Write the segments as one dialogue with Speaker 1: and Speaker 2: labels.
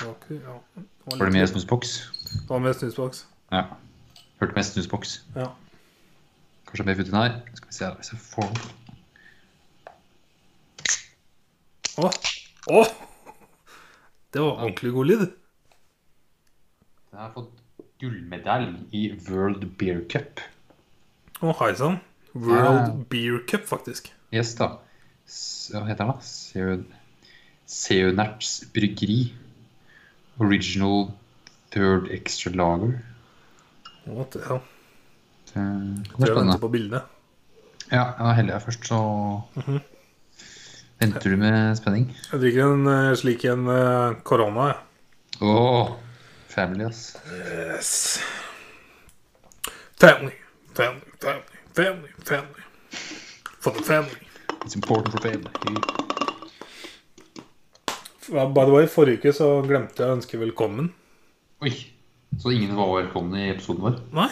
Speaker 1: Ja. Det
Speaker 2: Var det mye snusboks?
Speaker 1: Det var mye snusboks.
Speaker 2: Ja. Hørte mest snusboks.
Speaker 1: Ja.
Speaker 2: Kanskje mer futt enn her. Skal vi se her, hvis jeg får den.
Speaker 1: Å! Å! Det var ordentlig god lyd.
Speaker 2: Den har fått gullmedalje i World Beer Cup.
Speaker 1: Å, hei sann. World
Speaker 2: Ja.
Speaker 1: Beer Cup, faktisk.
Speaker 2: Yes, da. S- Hva heter den, da? Seu- Seunerts Bryggeri. Original Third Extra Lager.
Speaker 1: Å, det, ja.
Speaker 2: Det det
Speaker 1: Tror
Speaker 2: er
Speaker 1: jeg venter
Speaker 2: spennende.
Speaker 1: på bildet.
Speaker 2: Ja, jeg heller jeg først, så Mhm. venter du med spenning.
Speaker 1: Jeg drikker en eh, slik en eh, korona, jeg.
Speaker 2: Åh, family, ass.
Speaker 1: Yes. Family, family, family, family, family. For the family.
Speaker 2: It's important for family.
Speaker 1: Ja, By the way, forrige uke så glemte jeg å ønske velkommen.
Speaker 2: Oi, så ingen var velkomne i episoden vår.
Speaker 1: Nei.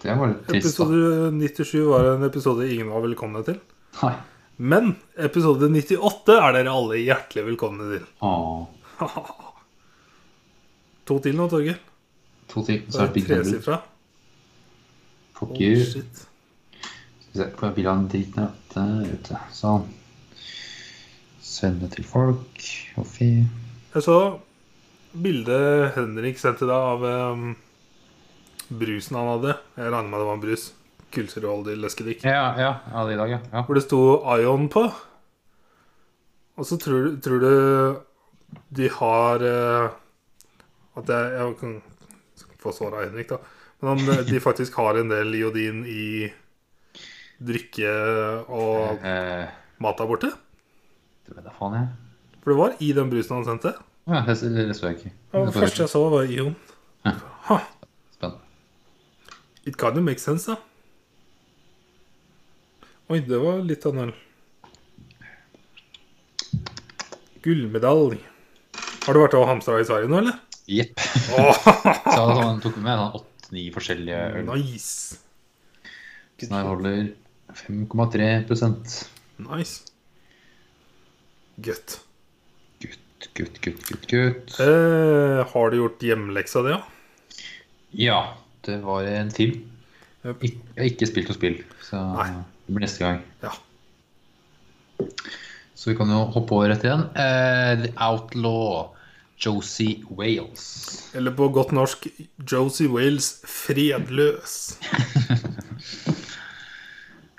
Speaker 2: Det var litt trist, da.
Speaker 1: Episode 97 var en episode ingen var velkomne til.
Speaker 2: Nei.
Speaker 1: Men episode 98 er dere alle hjertelig velkomne til.
Speaker 2: Åh,
Speaker 1: to til nå, Torgeir.
Speaker 2: to ting, så er det Big Number.
Speaker 1: Tresifra.
Speaker 2: Fuck
Speaker 1: Oh,
Speaker 2: you.
Speaker 1: shit.
Speaker 2: Skal vi se, hvor er bilene dritene ute, ute. Sånn. Sende til folk. Og fy.
Speaker 1: Jeg så bildet Henrik sendte deg av em, brusen han hadde. Jeg regner med det var en brus. Kulturholdig leskedrikk.
Speaker 2: Ja, ja, ja, det er i dag, ja. ja.
Speaker 1: Hvor det sto Ion på. Og så tror, du- tror du de har eh, At jeg, jeg kan skal få svar av Henrik, da. Men om det- de faktisk har en del iodin i drikke og
Speaker 2: Eh,
Speaker 1: mat der borte.
Speaker 2: det vet jeg faen, jeg.
Speaker 1: For det var i den brusen han sendte.
Speaker 2: Ja, det, det, det så jeg ikke.
Speaker 1: Og det
Speaker 2: Det var
Speaker 1: første jeg så, var Ion. Ha,
Speaker 2: Spennende.
Speaker 1: It kind of makes sense, da. Oi, det var litt av en øl. Gullmedalje. Har du vært og hamstra i Sverige nå, eller?
Speaker 2: Jepp.
Speaker 1: Åh,
Speaker 2: Så han tok med sånn åtte-ni forskjellige øl.
Speaker 1: nice.
Speaker 2: Så den her holder 5,3 Gutt,
Speaker 1: Nice. Godt.
Speaker 2: gutt, gutt, gutt, gutt.
Speaker 1: Eh, har du gjort hjemmeleksa di, ja?
Speaker 2: Ja, det var en film.
Speaker 1: Jep.
Speaker 2: Ik jeg har ikke spilt noe spill, så
Speaker 1: Nei.
Speaker 2: det blir neste gang.
Speaker 1: Ja.
Speaker 2: Så vi kan jo hoppe over rett igjen. Eh, The Outlaw, Josie Wales.
Speaker 1: Eller på godt norsk Josie Wales Fredløs.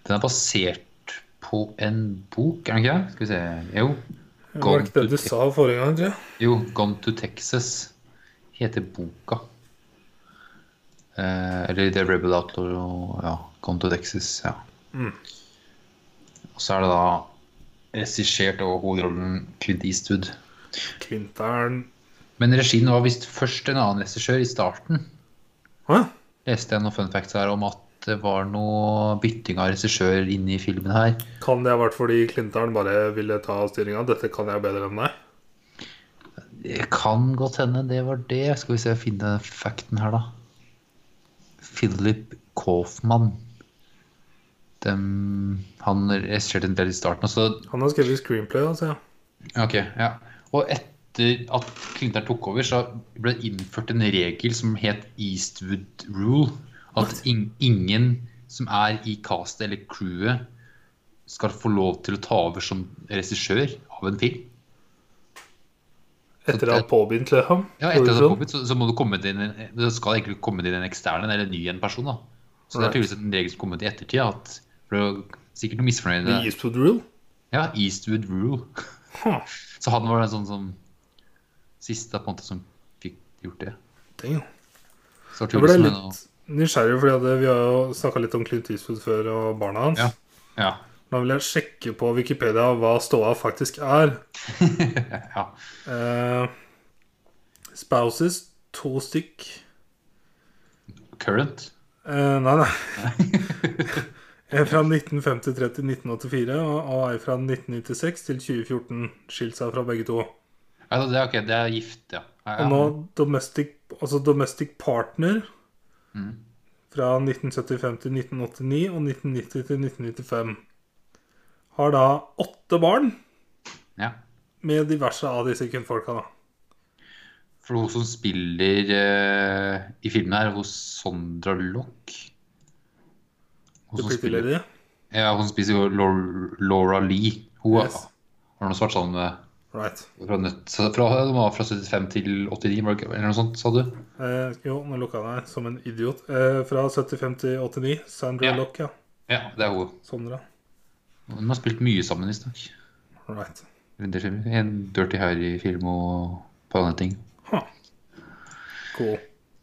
Speaker 2: Den er basert på en bok, er den ikke det? Skal vi se Jo.
Speaker 1: Var
Speaker 2: Gone
Speaker 1: det ikke det
Speaker 2: to
Speaker 1: du sa forrige gang, tror jeg?
Speaker 2: Jo, 'Gone to Texas' heter boka. Eh, eller 'The Rebel Outlaw' og ja, 'Gone to Texas'. ja.
Speaker 1: Mm.
Speaker 2: Og så er det da regissert over hovedrollen Clint Eastwood.
Speaker 1: Klinteren
Speaker 2: Men regien var visst først en annen regissør i starten.
Speaker 1: Hæ?
Speaker 2: Leste jeg noen fun facts her om at det var noe bytting av regissør inne i filmen her.
Speaker 1: Kan det ha vært fordi Clinton bare ville ta styringa? Dette kan jeg bedre enn deg.
Speaker 2: Det kan godt hende det var det. Skal vi se jeg finner facten her, da. Philip Kaufmann. Dem, han regisserte en del i starten. og så
Speaker 1: Han har skrevet screenplay, altså. Ja.
Speaker 2: Ok, ja. Og etter at Clinton tok over, så ble det innført en regel som het Eastwood rule. At in ingen som er i castet eller crewet, skal få lov til å ta over som regissør av en film.
Speaker 1: Etter å ha påbegynt Leham.
Speaker 2: Ja, etter
Speaker 1: sånn?
Speaker 2: at det er påbudt, så, så må du komme til en, det skal egentlig komme til en ekstern eller en ny en person. da. Så det er
Speaker 1: Right.
Speaker 2: tydeligvis en regel som kommer til i ettertid. at for det var Sikkert noe misfornøyde.
Speaker 1: The Eastwood Rule.
Speaker 2: Ja, Eastwood rule.
Speaker 1: Huh.
Speaker 2: Så han var den sånn som siste på en måte som fikk gjort det.
Speaker 1: Dang.
Speaker 2: Så
Speaker 1: Jeg
Speaker 2: det var
Speaker 1: ble
Speaker 2: tydeligvis med noe-
Speaker 1: litt nysgjerrig, fordi at eh, vi har jo snakka litt om Clint Eastwood før og barna hans.
Speaker 2: Ja. Ja.
Speaker 1: Da vil jeg sjekke på Wikipedia hva ståa faktisk er.
Speaker 2: ja.
Speaker 1: Eh, spouses, to stykk
Speaker 2: Current.
Speaker 1: eh, Nei, nei. En fra 1953 til 1984 og og ei fra 1996 til 2014. Skilt seg fra begge to.
Speaker 2: Ja, Altså, det, er, ok, det er gift, ja. ja, ja.
Speaker 1: Og nå domestic, altså domestic Partner
Speaker 2: Mhm.
Speaker 1: fra 1975 til 1989 og 1990 til 1995. Har da åtte barn
Speaker 2: ja.
Speaker 1: med diverse av disse kvinnfolka, da.
Speaker 2: For hun som spiller eh, i filmen her, hos Sondra Lock Hun som
Speaker 1: Deputy
Speaker 2: spiller
Speaker 1: Lady.
Speaker 2: Ja, hun spiser jo Laura, Laura Lee. Hun
Speaker 1: Yes.
Speaker 2: har nødt vært sammen med
Speaker 1: Right.
Speaker 2: fra, nødt, fra, hun var fra 75 til 89, var det ikke? Eller noe sånt, sa du?
Speaker 1: Eh, jo, nå lukka jeg meg som en idiot. Eh, fra 75 til 89. Sandra
Speaker 2: Ja.
Speaker 1: Lock, ja.
Speaker 2: Ja, det er hun.
Speaker 1: Sondra.
Speaker 2: Hun har spilt mye sammen, visstnok.
Speaker 1: Right.
Speaker 2: I en del filmer. I En Dirty Harry-film og et par andre ting.
Speaker 1: Cool.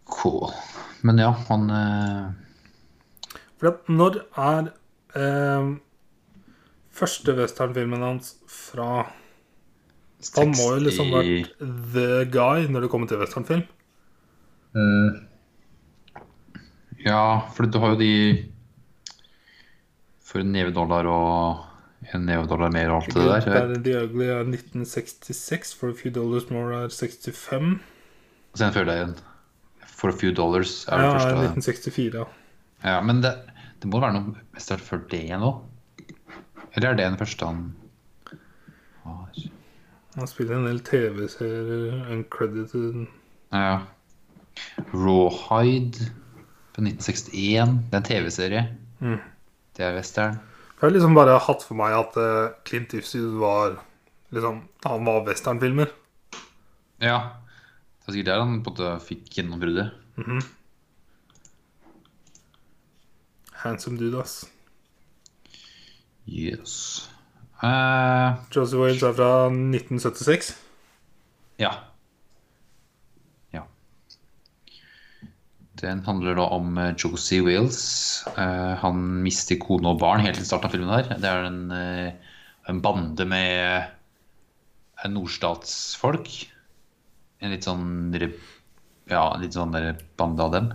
Speaker 2: Cool. Men ja, han eh,
Speaker 1: For at når er eh, første westernfilmen hans fra Han må jo liksom ha
Speaker 2: 60
Speaker 1: vært the guy når det kommer til westernfilm.
Speaker 2: Eh, Ja, for du har jo de For en nevedollar og en nevedollar mer og alt det der. Jeg-
Speaker 1: Barry the Ugly er 1966, For a Few Dollars More er 65.
Speaker 2: Så jeg føler deg igjen. For a few dollars er det
Speaker 1: Ja, er
Speaker 2: første.
Speaker 1: 1964. ja.
Speaker 2: Ja, men det, det må være noe mestert før det igjen òg? Eller er det den første han har
Speaker 1: Han spiller en del TV-serier, uncredited
Speaker 2: Ja. Rawhide på 1961. Det er en TV-serie.
Speaker 1: Mm.
Speaker 2: Det er western.
Speaker 1: Jeg har liksom bare hatt for meg at eh, Clint Eastwood var liksom, Han var westernfilmer.
Speaker 2: Ja. Det er sikkert der han på en måte fikk gjennombruddet.
Speaker 1: Handsome dude, ass.
Speaker 2: Yes. Eh,
Speaker 1: Joseph Wales er fra 1976.
Speaker 2: ja. Ja. Den handler da om eh, Josie Wales. Eh, han mister kone og barn helt til starten av filmen her. Det er en, eh, en bande med eh, nordstatsfolk. En litt sånn re- Ja, en litt sånn der bande av dem.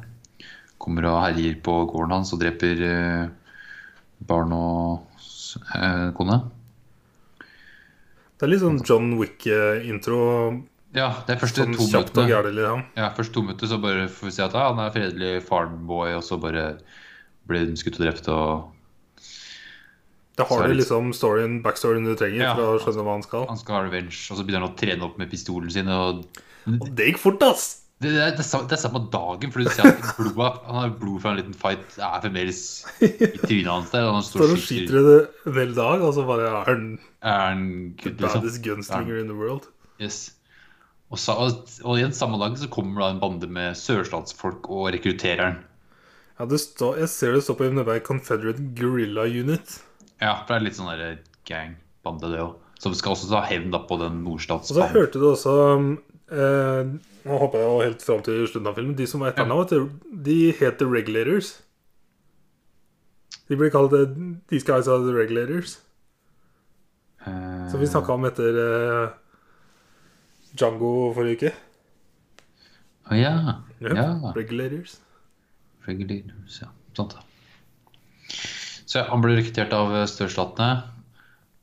Speaker 2: Kommer og herjer på gården hans og dreper eh, barn og s- eh, kone.
Speaker 1: Det er litt sånn John Wick-intro.
Speaker 2: Ja, det er første
Speaker 1: Sånn
Speaker 2: to
Speaker 1: kjapt og
Speaker 2: minuttene.
Speaker 1: gærent, liksom.
Speaker 2: Ja, først to minutter så bare får vi si at ja, han er fredelig farmboy, og så bare blir hun skutt og drept og
Speaker 1: Da
Speaker 2: Så
Speaker 1: har
Speaker 2: er
Speaker 1: du
Speaker 2: det-
Speaker 1: liksom storyen, backstoryen du trenger
Speaker 2: Ja.
Speaker 1: for å skjønne hva han skal.
Speaker 2: han skal ha revenge, og så begynner han å trene opp med pistolen sin, og
Speaker 1: Og det gikk fort, ass!
Speaker 2: det, det, er, det, er, samme- det er samme dagen, for du ser at blodet, han har blod fra en liten fight, det er fremdeles i trynet hans der, og han står
Speaker 1: Står
Speaker 2: og
Speaker 1: og skyter
Speaker 2: skyter,
Speaker 1: i det en hel dag, og så bare er han
Speaker 2: er han
Speaker 1: the
Speaker 2: kutt, liksom.
Speaker 1: baddest gunslinger in the world.
Speaker 2: Yes. Og, sa, og, og igjen samme dag så kommer da en bande med sørstatsfolk og rekrutterer han.
Speaker 1: Ja, det står, jeg ser det står på IMDb Confederate Guerrilla Unit.
Speaker 2: Ja, for det er litt sånn der gang-bande det også. Som skal også ta hevn da på den
Speaker 1: Og så
Speaker 2: nordstatsbanden.
Speaker 1: hørte du også um, eh, Nå hopper jeg jo helt fram til slutten av filmen. De som var etter
Speaker 2: Ja.
Speaker 1: nå, vet du, de het The Regulators. De blir kalt eh, These guys are the regulators.
Speaker 2: Eh,
Speaker 1: Som vi snakka om etter eh, Django forrige uke.
Speaker 2: Å ja.
Speaker 1: Yep.
Speaker 2: ja.
Speaker 1: Regulators.
Speaker 2: Regulators, ja. Sant det. Så ja, han ble rekruttert av eh, størstatene.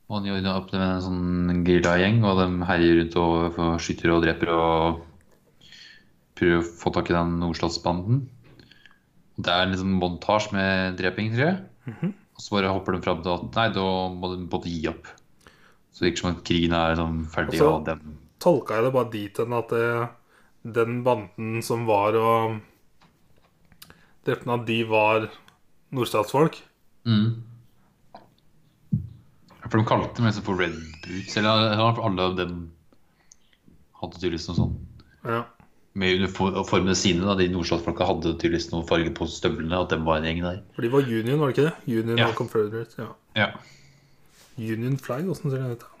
Speaker 2: Og han gjorde opp med en sånn geriljagjeng, og de herjer rundt og får- skyter og dreper og prøver å få tak i den nordstatsbanden. Og Det er en liten montasje med dreping, tror jeg. Og så bare hopper de fram til at nei, da må de både gi opp. Så det virker som at krigen er sånn
Speaker 1: Og
Speaker 2: ferdig,
Speaker 1: så-
Speaker 2: og dem
Speaker 1: Tolka jeg det bare dit hen at eh, den banden som var og drepte han, at de var nordstatsfolk.
Speaker 2: Mm. For de kalte dem liksom for Red Boots, eller eller for alle av dem hadde tydeligvis noe sånn
Speaker 1: Ja.
Speaker 2: Med uniformene sine, da, de nordstatsfolka hadde tydeligvis noe farge på støvlene, at dem var en gjeng der.
Speaker 1: For de var union, var det ikke det? Union
Speaker 2: Ja.
Speaker 1: og Confederate. Ja.
Speaker 2: Ja.
Speaker 1: Union Flag, åssen ser den ut? da?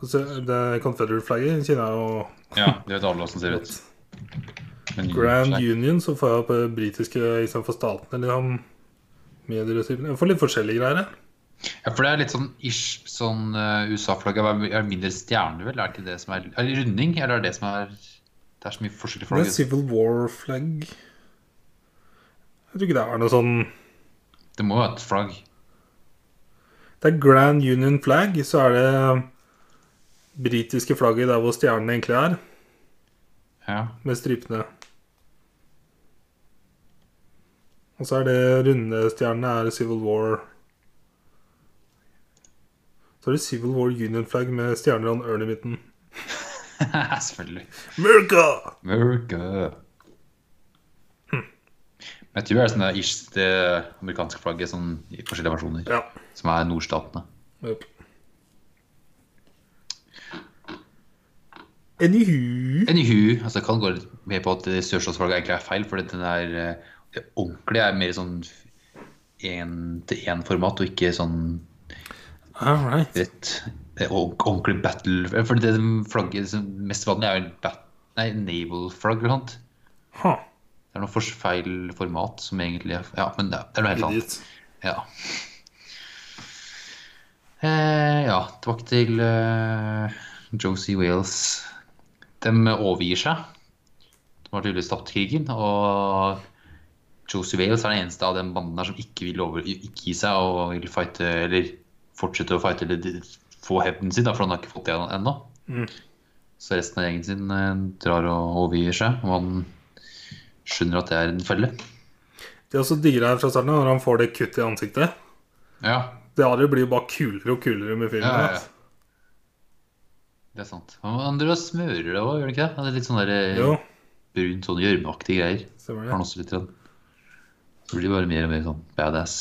Speaker 1: Få se, Det er Confederate-flagget kjenner jeg jo
Speaker 2: ja det vet alle åssen ser ut. Men,
Speaker 1: Grand
Speaker 2: Nei.
Speaker 1: Union, så får jeg opp eh, britiske istedenfor statene. Liksom. Medier og typen. Jeg får litt forskjellige greier. jeg.
Speaker 2: Ja, for det er litt sånn ish sånn eh, USA-flagget er- er mindre stjerne, vel? Er det ikke det som er Eller runding? Eller er det det som er Det er så mye forskjellige
Speaker 1: Men
Speaker 2: flagg.
Speaker 1: Civil War-flagg Jeg tror ikke det er noe sånn
Speaker 2: Det må jo være et flagg.
Speaker 1: Det er Grand Union Flag, så er det britiske flagget der hvor stjernene egentlig er,
Speaker 2: Ja.
Speaker 1: med stripene. Og så er det runde stjernene er Civil War. Så er det Civil War Union Flag med stjerner og en ørn i midten.
Speaker 2: Selvfølgelig.
Speaker 1: America!
Speaker 2: America. Men jeg tror det er sånn der ish det amerikanske flagget sånn, i forskjellige versjoner,
Speaker 1: Ja.
Speaker 2: som er nordstatene.
Speaker 1: Yep. Anywho
Speaker 2: Anywho, altså jeg kan gå litt med på at det sørstatsflagget egentlig er feil, for den der eh, det ordentlige er mer sånn én-til-én-format, og ikke sånn
Speaker 1: All right.
Speaker 2: rett eh, ord- ordentlig battle For det flagget som mest vanlig er jo en bat, nei, naval-flagg eller noe sånt.
Speaker 1: Huh.
Speaker 2: Det er noe for feil format som egentlig er Ja, men det er- det er noe helt annet.
Speaker 1: Idiot.
Speaker 2: Ja. Eh, ja, tilbake til eh, Josie Wales. De overgir seg. De har tydeligvis tapt krigen, og Josie Wales er den eneste av den banden der som ikke vil over, ikke gi seg og vil fighte, eller fortsette å fighte eller d- få hevnen sin, da, for han har ikke fått det ennå.
Speaker 1: Mm.
Speaker 2: Så resten av gjengen sin eh, drar og overgir seg, og han skjønner at det er en felle.
Speaker 1: Det er også diggere her fra starten når han får det kuttet i ansiktet.
Speaker 2: Ja,
Speaker 1: Det andre blir jo bare kulere og kulere med filmen.
Speaker 2: Ja, ja, ja.
Speaker 1: altså.
Speaker 2: det er sant. Men Han driver og smører det òg, gjør han ikke det? Han er litt sånn der eh,
Speaker 1: Jo,
Speaker 2: brunt, sånn gjørmeaktig greier.
Speaker 1: stemmer
Speaker 2: Har
Speaker 1: det.
Speaker 2: han også litt redd. Så blir det bare mer og mer sånn badass.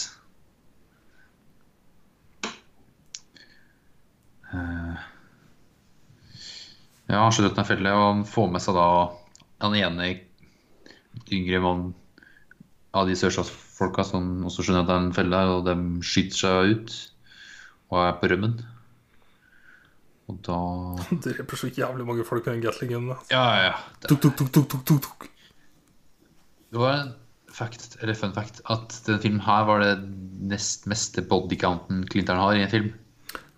Speaker 2: Eh, Ja, han skjønner at den er felle, og han får med seg da han ene yngre mannen av de sørstatsfolka som også skjønner at det er en felle der, og de skyter seg ut og er på rømmen. Og da
Speaker 1: Han dreper så jævlig mange folk med den Gatlingen. altså.
Speaker 2: Ja, ja, ja.
Speaker 1: Tuk, tuk, tuk, tuk, tuk, tuk, tuk.
Speaker 2: Det var en fact, eller fun fact at denne filmen her var det nest meste bodycounten Clinton har i en film.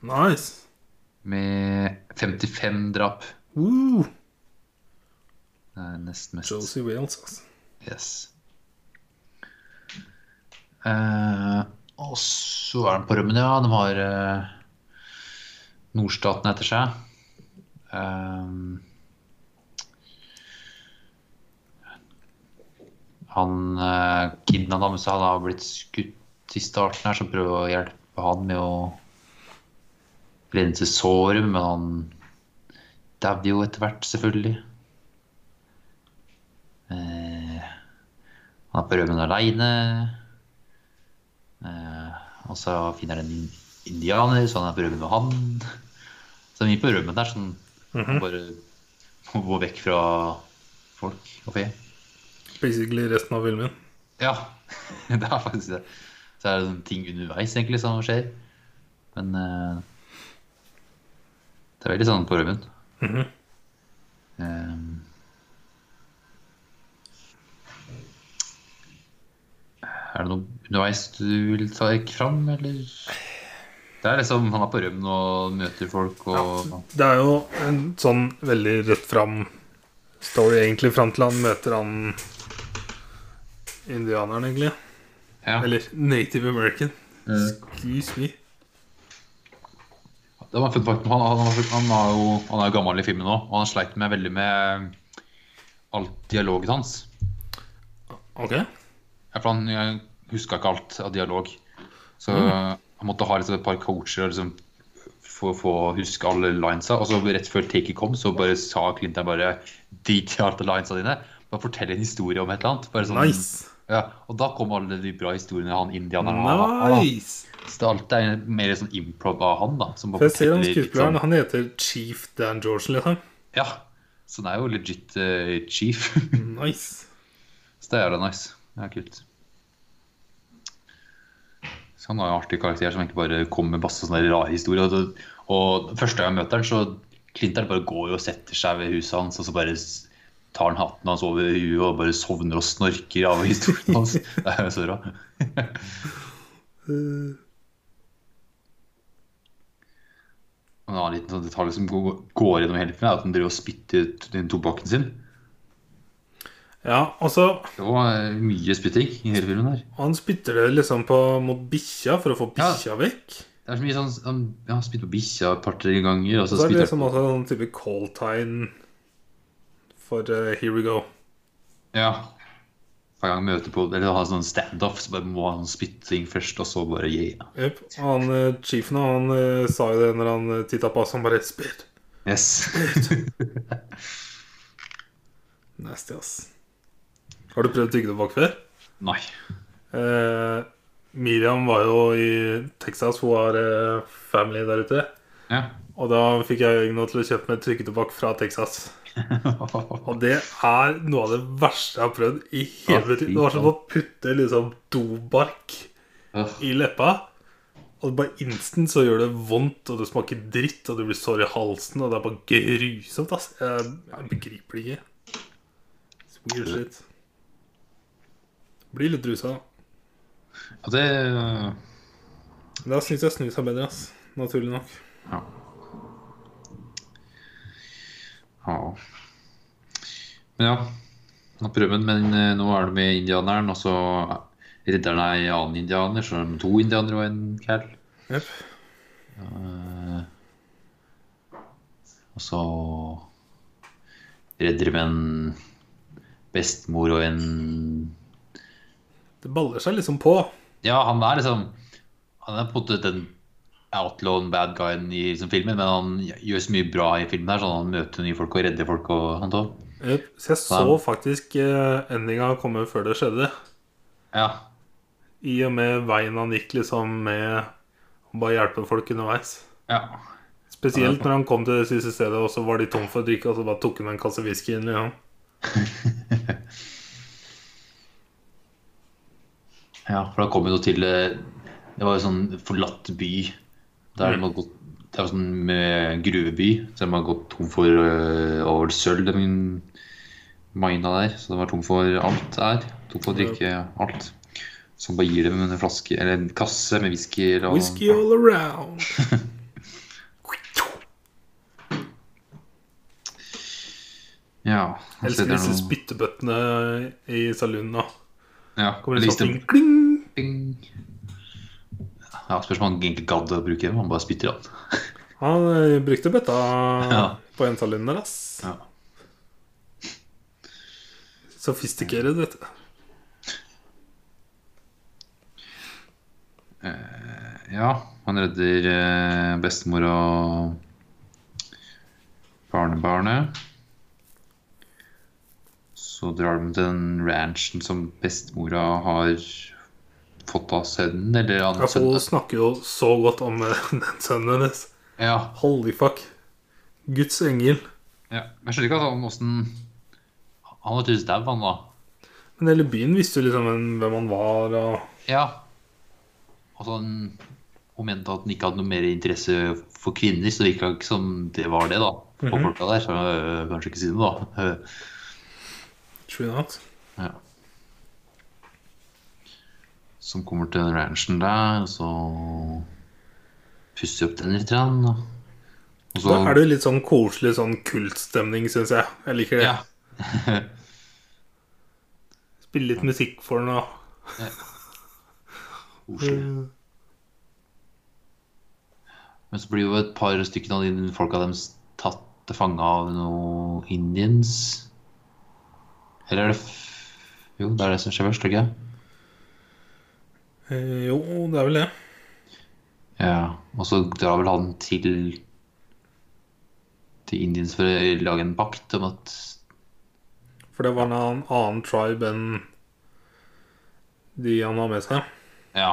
Speaker 1: Nice.
Speaker 2: Med 55 drap.
Speaker 1: Woo.
Speaker 2: Det er nest mest.
Speaker 1: Josie Wales, altså.
Speaker 2: Yes. Eh, og så er den på rømmen, ja. De har eh, nordstaten etter seg. Ehm, han uh, kidna damen som hadde blitt skutt i starten her, så prøver å hjelpe han med å rense såret, men han dauer jo etter hvert, selvfølgelig. Eh, han er på rømmen aleine. Eh, og så finner han en in- indianer, så han er på rømmen med han. Så det er mye på rømmen der. Sånn, han Bare må gå vekk fra folk og fe.
Speaker 1: Basically resten av filmen.
Speaker 2: Ja, det er faktisk det. Så er det sånne ting underveis egentlig som skjer. Men eh, det er veldig sånn på rømmen.
Speaker 1: Mhm.
Speaker 2: Eh, er det noe underveis du vil ta ikke fram, eller? Det er liksom han er på rømmen og møter folk og
Speaker 1: Det er jo en sånn veldig rett fram story, egentlig, fram til han møter han indianeren, egentlig.
Speaker 2: ja.
Speaker 1: Eller Native American. Eh, Excuse me.
Speaker 2: Det var en fun fact. Han, han, han, han, var jo, han er jo gammel i filmen nå, og han sleit med veldig med alt dialogen hans.
Speaker 1: Ok.
Speaker 2: Ja, for han jeg huska ikke alt av dialog. Så
Speaker 1: Mm.
Speaker 2: han måtte ha liksom, et par coacher og liksom, for for å huske alle linesa. Og så rett før taket kom, så bare sa Clinton bare drit i alle linesa dine. Bare fortell en historie om et eller annet. Bare sånn,
Speaker 1: Nice.
Speaker 2: ja, og da kom alle de bra historiene han indianeren har.
Speaker 1: Nice.
Speaker 2: Så det er alt er mer sånn improv av han, da. Som bare
Speaker 1: For jeg ser han
Speaker 2: forteller litt
Speaker 1: skuespilleren.
Speaker 2: sånn-
Speaker 1: Han heter Chief Dan George, liksom.
Speaker 2: Ja. Så han er jo legit eh, chief.
Speaker 1: Nice.
Speaker 2: Så det er jævla nice. Det er kult. Så han har jo en artig karakter som egentlig bare kommer med masse sånne rare historier. Og, og første gang jeg møter han, så Clinton bare går jo og setter seg ved huset hans, og så bare s- tar han hatten hans over huet og bare sovner og snorker av historien hans. Det er jo så bra.
Speaker 1: Eh,
Speaker 2: En annen liten sånn detalj som går går gjennom hele filmen, er at han driver og spytter ut den tobakken sin.
Speaker 1: ja, og så
Speaker 2: Det var eh, mye spytting i hele filmen her.
Speaker 1: Han spytter det liksom på, mot bikkja for å få bikkja vekk.
Speaker 2: Det er så mye sånn Han ja, han spytter på bikkja et par-tre ganger, og så
Speaker 1: Så er det
Speaker 2: spytter han
Speaker 1: liksom også en sånn type call time for eh, Here We Go.
Speaker 2: Ja. Hver gang han møter på Eller har sånn standoff, så bare må han spytte ting først, og så bare yeah.
Speaker 1: eh, Jep, Og han eh, chiefen han eh, sa jo det når han uh, titta på oss, han bare Spit,
Speaker 2: Yes.
Speaker 1: Nasty, ass. Har du prøvd tyggedobakk før?
Speaker 2: Nei.
Speaker 1: Eh, Miriam var jo i Texas, hun har eh, family der ute.
Speaker 2: Ja.
Speaker 1: Og da fikk jeg øynene til å kjøpe meg trykketobakk fra Texas. Og det er noe av det verste jeg har prøvd i hele
Speaker 2: Ja,
Speaker 1: mitt liv.
Speaker 2: fy
Speaker 1: Det var som å putte liksom dobark
Speaker 2: Åh,
Speaker 1: i leppa. Og bare instant så gjør det vondt, og det smaker dritt, og du blir sår i halsen, og det er bare grusomt, ass. Jeg, jeg begriper det ikke. It's Weird shit. Blir litt rusa, da.
Speaker 2: Ja, det øh,
Speaker 1: Men Da syns jeg snus er bedre, ass. Naturlig nok.
Speaker 2: Ja. ja. Men ja. Nå prøver han, men øh, nå er du med indianeren, og så redder han ei annen indianer, så er det to indianere og en kall.
Speaker 1: Jepp.
Speaker 2: Og så redder de en bestemor og en
Speaker 1: Det baller seg liksom på.
Speaker 2: Ja, han er liksom Han er på en måte den outlawen bad guyen i liksom, filmen, men han gjør så mye bra i filmen her, sånn han møter nye folk og redder folk og sånt òg.
Speaker 1: Jepp. Så jeg så
Speaker 2: Wow.
Speaker 1: faktisk eh, endinga komme før det skjedde.
Speaker 2: Ja.
Speaker 1: I og med veien han gikk liksom med å bare hjelpe folk underveis.
Speaker 2: ja.
Speaker 1: Spesielt når han kom til det siste stedet, og så var de tom for drikke, og så bare tok han en kasse whisky inn. Liksom.
Speaker 2: Ja, for da kom vi nå til eh, Det var jo sånn forlatt by. Der
Speaker 1: Mm.
Speaker 2: de har gått Det er jo sånn med gruveby, så de har gått tom for eh, over sølv, de mina der. Så de var tom for alt der. Tom for å drikke alt. Så bare gir dem en flaske Eller en kasse med whisky. eller-
Speaker 1: Whisky all around.
Speaker 2: Ja.
Speaker 1: Jeg
Speaker 2: så
Speaker 1: Elsker
Speaker 2: det er
Speaker 1: disse
Speaker 2: noe-
Speaker 1: spyttebøttene i saloonen nå.
Speaker 2: Ja,
Speaker 1: Kommer det
Speaker 2: eller hvis
Speaker 1: sånn
Speaker 2: det-
Speaker 1: ting, kling!
Speaker 2: Bing. Ja, spørs om han egentlig gadd å bruke dem. Han bare spytter i den.
Speaker 1: Han eh, brukte bøtta
Speaker 2: Ja.
Speaker 1: på en saloon der, ass.
Speaker 2: Ja.
Speaker 1: Sofistikeret, vet du.
Speaker 2: ja, han redder eh, bestemor og barnebarnet. Så drar de til den ranchen som bestemora har fått av sønnen, eller han
Speaker 1: Altså, hun
Speaker 2: sønnen.
Speaker 1: snakker jo så godt om eh, den sønnen hennes.
Speaker 2: Ja,
Speaker 1: Holy fuck. Guds engel.
Speaker 2: ja. Men Jeg skjønner ikke altså, åssen Han var tydeligvis dau, han da.
Speaker 1: Men hele byen visste jo liksom hvem han var, og
Speaker 2: Ja. Altså, han- hun mente at han ikke hadde noe mer interesse for kvinner, så det virka ikke som det var det, da. For
Speaker 1: Mhm.
Speaker 2: folka der, så øh, kanskje ikke si det, da. Øh,
Speaker 1: True not.
Speaker 2: ja. Som kommer til den ranchen der, og så pusser opp den litt. grann, Og og så
Speaker 1: Da er det jo litt sånn koselig sånn kultstemning, syns jeg. Jeg liker det.
Speaker 2: Ja.
Speaker 1: Spille litt musikk for den og Mm.
Speaker 2: Koselig. Men så blir jo et par stykker av de folka deres tatt til fange av noen indians. Eller er det f... Jo, det er det som skjer først, ikke sant?
Speaker 1: Eh, Jo, det er vel det.
Speaker 2: Ja. Og så drar vel han til til indians for å lage en pakt om at
Speaker 1: For det var en annen- annen tribe enn de han har med seg.
Speaker 2: Ja.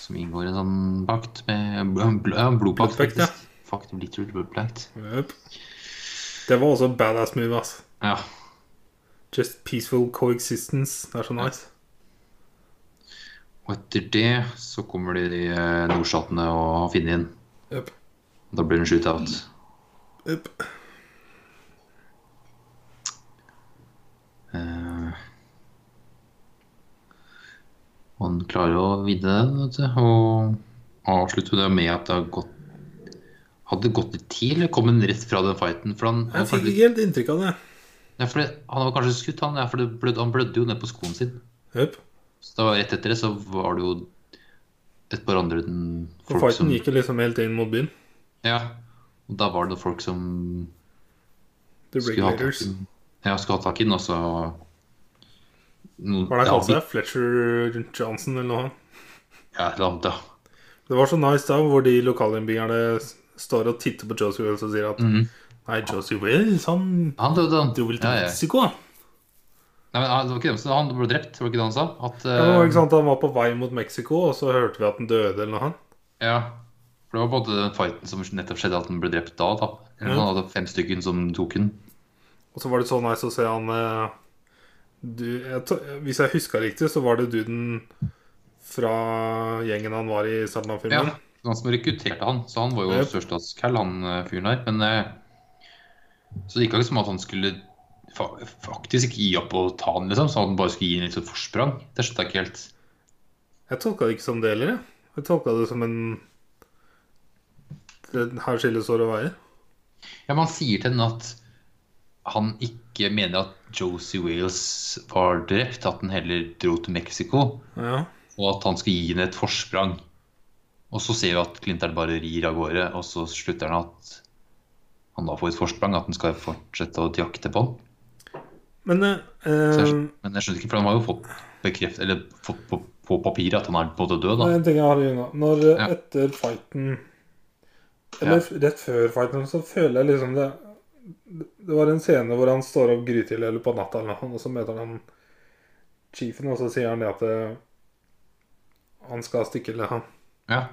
Speaker 2: Som inngår en sånn pakt med bl- bl- ja, blodpakt,
Speaker 1: Blodpakt, ja.
Speaker 2: faktisk. Fuck, det blir literal blodpakt.
Speaker 1: Jøp. Det var også badass move, ass.
Speaker 2: Ja.
Speaker 1: Just peaceful coexistence. Det er så nice.
Speaker 2: Og etter det så kommer de eh, nordstatene og har funnet inn.
Speaker 1: Jøp.
Speaker 2: Da blir det en shootout.
Speaker 1: Jøp.
Speaker 2: Eh, og han klarer å vinne den, vet du. Og avslutter det med at det har gått Hadde det gått litt tid, eller kom han rett fra den fighten? For han, han,
Speaker 1: Jeg fikk
Speaker 2: kanskje,
Speaker 1: ikke helt inntrykk av det.
Speaker 2: ja, for det, han var kanskje skutt, han. Ja, for det blød, han blødde jo ned på skoen sin.
Speaker 1: Jøp.
Speaker 2: Så da rett etter det så var det jo et par andre den-
Speaker 1: Og
Speaker 2: folk
Speaker 1: fighten
Speaker 2: som
Speaker 1: gikk jo liksom helt inn mot byen.
Speaker 2: Ja. Og da var det noen folk som
Speaker 1: The
Speaker 2: skulle ha tak
Speaker 1: Regulators.
Speaker 2: i den. Ja, skulle ha tak i den, og så noen,
Speaker 1: Hva er det
Speaker 2: ja,
Speaker 1: han kalte seg? Fletcher Johnson eller noe?
Speaker 2: Ja, et eller annet, ja.
Speaker 1: Det var så nice da, hvor de lokalinnbyggerne står og titter på Josie Wells og sier at
Speaker 2: Mhm.
Speaker 1: Nei, Josie Wells, han
Speaker 2: Han døde, han.
Speaker 1: dro vel til
Speaker 2: Ja, ja.
Speaker 1: Mexico, han.
Speaker 2: Nei, men han- det var ikke det, men han ble drept, var det ikke det han sa? At,
Speaker 1: Ja, det var ikke
Speaker 2: eh,
Speaker 1: sant, Han var på vei mot Mexico, og så hørte vi at han døde eller noe. han.
Speaker 2: ja. For det var både den fighten som nettopp skjedde, at han ble drept da. da. Eller
Speaker 1: Ja.
Speaker 2: Han hadde fem stykken som tok den.
Speaker 1: Og så var det så nice å se han eh, du, jeg, t- Hvis jeg husker riktig, så var det duden fra gjengen han var i i starten av
Speaker 2: Ja,
Speaker 1: filmen.
Speaker 2: det var han som rekrutterte han, så han var jo
Speaker 1: Ja.
Speaker 2: størstatscall, han eh, fyren der. Men eh, så det gikk ikke som at han skulle fa faktisk ikke gi opp og ta han, liksom. Så han bare skulle gi en litt sånn forsprang. Det skjønte jeg ikke helt.
Speaker 1: Jeg tolka det ikke som det heller. jeg. Jeg tolka det som en det- Her skilles år og veier.
Speaker 2: Ja, man sier til henne at han ikke mener at Josie Wales var drept, at han heller dro til Mexico,
Speaker 1: Ja.
Speaker 2: og at han skal gi henne et forsprang. Og så ser vi at Clinter'n bare rir av gårde, og så slutter han at han da får et forsprang, at han skal fortsette å jakte på han.
Speaker 1: Men eh, eh,
Speaker 2: Så- Men jeg skjønner ikke, for han har jo fått bekreft, eller fått på, på papiret at han er både død, da.
Speaker 1: en ting jeg har i unna. Når eh,
Speaker 2: Ja.
Speaker 1: etter fighten Eller f- rett før fighten, så føler jeg liksom det Det var en scene hvor han står opp grytidlig eller på natta, eller noe, og så møter han chiefen, og så sier han det at eh, han skal stikke eller han
Speaker 2: Ja.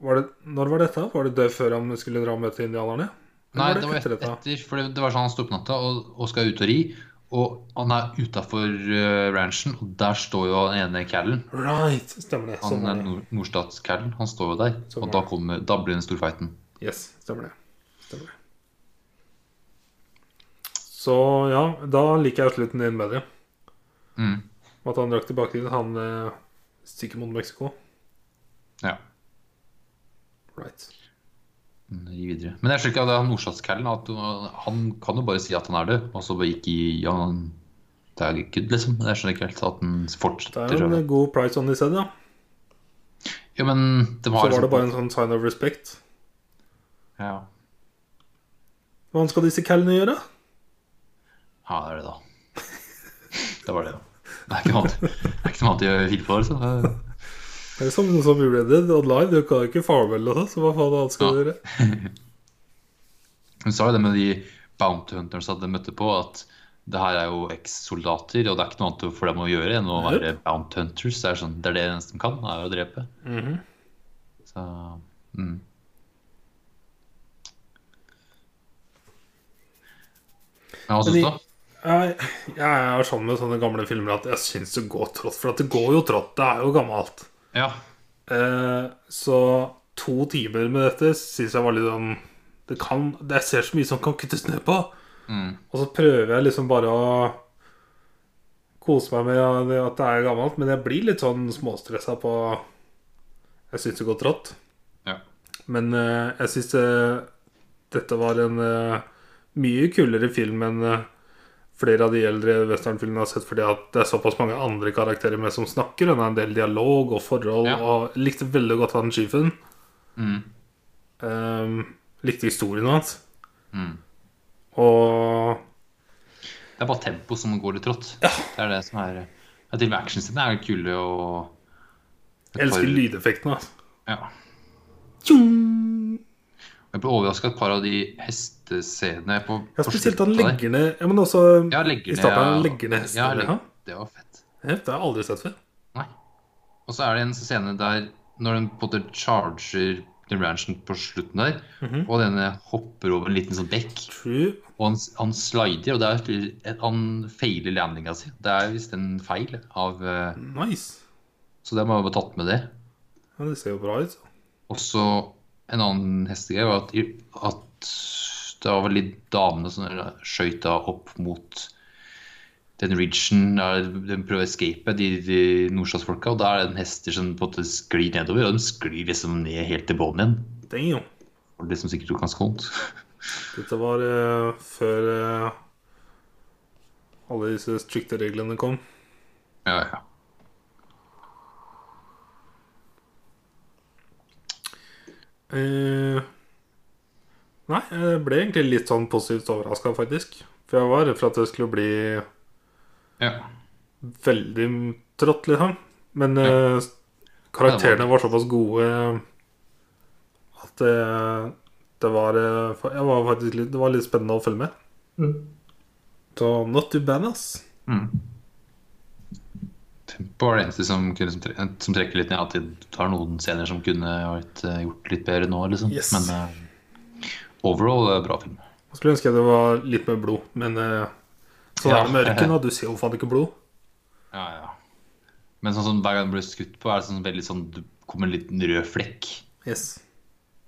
Speaker 1: var det, Når var dette? Var det det før han skulle dra og møte indianerne? Eller
Speaker 2: Nei, det var
Speaker 1: etter
Speaker 2: etter,
Speaker 1: dette?
Speaker 2: etter for det, det var sånn han står på natta og, og skal ut og ri, og han er utafor eh, ranchen, og der står jo den ene callen.
Speaker 1: Right! Stemmer det.
Speaker 2: Han
Speaker 1: Sånn
Speaker 2: er
Speaker 1: er det.
Speaker 2: nord, nordstatscallen, han står jo der,
Speaker 1: Sånn
Speaker 2: og
Speaker 1: var
Speaker 2: da, kommer, da blir den storfighten.
Speaker 1: Yes, stemmer det. Stemmer det. Så ja, da liker jeg slutten din bedre.
Speaker 2: Mm.
Speaker 1: At han drakk tilbake dit. Han eh, stikker mot Mexico.
Speaker 2: Ja.
Speaker 1: Right.
Speaker 2: Ri videre. Men jeg skjønner ikke at det er nordstatscallen, at uh, han kan jo bare si at han er død, og så bare ikke gi ja, han- Det er ikke liksom. Jeg skjønner ikke helt at han
Speaker 1: Det
Speaker 2: fortsetter.
Speaker 1: er jo
Speaker 2: å-
Speaker 1: en god price on this head, da.
Speaker 2: Ja, men de
Speaker 1: Så
Speaker 2: har
Speaker 1: var det
Speaker 2: liksom-
Speaker 1: bare en sånn sign of respect.
Speaker 2: ja.
Speaker 1: Hva skal disse callene gjøre?
Speaker 2: Ja, det er det, da. Det var det, da. Det er ikke noe annet, det er ikke noe annet å finne på. Altså. Det-
Speaker 1: Det er som noe som gjorde det Dead Live. Du kan jo ikke farvel og sånn, så hva faen annet skal du
Speaker 2: Ja.
Speaker 1: gjøre?
Speaker 2: Hun sa jo det med de bounty hunters at de møtte på, at det her er jo eks-soldater, og det er ikke noe annet for dem å gjøre enn å
Speaker 1: Yep.
Speaker 2: være bounty hunters. Det er, sånn, det er det eneste de kan, er å drepe.
Speaker 1: Mm-hmm.
Speaker 2: Så, mm. Ja, hva syns
Speaker 1: Men
Speaker 2: du?
Speaker 1: i-
Speaker 2: da?
Speaker 1: Jeg, jeg er sånn med sånne gamle filmer at jeg syns det går trått. For at det går jo trått. Det er jo gammelt.
Speaker 2: Ja.
Speaker 1: Eh, så to timer med dette syns jeg var litt sånn det kan, Jeg ser så mye som kan kuttes ned på.
Speaker 2: Mm.
Speaker 1: Og så prøver jeg liksom bare å kose meg med det at det er gammelt, men jeg blir litt sånn småstressa på Jeg syns det går trått.
Speaker 2: Ja.
Speaker 1: Men eh, jeg syns eh, dette var en eh, mye kulere film enn eh, flere av de eldre westernfilmene jeg har sett, fordi at det er såpass mange andre karakterer med som snakker, og det er en del dialog og forhold,
Speaker 2: Ja.
Speaker 1: og jeg likte veldig godt han sjefen.
Speaker 2: Mm.
Speaker 1: Um, likte historien hans.
Speaker 2: Mm.
Speaker 1: Og
Speaker 2: Det er bare tempo som går litt trått. Det er det som er ja, Til og med actionscenene er jo kule og
Speaker 1: jeg elsker lydeffektene. Altså.
Speaker 2: Ja.
Speaker 1: Tjong!
Speaker 2: Jeg ble overraska et par av de hestescenene på
Speaker 1: Ja,
Speaker 2: på
Speaker 1: spesielt han
Speaker 2: slutten der.
Speaker 1: legger ned Ja, men også
Speaker 2: Ja,
Speaker 1: i
Speaker 2: legger
Speaker 1: starten han
Speaker 2: ned-
Speaker 1: legger ned hester.
Speaker 2: Ja,
Speaker 1: Ja,
Speaker 2: legger- Det var fett.
Speaker 1: eh, Det har jeg aldri sett før.
Speaker 2: Nei. Og så er det en scene der når den på en måte charger den ranchen på slutten der,
Speaker 1: Mhm.
Speaker 2: og denne hopper over en liten sånn bekk,
Speaker 1: True.
Speaker 2: og han, han slider, og det er til- et, han feiler landinga si. Det er visst en feil av eh,
Speaker 1: Nice.
Speaker 2: Så det må jeg ha tatt med det.
Speaker 1: Ja, det ser jo bra ut.
Speaker 2: Også en annen hestegreie var at, at det var vel de damene som skjøt da opp mot den ridgen der de prøver å escape, de, de nordstatsfolka. Og da er det en hester som på en måte sklir nedover, og de sklir liksom ned helt til bånn igjen.
Speaker 1: Damn.
Speaker 2: Og det som sikkert gjorde ganske vondt.
Speaker 1: Dette var eh, før eh, alle disse strikte reglene kom.
Speaker 2: Ja, ja.
Speaker 1: Eh, nei, jeg ble egentlig litt sånn positivt overraska, faktisk. For jeg var redd for at det skulle bli
Speaker 2: ja.
Speaker 1: veldig trått, liksom. Men eh, karakterene var såpass gode at det, det, var, eh, fa- jeg var faktisk litt, det var litt spennende å følge med.
Speaker 3: Mm.
Speaker 1: Så not too bad, ass.
Speaker 2: Tempo var det eneste som, kunne, som, tre, som trekker litt ned. At de tar noen scener som kunne vært eh, gjort litt bedre nå, liksom.
Speaker 1: Yes.
Speaker 2: Men eh, overall eh, bra film.
Speaker 1: Jeg skulle ønske det var litt mer blod, men eh, sånn
Speaker 2: Ja.
Speaker 1: er det med ørken, og du ser jo faen ikke blod.
Speaker 2: Ja, ja. Men sånn som hver gang du blir skutt på, er det sånn veldig sånn Du kommer en liten rød flekk
Speaker 1: Yes.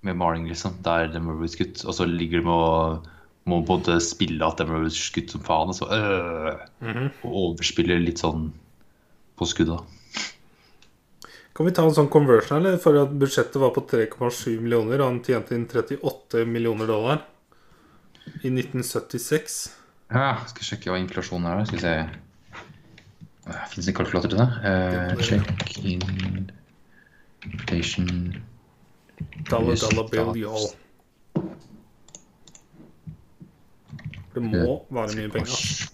Speaker 2: med maling, liksom. Der den blir skutt. Og så ligger de og må både spille at den blir skutt som faen, og så øh, Og overspiller litt sånn på skudda.
Speaker 1: Kan vi ta en sånn conversion, eller? For at budsjettet var på 3,7 millioner, og han tjente inn 38 millioner dollar i 1976.
Speaker 2: Ja, skal sjekke hva inflasjonen er. da. Skal vi se Fins det en kalkulator til det? Eh, check in Inflation
Speaker 1: Dollar,
Speaker 2: Yes,
Speaker 1: dollar bill,
Speaker 2: da.
Speaker 1: y'all. Det må være mye penger. ass.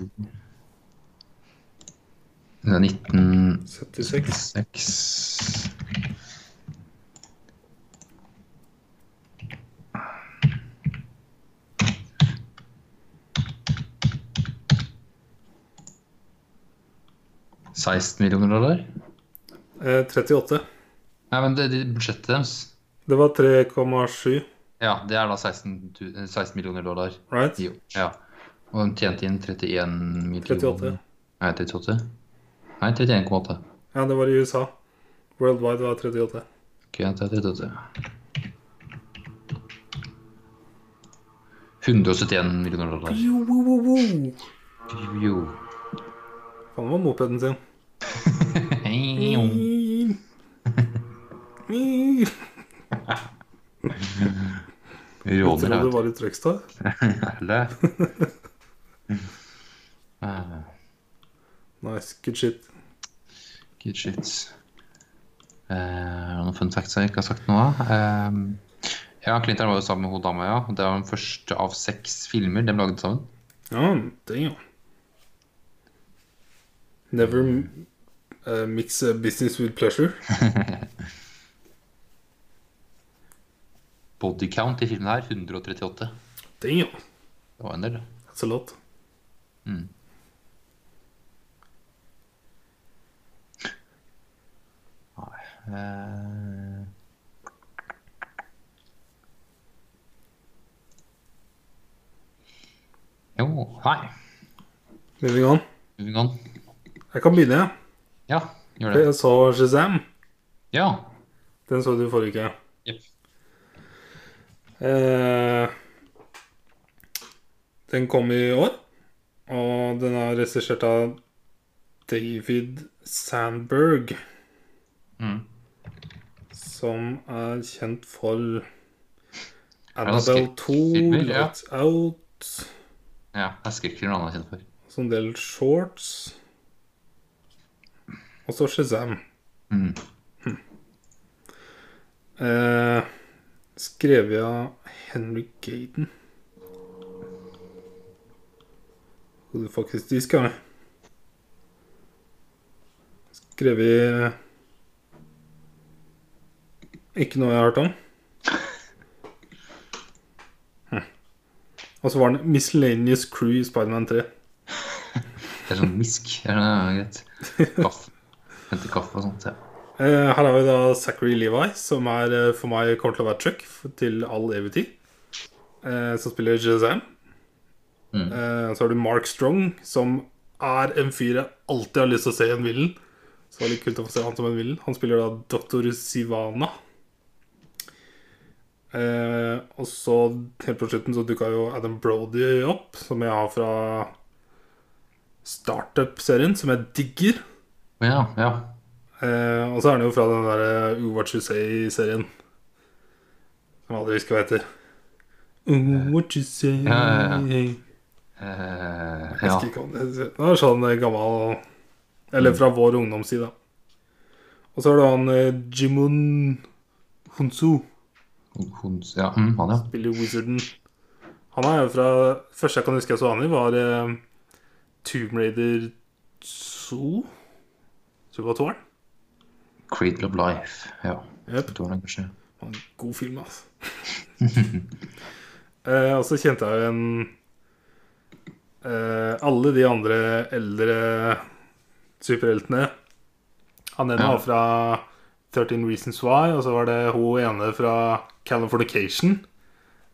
Speaker 2: Det er 1906
Speaker 1: 76.
Speaker 2: Seksten millioner dollar?
Speaker 1: Eh, 38.
Speaker 2: Nei, men det, det budsjettet deres
Speaker 1: Det var 3,7,
Speaker 2: Ja, det er da 16, tu- eh, 16 millioner dollar.
Speaker 1: right?
Speaker 2: Jo, ja. Og de tjente inn 31 millioner
Speaker 1: 38.
Speaker 2: Nei, 38? Nei, 31,8.
Speaker 1: Ja, det var i USA. Worldwide var 38.
Speaker 2: Ok, jeg tar 38. 171 millioner dollar.
Speaker 1: Jo, wo, wo, wo.
Speaker 2: Jo.
Speaker 1: Faen, det var mopeden sin. Jeg
Speaker 2: Råner,
Speaker 1: trodde det
Speaker 2: jeg vet.
Speaker 1: var i Trøgstad.
Speaker 2: Jævlig. Ah,
Speaker 1: Nice, good shit.
Speaker 2: Good shit. Eh, noen fun facts jeg ikke har sagt noe av. Eh, ja, Clinton var jo sammen med hun dama, ja. Det var den første av seks filmer de lagde sammen.
Speaker 1: Ja, damn. Never m- eh, mix eh, business with pleasure.
Speaker 2: Body count i filmen her 138.
Speaker 1: Damn,
Speaker 2: Det var en del.
Speaker 1: that's a lot.
Speaker 2: Eh, Jo, nei.
Speaker 1: Moving on.
Speaker 2: Moving on.
Speaker 1: Jeg kan begynne, jeg.
Speaker 2: Ja, gjør
Speaker 1: For
Speaker 2: det.
Speaker 1: Jeg så Shazam.
Speaker 2: Ja.
Speaker 1: Den så du forrige uke.
Speaker 2: Jep.
Speaker 1: Eh, den kom i år, og den er regissert av David Sandberg.
Speaker 2: Mm.
Speaker 1: Som er kjent for
Speaker 2: det
Speaker 1: Annabelle 2,
Speaker 2: skrekkfilmer, ja?
Speaker 1: Lights Out
Speaker 2: ja det er skrekkfilm han er kjent for.
Speaker 1: Så en del shorts. Og så Shazam. Hm.
Speaker 2: Mm.
Speaker 1: Eh, skrevet av Henry Gaden. Who the fuck is this guy? Skrevet Ikke noe jeg har hørt om. Hm. Og så var den Miscellaneous Crew i Spiderman 3.
Speaker 2: Det er sånn misk. Det er sånn, ja, greit. Kaffe. Hente kaffe og sånt, ja.
Speaker 1: Eh, her har vi da Zachary Levi, som er eh, for meg kommer til å være Chuck f- til all evig tid. Eh, som spiller Jazam.
Speaker 2: Mm.
Speaker 1: Eh, så har du Mark Strong, som er en fyr jeg alltid har lyst til å se i en villen. Så det var litt kult å få se han som en villen. Han spiller da Dr. Sivana. Eh, og så helt på slutten så dukka jo Adam Brody opp, som jeg har fra Startup-serien, som jeg digger.
Speaker 2: Men ja, ja.
Speaker 1: Eh, og så er han jo fra den der eh, What You Say-serien. Som jeg aldri husker hva heter. Oh, what you say
Speaker 2: Ja, ja,
Speaker 1: Jeg
Speaker 2: Eh, ja.
Speaker 1: husker ikke hva den heter. Det er sånn eh, gammel Eller fra vår ungdomstid, da. Og så har du han eh, Jimon Hunsu,
Speaker 2: Hun, ja, mm, han, ja.
Speaker 1: spiller Wizarden. Han er jo fra Første jeg kan huske jeg så han i, var eh, Tomb Raider 2. Tror det var toeren.
Speaker 2: Cradle of Life. Ja.
Speaker 1: Jep.
Speaker 2: Det var den kanskje.
Speaker 1: Han er en God film, altså. Eh, og så kjente jeg jo en eh, Alle de andre eldre superheltene. Han ene
Speaker 2: Ja.
Speaker 1: var fra 13 Reasons Why, og så var det hun ene fra Californication.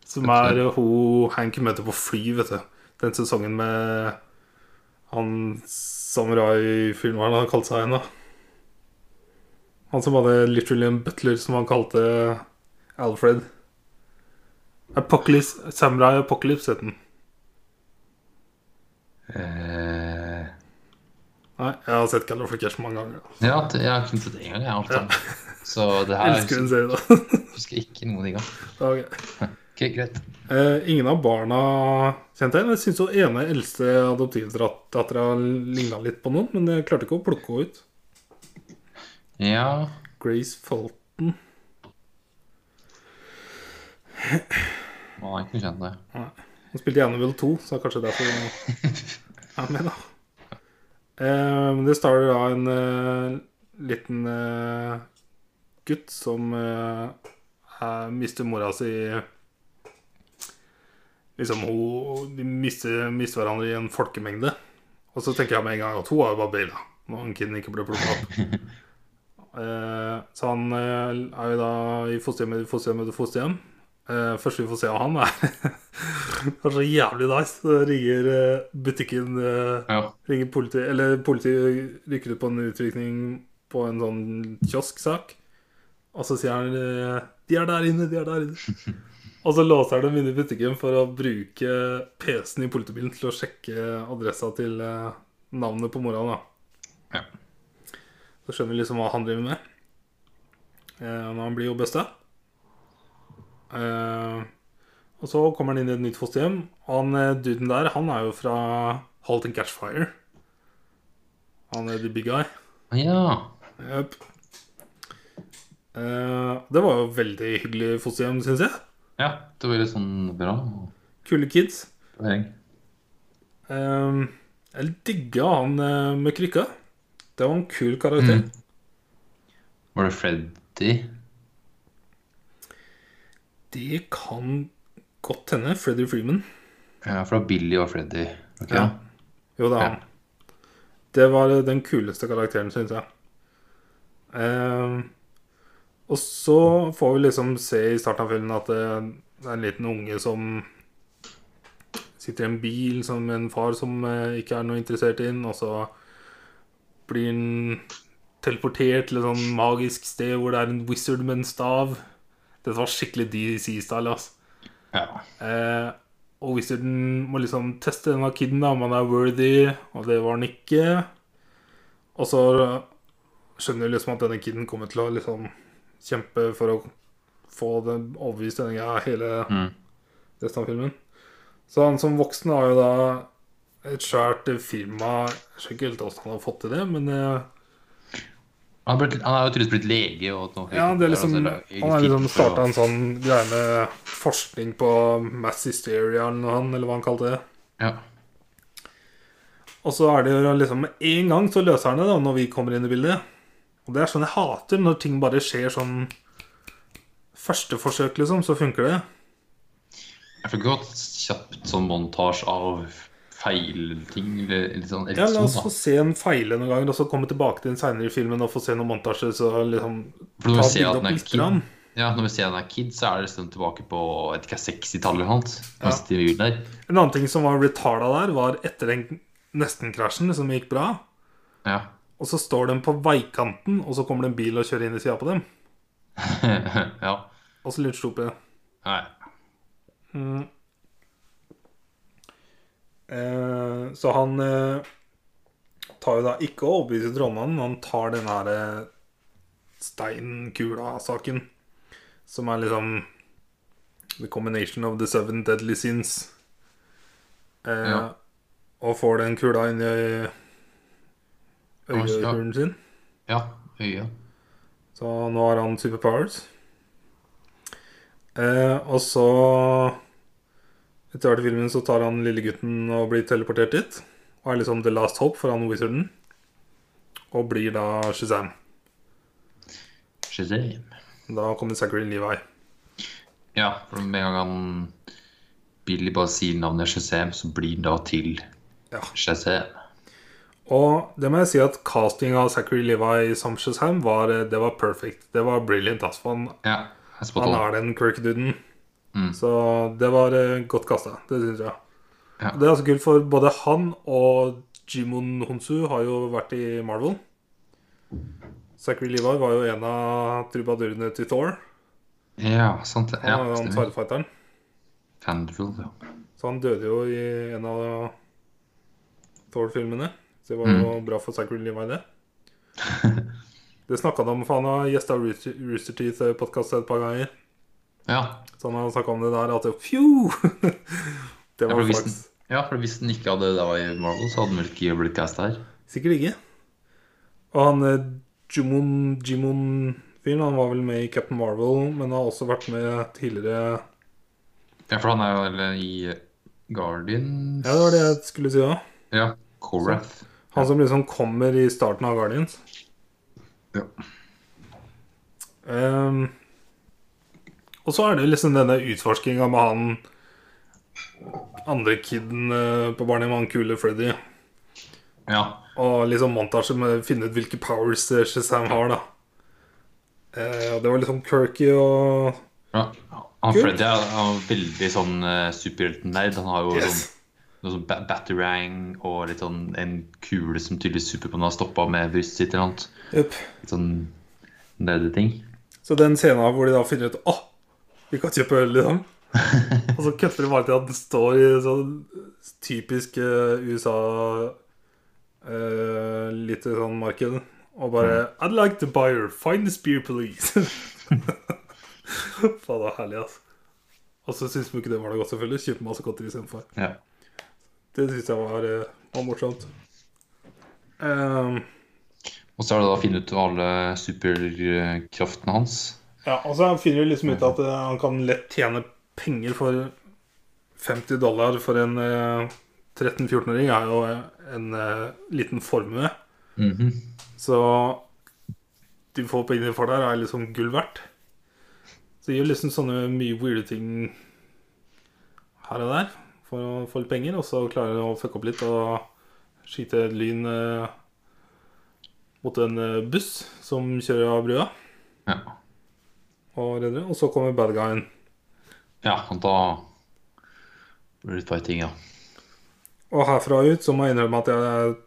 Speaker 1: Som er hun Hank møter på fly, vet du. Den sesongen med han samurai-filmen hva er det han kalte seg igjen, da. Han som hadde literally en butler som han kalte Alfred. Apocalypse, Samurai Apocalypse het den.
Speaker 2: Eh,
Speaker 1: Nei, jeg har sett Californication mange ganger. altså.
Speaker 2: ja, det- jeg har kun sett det én gang, jeg. alt sammen. Så det
Speaker 1: Jeg
Speaker 2: her
Speaker 1: elsker den serien. da.
Speaker 2: husker jeg ikke noen ting av.
Speaker 1: Ok.
Speaker 2: Ok, greit.
Speaker 1: Eh, ingen av barna kjente jeg. men Jeg syns hun ene eldste adoptivdattera ligna litt på noen, men jeg klarte ikke å plukke henne ut.
Speaker 2: Ja
Speaker 1: Grace Fulton.
Speaker 2: Man har ikke kjent det.
Speaker 1: Hun spilte i Annabelle 2, så det er kanskje derfor hun er med, da. Eh, men det starter da en eh, liten eh, gutt som eh, er, mister mora si Liksom, hun, De mister, mister hverandre i en folkemengde. Og så tenker jeg med en gang at hun har jo bare baila når han kiden ikke ble plukka opp. Eh, så han eh, er jo da i fosterhjem etter fosterhjem etter fosterhjem. Eh, første vi får se av han, er Det er så jævlig nice. Så ringer eh, butikken eh,
Speaker 2: Ja.
Speaker 1: ringer politi, Eller politiet rykker ut på en utrykning på en sånn kiosksak. Og så sier han eh, 'De er der inne, de er der inne'. Og så låser han dem inne i butikken for å bruke PC-en i politibilen til å sjekke adressa til eh, navnet på mora. da
Speaker 2: Ja.
Speaker 1: Så skjønner vi liksom hva han driver med. Eh, når han blir jo beste. Eh, og så kommer han inn i et nytt fosterhjem. Han eh, duden der, han er jo fra Halt and Catch Fire. Han er the big guy.
Speaker 2: ja.
Speaker 1: Jep. Eh, det var jo veldig hyggelig fosterhjem, syns jeg.
Speaker 2: Ja, det var litt sånn bra.
Speaker 1: Kule kids.
Speaker 2: plassering.
Speaker 1: Eh, jeg digga han eh, med krykka. Det var en kul karakter.
Speaker 2: Mm. Var det Freddy?
Speaker 1: Det kan godt hende. Freddy Freeman.
Speaker 2: Ja, fra Billy og Freddy. Ok,
Speaker 1: Ja. Jo, det er han. Det var eh, den kuleste karakteren, syns jeg. Eh, og så får vi liksom se i starten av filmen at det det er en liten unge som sitter i en bil som en far som eh, ikke er noe interessert i den, og så blir han teleportert til et sånn magisk sted hvor det er en wizard med en stav. Dette var skikkelig DC-style, altså.
Speaker 2: Ja.
Speaker 1: Eh, og Wizarden må liksom teste denne kiden da, om han er worthy, og det var han ikke. Og så skjønner vi liksom at denne kiden kommer til å liksom kjempe for å få den overbevist denne greia hele
Speaker 2: Mm.
Speaker 1: resten av filmen. Så han som voksen har jo da et svært firma Jeg skjønner ikke helt hvordan han har fått til det, men eh,
Speaker 2: Han, har blitt, han er jo tydeligvis blitt lege. Og noe
Speaker 1: Ja, det er liksom,
Speaker 2: altså, det er
Speaker 1: han har liksom
Speaker 2: fint for å-
Speaker 1: starta en sånn greie med forskning på mass hysteria eller noe, han- eller hva han kalte det.
Speaker 2: Ja.
Speaker 1: Og så er det jo liksom med en gang så løser han det, da, når vi kommer inn i bildet. Og det er sånn jeg hater, når ting bare skjer sånn Første forsøk, liksom, så funker det.
Speaker 2: Jeg fikk godt kjapt sånn montasje av feilting. Eller, eller sånn, eller
Speaker 1: Ja, La oss
Speaker 2: sånn,
Speaker 1: få
Speaker 2: da.
Speaker 1: se en feile noen ganger, og så komme tilbake til den seinere i filmen og få se noen montasjer, så liksom
Speaker 2: For når
Speaker 1: ta
Speaker 2: vi ser
Speaker 1: bildet
Speaker 2: at
Speaker 1: opp
Speaker 2: den er
Speaker 1: litt.
Speaker 2: kid,
Speaker 1: Grann.
Speaker 2: ja, når vi ser at den er kid, så er det liksom tilbake på jeg vet ikke, 60-tallet eller noe sånt.
Speaker 1: Ja.
Speaker 2: Når vi sitter i bilen der.
Speaker 1: En annen ting som var retarda der, var etter den nesten-krasjen som gikk bra,
Speaker 2: Ja.
Speaker 1: og så står de på veikanten, og så kommer det en bil og kjører inn i sida på dem.
Speaker 2: ja.
Speaker 1: Og så lunsjer opp i det.
Speaker 2: Nei.
Speaker 1: Mm. Eh, så han eh, tar jo da ikke å overbevise trollmannen, han tar den her eh, steinkula-saken, som er liksom The combination of the seven deadly sins. Eh,
Speaker 2: Ja.
Speaker 1: Og får den kula inn i øye-
Speaker 2: Oi, ja.
Speaker 1: øyehulen sin.
Speaker 2: Ja. Øya.
Speaker 1: Så nå har han superpowers. Eh, og så Etter hvert i filmen så tar han lille gutten og blir teleportert dit. Og er liksom the last hope for han wizarden. Og blir da Shazam.
Speaker 2: Shazam.
Speaker 1: Da kommer Zachary Levi.
Speaker 2: Ja, for med en gang han Billy bare sier navnet Shazam, så blir han da til
Speaker 1: Ja.
Speaker 2: Shazam.
Speaker 1: Og det må jeg si at casting av Zachary Levi som Shazam var, eh, det var perfect. Det var brilliant. ass, for han,
Speaker 2: Ja, jeg er spot
Speaker 1: han
Speaker 2: on.
Speaker 1: er den Kirk-duden.
Speaker 2: Mm.
Speaker 1: Så det var eh, godt kasta. Det syns jeg.
Speaker 2: Ja.
Speaker 1: Det er altså kult, for både han og Jimon Honsu har jo vært i Marvel. Zachary Levi var jo en av trubadurene til Thor.
Speaker 2: Ja, sant det. Ja,
Speaker 1: Han var jo han
Speaker 2: stemmer.
Speaker 1: sverdfighteren.
Speaker 2: Fandral, ja.
Speaker 1: Så han døde jo i en av Thor-filmene. Så det var jo
Speaker 2: Mm.
Speaker 1: bra for Zachary Levi, det. Det snakka han om, for han har gjesta Rooster Rooster Teeth-podkast et par ganger.
Speaker 2: Ja,
Speaker 1: Så han har snakka om det der at det- Phew! Det
Speaker 2: Ja,
Speaker 1: var
Speaker 2: for hvis den,
Speaker 1: flaks.
Speaker 2: ja, for hvis den ikke hadde da i Marvel, så hadde den vel ikke blitt casta her.
Speaker 1: Sikkert ikke. Og han eh, Jimon Jimon-fyren, han var vel med i Captain Marvel, men har også vært med tidligere
Speaker 2: Ja, for han er jo vel i Guardians
Speaker 1: Ja, det var det jeg skulle si òg.
Speaker 2: Ja, Korath.
Speaker 1: Han som liksom kommer i starten av Guardians.
Speaker 2: Ja.
Speaker 1: Ehm, og så er det liksom denne utforskinga med han andre kiden eh, på barnet med han kule Freddy.
Speaker 2: Ja.
Speaker 1: Og liksom montasje med å finne ut hvilke powers eh, Shazam har, da. Eh, og det var liksom Kirky og
Speaker 2: ja. Han
Speaker 1: Kult.
Speaker 2: Freddy er, er veldig sånn eh, superheltnerd. Han har jo
Speaker 1: Yes.
Speaker 2: sånn noe sånn ba- Batarang og litt sånn en kule som tydeligvis Supermann har stoppa med brystet sitt eller noe. annet.
Speaker 1: Jep.
Speaker 2: Litt sånn nerdeting.
Speaker 1: Så den scenen hvor de da finner ut Å, vi kan kjøpe øl, liksom. og så kutter de bare til at den står i sånn typisk eh, USA eh, Litt sånn marked. Og bare I'd like to buy her. Find the spear police. Faen, det var herlig, altså. Og så syns de ikke det var noe godt, selvfølgelig. Kjøpe masse godteri istedenfor.
Speaker 2: Ja.
Speaker 1: Det syns jeg var, eh, var morsomt. Ehm,
Speaker 2: Og så er det da å finne ut alle superkraftene hans.
Speaker 1: ja, og så finner vi liksom ut at eh, han kan lett tjene penger for 50 dollar for en eh, 13-14-åring er jo en eh, liten formue.
Speaker 2: Mhm.
Speaker 1: Så de få pengene de får der, er liksom gull verdt. Så de gjør liksom sånne mye weirde ting her og der for å få litt penger, og så klarer de å fucke opp litt og skyte lyn eh, mot en eh, buss som kjører av brua
Speaker 2: ja.
Speaker 1: og redder. det. Og så kommer bad guyen.
Speaker 2: ja, han da blir det litt fighting, ja.
Speaker 1: Og herfra ut så må jeg innrømme at jeg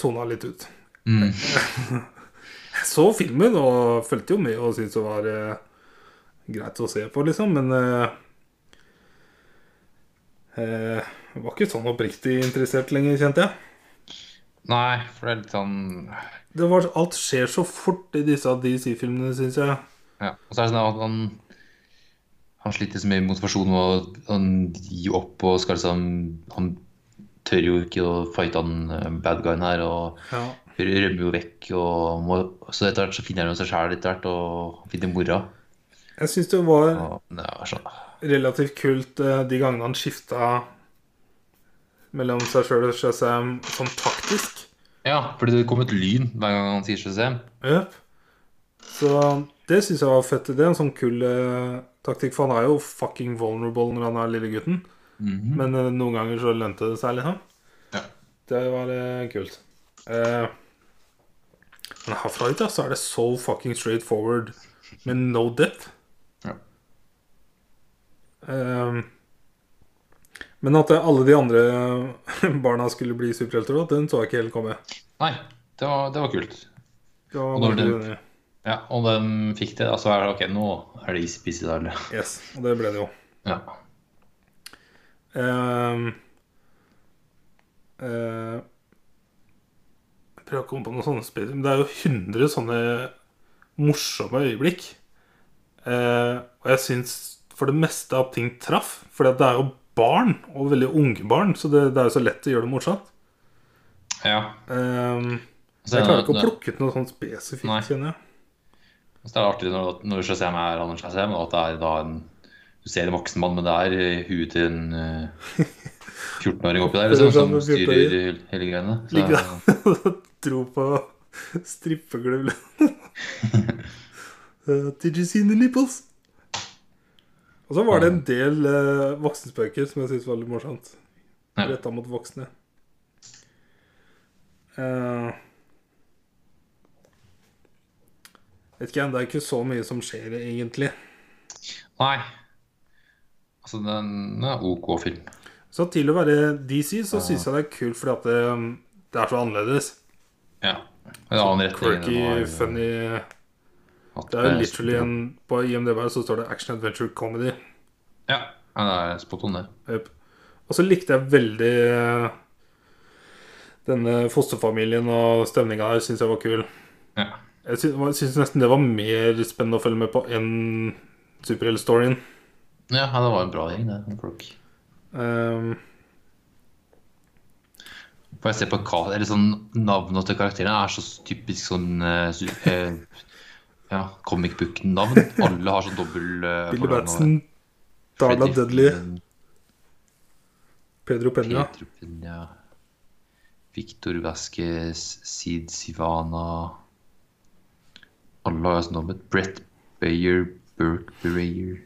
Speaker 1: tona litt ut.
Speaker 2: Mm.
Speaker 1: Jeg så filmen og fulgte jo med og syntes det var eh, greit å se på, liksom, men eh, eh, Jeg var ikke sånn oppriktig interessert lenger, kjente jeg.
Speaker 2: Nei, for det er litt sånn
Speaker 1: Det var, alt skjer så fort i disse DC-filmene, syns jeg.
Speaker 2: ja. Og så er det sånn at han Han sliter så mye med motivasjon og han gir jo opp og skal liksom Han tør jo ikke å fighte han eh, bad guyen her og
Speaker 1: Ja.
Speaker 2: rømmer jo vekk og må Så etter hvert så finner han jo seg sjæl etter hvert og finner mora.
Speaker 1: Jeg syns det var
Speaker 2: Og, ja, sånn.
Speaker 1: relativt kult eh, de gangene han skifta mellom seg sjøl og Shazam som taktisk.
Speaker 2: ja, fordi det kommer et lyn hver gang han sier Shazam.
Speaker 1: Jep. Så det syns jeg var fett. Det er en sånn kul eh, taktikk, for han er jo fucking vulnerable når han er lille gutten.
Speaker 2: Mhm.
Speaker 1: Men eh, noen ganger så lønte det seg, liksom.
Speaker 2: Ja.
Speaker 1: Det var eh, kult. Eh, men herfra ut, ja, så er det so fucking straight forward med no depth.
Speaker 2: Ja.
Speaker 1: Eh, men at eh, alle de andre eh, barna skulle bli superhelter, da, den så jeg ikke helt komme.
Speaker 2: Nei, det var, det var kult.
Speaker 1: Det var
Speaker 2: Og når
Speaker 1: veldig
Speaker 2: den-
Speaker 1: enig.
Speaker 2: Ja, Og de fikk det. Altså, er det, ok, nå er det easy-peasy, da. eller?
Speaker 1: Yes, og det ble det jo.
Speaker 2: Ja.
Speaker 1: Ehm, eh, Jeg prøver å komme på noen sånne spes- Men Det er jo 100 sånne morsomme øyeblikk. Eh, og jeg syns for det meste at ting traff. For det er jo barn, og veldig unge barn, så det, det er jo så lett å gjøre det morsomt.
Speaker 2: ja.
Speaker 1: Ehm,
Speaker 2: Så
Speaker 1: jeg klarer ikke
Speaker 2: Altså, det-
Speaker 1: å plukke ut noe sånn spesifikt,
Speaker 2: Nei.
Speaker 1: kjenner jeg.
Speaker 2: Og Så det er artig når, når Shazam er han er Shazam, og at det er da en Du ser en voksen mann, men det er eh, huet til en eh, 14-åring oppi der liksom, som styrer hele hele greiene. Så,
Speaker 1: Ligger der og dro på strippeklubb. Eh, Did you see the nipples? Og så var det en del eh, voksenspøker som jeg syntes var litt morsomt.
Speaker 2: Ja.
Speaker 1: Retta mot voksne. Eh, vet ikke, jeg, det er ikke så mye som skjer, egentlig.
Speaker 2: Nei. Altså, den er OK film.
Speaker 1: Så til å være DC, så syns jeg det er kult fordi at det, det er så annerledes.
Speaker 2: Ja. En annen retning. enn
Speaker 1: Quirky,
Speaker 2: den har
Speaker 1: funny
Speaker 2: hatt.
Speaker 1: Det er jo literally en På IMDb så står det action adventure comedy.
Speaker 2: Ja, ja, det er spot on, det.
Speaker 1: Jep. Og så likte jeg veldig eh, denne fosterfamilien og stemninga her syns jeg var kul.
Speaker 2: Ja.
Speaker 1: Jeg syns nesten det var mer spennende å følge med på enn superheltstoryen.
Speaker 2: ja, ja, det var en bra gjeng, det. med Folk.
Speaker 1: Um,
Speaker 2: For jeg ser på ka- eller sånn Navnet til karakterene er så typisk sånn eh, su- eh, Ja, comic book-navn. Alle har sånn dobbel eh,
Speaker 1: Billy
Speaker 2: fornavn.
Speaker 1: Batson, Darla
Speaker 2: Freddy
Speaker 1: Dudley,
Speaker 2: Finn,
Speaker 1: Pedro Penya.
Speaker 2: Pietro Pena, Victor Vasquez, Sid Sivana Alle har jo sånn navn. Brett Bayer, Bert Bereyer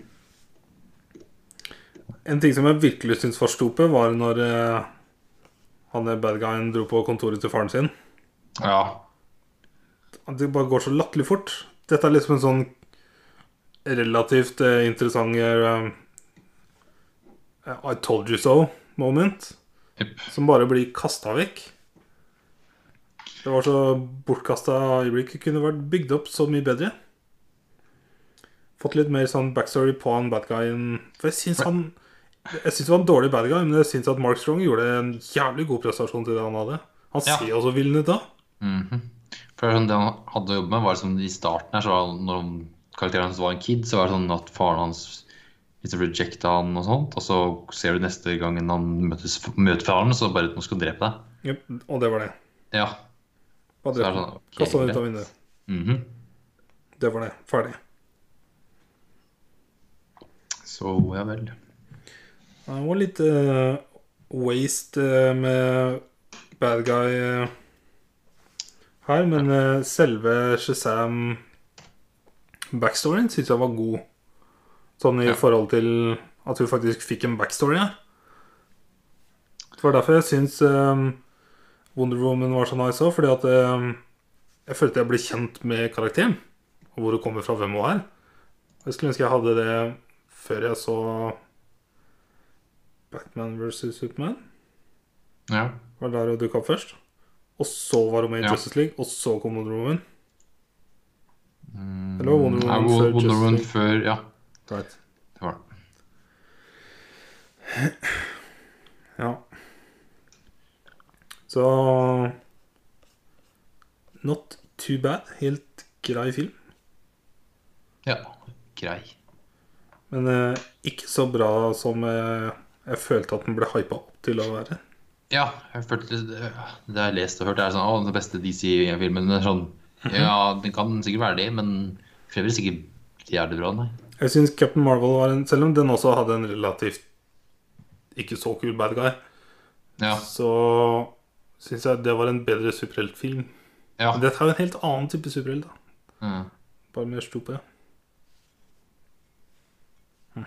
Speaker 1: En ting som jeg virkelig syns var stupet, var når eh, han der bad guyen dro på kontoret til faren sin.
Speaker 2: Ja.
Speaker 1: At det bare går så latterlig fort. Dette er liksom en sånn relativt eh, interessant eh, I told you so-moment.
Speaker 2: Jepp.
Speaker 1: Som bare blir kasta vekk. Det var så bortkasta øyeblikk. Kunne vært bygd opp så mye bedre. Fått litt mer sånn backstory på han bad guyen. For jeg syns han Jeg syns det var en dårlig bad guy, men jeg syns at Mark Strong gjorde en jævlig god prestasjon til det han hadde. Han
Speaker 2: Ja.
Speaker 1: ser jo så villen ut da.
Speaker 2: Mhm. For det er sånn, Det han hadde å jobbe med, var liksom i starten her, så var han- når han- karakteren hans var en kid, så var det sånn at faren hans liksom rejecta han og sånt. Og så ser du neste gangen han møtes, møter faren, så bare nå skal han drepe deg.
Speaker 1: Jep, og det var det.
Speaker 2: Ja.
Speaker 1: Bare
Speaker 2: Så er det
Speaker 1: drepte han.
Speaker 2: sånn, ok,
Speaker 1: Kastet han ut av
Speaker 2: greit.
Speaker 1: vinduet.
Speaker 2: mhm.
Speaker 1: Det var det. Ferdig.
Speaker 2: Så ja vel.
Speaker 1: Det var litt eh, waste eh, med bad guy eh, her, men eh, selve Shazam-backstoryen syns jeg var god. Sånn i
Speaker 2: Ja.
Speaker 1: forhold til at vi faktisk fikk en backstory her. Det var derfor jeg syns Wonder Woman var så nice òg, fordi at eh, jeg følte jeg ble kjent med karakteren. Og hvor hun kommer fra, hvem hun er. Jeg skulle ønske jeg hadde det før jeg så Batman versus Superman.
Speaker 2: Ja.
Speaker 1: Var der hun dukka opp først. Og så var hun med i
Speaker 2: Ja.
Speaker 1: Justice League, og så kom Wonder Woman.
Speaker 2: Mm,
Speaker 1: Eller var Wonder
Speaker 2: ja,
Speaker 1: Woman
Speaker 2: Wo-
Speaker 1: før
Speaker 2: Wonder
Speaker 1: Justice
Speaker 2: Woman
Speaker 1: League?
Speaker 2: før Ja,
Speaker 1: Right.
Speaker 2: det var det.
Speaker 1: Ja. Så Not too bad. Helt grei film.
Speaker 2: Ja, grei.
Speaker 1: Men eh, ikke så bra som eh, jeg følte at den ble hypa opp til å være.
Speaker 2: Ja, jeg følte litt- det jeg har lest og hørt, er sånn Å, den beste DC-filmen. men Sånn, ja, den kan sikkert være det, men fremdeles ikke jævlig bra, nei.
Speaker 1: Jeg syns Captain Marvel var en Selv om den også hadde en relativt ikke så kul bad guy,
Speaker 2: Ja,
Speaker 1: så syns jeg det var en bedre superheltfilm.
Speaker 2: ja.
Speaker 1: Men Dette er jo en helt annen type superhelt, da.
Speaker 2: Mm.
Speaker 1: Bare mer sto på, ja. Hm.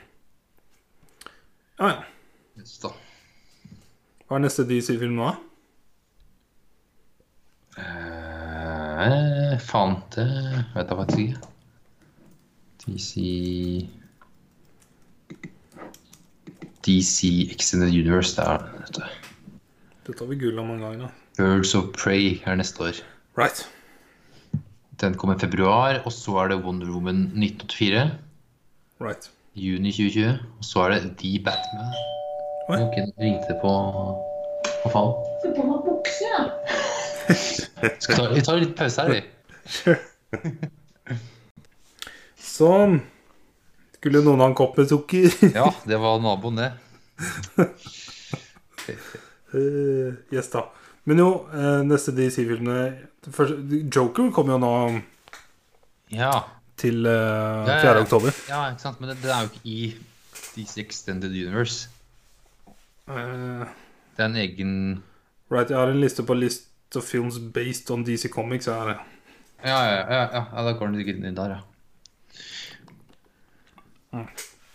Speaker 1: Ja, ja.
Speaker 2: Yes, da.
Speaker 1: Hva er neste DC-film nå? da?
Speaker 2: Eh, faen, det vet jeg faktisk ikke. DC DC Extended Universe, det er det. vet du.
Speaker 1: Dette har vi gull av mange ganger. da.
Speaker 2: Birds of Prey er neste år.
Speaker 1: Right.
Speaker 2: Den kommer i februar, og så er det Wonder Woman 1984.
Speaker 1: Right.
Speaker 2: Juni 2020. Og så er det The Batman.
Speaker 1: Oi.
Speaker 2: Ok, nå ringte det på Hva faen?
Speaker 3: Fått på meg bukse, ja.
Speaker 2: Skal vi ta, vi tar litt pause her, vi.
Speaker 1: Så Sånn. skulle noen ha en kopp med sukker.
Speaker 2: Ja, det var naboen, det.
Speaker 1: Eh, yes, da. Men jo, eh, neste DC-filmene det første- Joker kom jo nå
Speaker 2: Ja.
Speaker 1: til eh,
Speaker 2: Ja,
Speaker 1: 4.
Speaker 2: ja, ja.
Speaker 1: oktober.
Speaker 2: ja, ikke sant? Men det, det er jo ikke i DC Extended Universe.
Speaker 1: Eh,
Speaker 2: Det er en egen
Speaker 1: right, jeg har en liste på list of films based on DC Comics. Jeg har det.
Speaker 2: Ja, ja, ja, ja, ja da går den sikkert inn der, ja.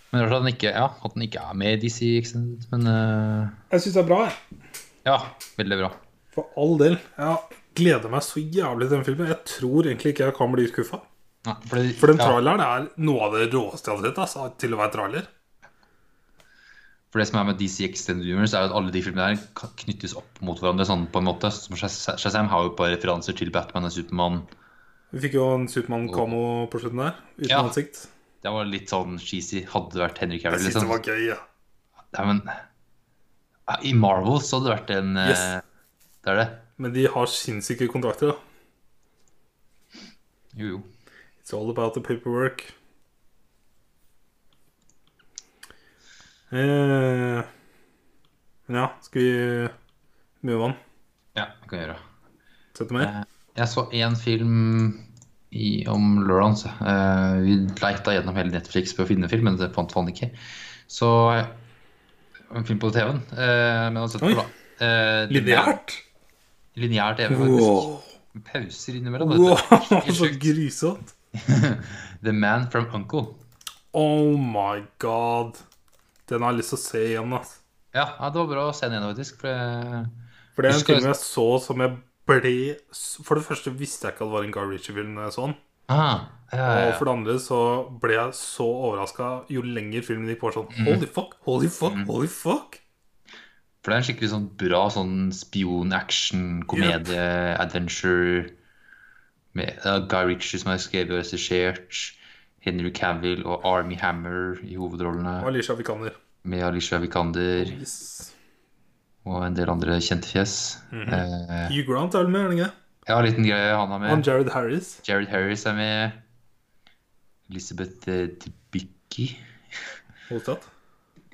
Speaker 2: Men rart at den ikke, ja, at den ikke er med i DC Extended, men eh,
Speaker 1: Jeg syns det er bra, jeg.
Speaker 2: ja, veldig bra.
Speaker 1: For all del. Jeg gleder meg så jævlig til den filmen. Jeg tror egentlig ikke jeg kan bli skuffa.
Speaker 2: Nei, fordi-
Speaker 1: For den
Speaker 2: ja,
Speaker 1: traileren er noe av det råeste jeg har sett. Altså, til å være trailer.
Speaker 2: For det som er med DC Extended Universe, er at alle de filmene der kan- knyttes opp mot hverandre sånn på en måte. Som Shaz- Shazam har jo et par referanser til Batman og Supermann.
Speaker 1: Vi fikk jo en Supermann-kamo på slutten der, uten
Speaker 2: Oh. Ja.
Speaker 1: ansikt.
Speaker 2: Det var litt sånn cheesy. Hadde det vært Henry
Speaker 1: Jeg
Speaker 2: Cavill,
Speaker 1: syns det
Speaker 2: liksom.
Speaker 1: var gøy. Ja.
Speaker 2: Nei, men ja, I Marvel så hadde det vært en eh,
Speaker 1: Yes.
Speaker 2: Det er det.
Speaker 1: Men de har sinnssyke kontrakter. da
Speaker 2: Jo, jo.
Speaker 1: It's all about the paperwork. Eh, men ja, skal vi move on?
Speaker 2: Ja, det kan jeg gjøre.
Speaker 1: Sette mer?
Speaker 2: Eh, Jeg så én film i, om Lawrence. Eh, vi leita gjennom hele Netflix for å finne film, men det fant man ikke. Så eh, en film på TV-en. Eh, men altså,
Speaker 1: Oi.
Speaker 2: da, eh, den er-
Speaker 1: Lineært?
Speaker 2: Lineær TV, faktisk.
Speaker 1: Wow.
Speaker 2: Med Pauser innimellom. vet du.
Speaker 1: wow,
Speaker 2: Helt
Speaker 1: så
Speaker 2: sjukt.
Speaker 1: grusomt.
Speaker 2: The Man from Uncle.
Speaker 1: Oh my god. Den har jeg lyst til å se igjen. ass.
Speaker 2: Ja, ja, det var bra å se den igjen, faktisk. For det
Speaker 1: For det er en
Speaker 2: Husker-
Speaker 1: film jeg så som jeg ble s- For det første visste jeg ikke at det var en Guy Ritchie-film når jeg så den.
Speaker 2: ah, ja, ja,
Speaker 1: Og
Speaker 2: ja.
Speaker 1: for det andre så ble jeg så overraska jo lenger filmen gikk på. Sånn
Speaker 2: Mhm.
Speaker 1: holy fuck, holy fuck, holy fuck.
Speaker 2: For det er en skikkelig sånn bra sånn spion-action-komedie, adventure med ja, Guy Ritchie som har skrevet og regissert, Henry Cavill og Army Hammer i hovedrollene,
Speaker 1: Alisha Vikander.
Speaker 2: med Alicia Vikander
Speaker 1: Yes.
Speaker 2: og en del andre kjente fjes. eh,
Speaker 1: Hugh Grant er vel med, er han ikke?
Speaker 2: ja, liten greie han er
Speaker 1: Han
Speaker 2: med.
Speaker 1: Jared Harris.
Speaker 2: Jared Harris er med. Elizabeth eh, Debicki.
Speaker 1: Hovedstad.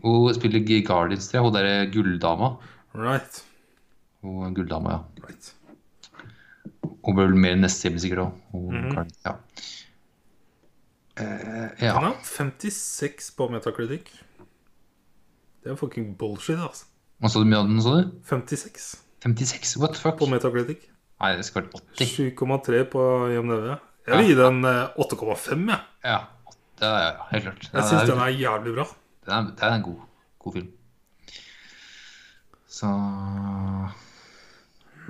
Speaker 2: Hun spiller i Guardians 3, hun der er gulldama.
Speaker 1: Right.
Speaker 2: Hun er gulldama, ja.
Speaker 1: right.
Speaker 2: Hun blir vel med i neste time sikkert òg.
Speaker 1: Mhm.
Speaker 2: Ja. Eh, ja.
Speaker 1: Han har 56 på metakritikk. Det er fucking bullshit, altså.
Speaker 2: Hva sa du mye av den, sa du?
Speaker 1: 56
Speaker 2: 56? What the fuck?
Speaker 1: på metakritikk.
Speaker 2: Nei, det skal være 80.
Speaker 1: 7,3 på IMDv. Jeg vil gi den eh, 8,5, jeg.
Speaker 2: Ja, 80, ja, ja, helt klart.
Speaker 1: Jeg
Speaker 2: det,
Speaker 1: syns
Speaker 2: er,
Speaker 1: den er jævlig bra.
Speaker 2: det, er, det er en god, god film. Så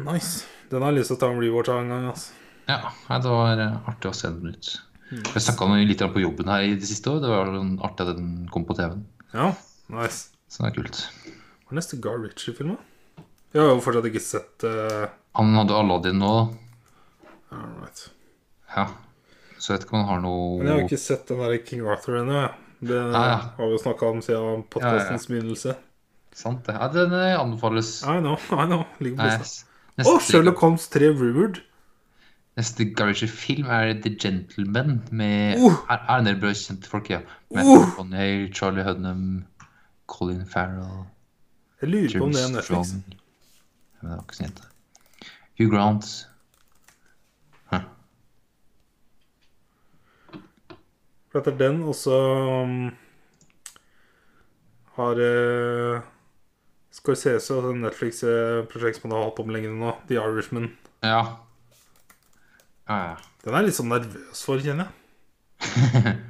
Speaker 1: Nice. Den har jeg lyst til å ta en rewatch av en gang. altså.
Speaker 2: Ja, nei, det var eh, artig å se den ut.
Speaker 1: Mm.
Speaker 2: Jeg snakka litt om på jobben her i det siste år. Det var sånn artig at den kom på TV-en.
Speaker 1: Ja, nice.
Speaker 2: Så det er kult.
Speaker 1: Hva er neste Gar Ritchie-film, da? Jeg har jo fortsatt ikke sett eh,
Speaker 2: Han hadde Aladdin nå.
Speaker 1: all right.
Speaker 2: Ja. Så jeg vet ikke om han har
Speaker 1: Men jeg har
Speaker 2: noe
Speaker 1: jo ikke sett den der King Arthur ennå. jeg. Det
Speaker 2: Nei, ja.
Speaker 1: har vi jo snakka om siden podkastens begynnelse.
Speaker 2: Sant, det. Ja, den eh, anbefales.
Speaker 1: I know, I know. Ligger på
Speaker 2: Nei,
Speaker 1: lista.
Speaker 2: s-
Speaker 1: Å,
Speaker 2: neste,
Speaker 1: Sherlock Holmes 3 Rumored.
Speaker 2: neste Garage-film er The Gentleman med
Speaker 1: Uh!
Speaker 2: er, er en del bra kjente folk, ja. Med
Speaker 1: Uh!
Speaker 2: Connery, Charlie Hunnam, Colin Farrell,
Speaker 1: Jeg lurer på om
Speaker 2: James
Speaker 1: det er Netflix.
Speaker 2: Strong Ja, men det var ikke sånn jente. Hugh Grant. Huh.
Speaker 1: For etter den også um, har uh, Scorsese og Netflix-prosjekt som han har holdt på med lenge nå, The Irishman.
Speaker 2: Ja. Ja, ja.
Speaker 1: Den er jeg litt sånn nervøs for, kjenner jeg.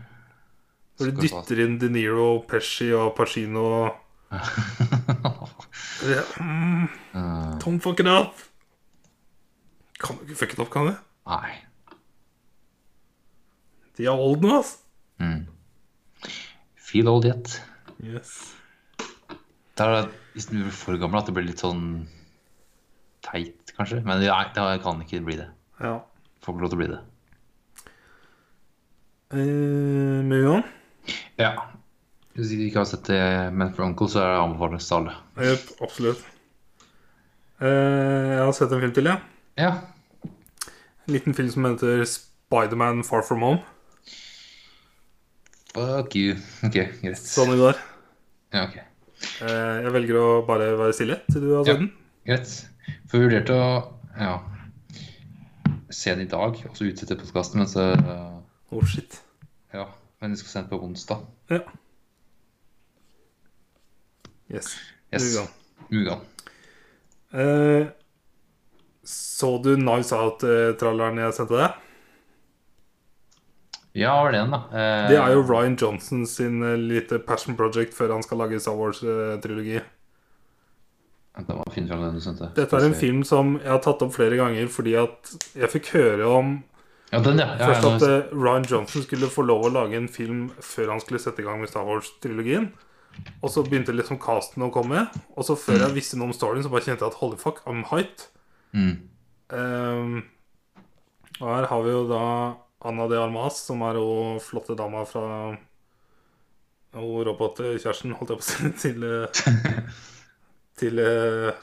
Speaker 1: Når du
Speaker 2: Scorsese.
Speaker 1: dytter inn De Niro, Pesci og Pacino Det- mm,
Speaker 2: Eh,
Speaker 1: Tom fucker up! Kan du ikke fucke det opp, kan du?
Speaker 2: nei.
Speaker 1: De er old nå, ass.
Speaker 2: Mm. Feel old yet.
Speaker 1: Yes.
Speaker 2: Det er, hvis den blir for gammel, at det blir litt sånn teit, kanskje. Men nei, det kan ikke bli det.
Speaker 1: Ja.
Speaker 2: Får ikke lov til å bli det.
Speaker 1: Eh, Mugan?
Speaker 2: Ja. Hvis du ikke har sett det, Men for Uncle, så er det anbefales til alle.
Speaker 1: Jepp, absolutt. Eh, jeg har sett en film til, jeg. Ja.
Speaker 2: Ja.
Speaker 1: En liten film som heter Spiderman Far From Home.
Speaker 2: Fuck you. Ok, greit.
Speaker 1: Sånn i går.
Speaker 2: Ja, ok.
Speaker 1: Eh, jeg velger å bare være stille til du har
Speaker 2: Ja.
Speaker 1: sett den.
Speaker 2: Greit. For vi vurderte å ja, se den i dag, og så utsette podkasten, men så
Speaker 1: Oh, shit.
Speaker 2: Ja. Men vi skal se den på onsdag.
Speaker 1: Ja. Yes.
Speaker 2: Yes.
Speaker 1: Mugan.
Speaker 2: Mugan.
Speaker 1: Eh, så du Knives Out-tralleren jeg sendte deg?
Speaker 2: Ja, var det den, da. Eh,
Speaker 1: Det er jo Ryan Johnson sin eh, lite passion project før han skal lage Star eh, Wars-trilogi.
Speaker 2: Vent, da må jeg finne fram den du sendte.
Speaker 1: Dette er en film som jeg har tatt opp flere ganger fordi at jeg fikk høre om
Speaker 2: Ja, den, ja. ja,
Speaker 1: Først
Speaker 2: ja
Speaker 1: at eh, Ryan Johnson skulle få lov å lage en film før han skulle sette i gang med Star Wars-trilogien. Og så begynte liksom casten å komme. Og så før jeg visste noe om storyen, så bare kjente jeg at holy fuck, I'm hyped.
Speaker 2: mm.
Speaker 1: Ehm, og her har vi jo da Anna de Armas, som er jo flotte dama fra Og robotkjæresten, holdt jeg på å si, til eh, Til eh,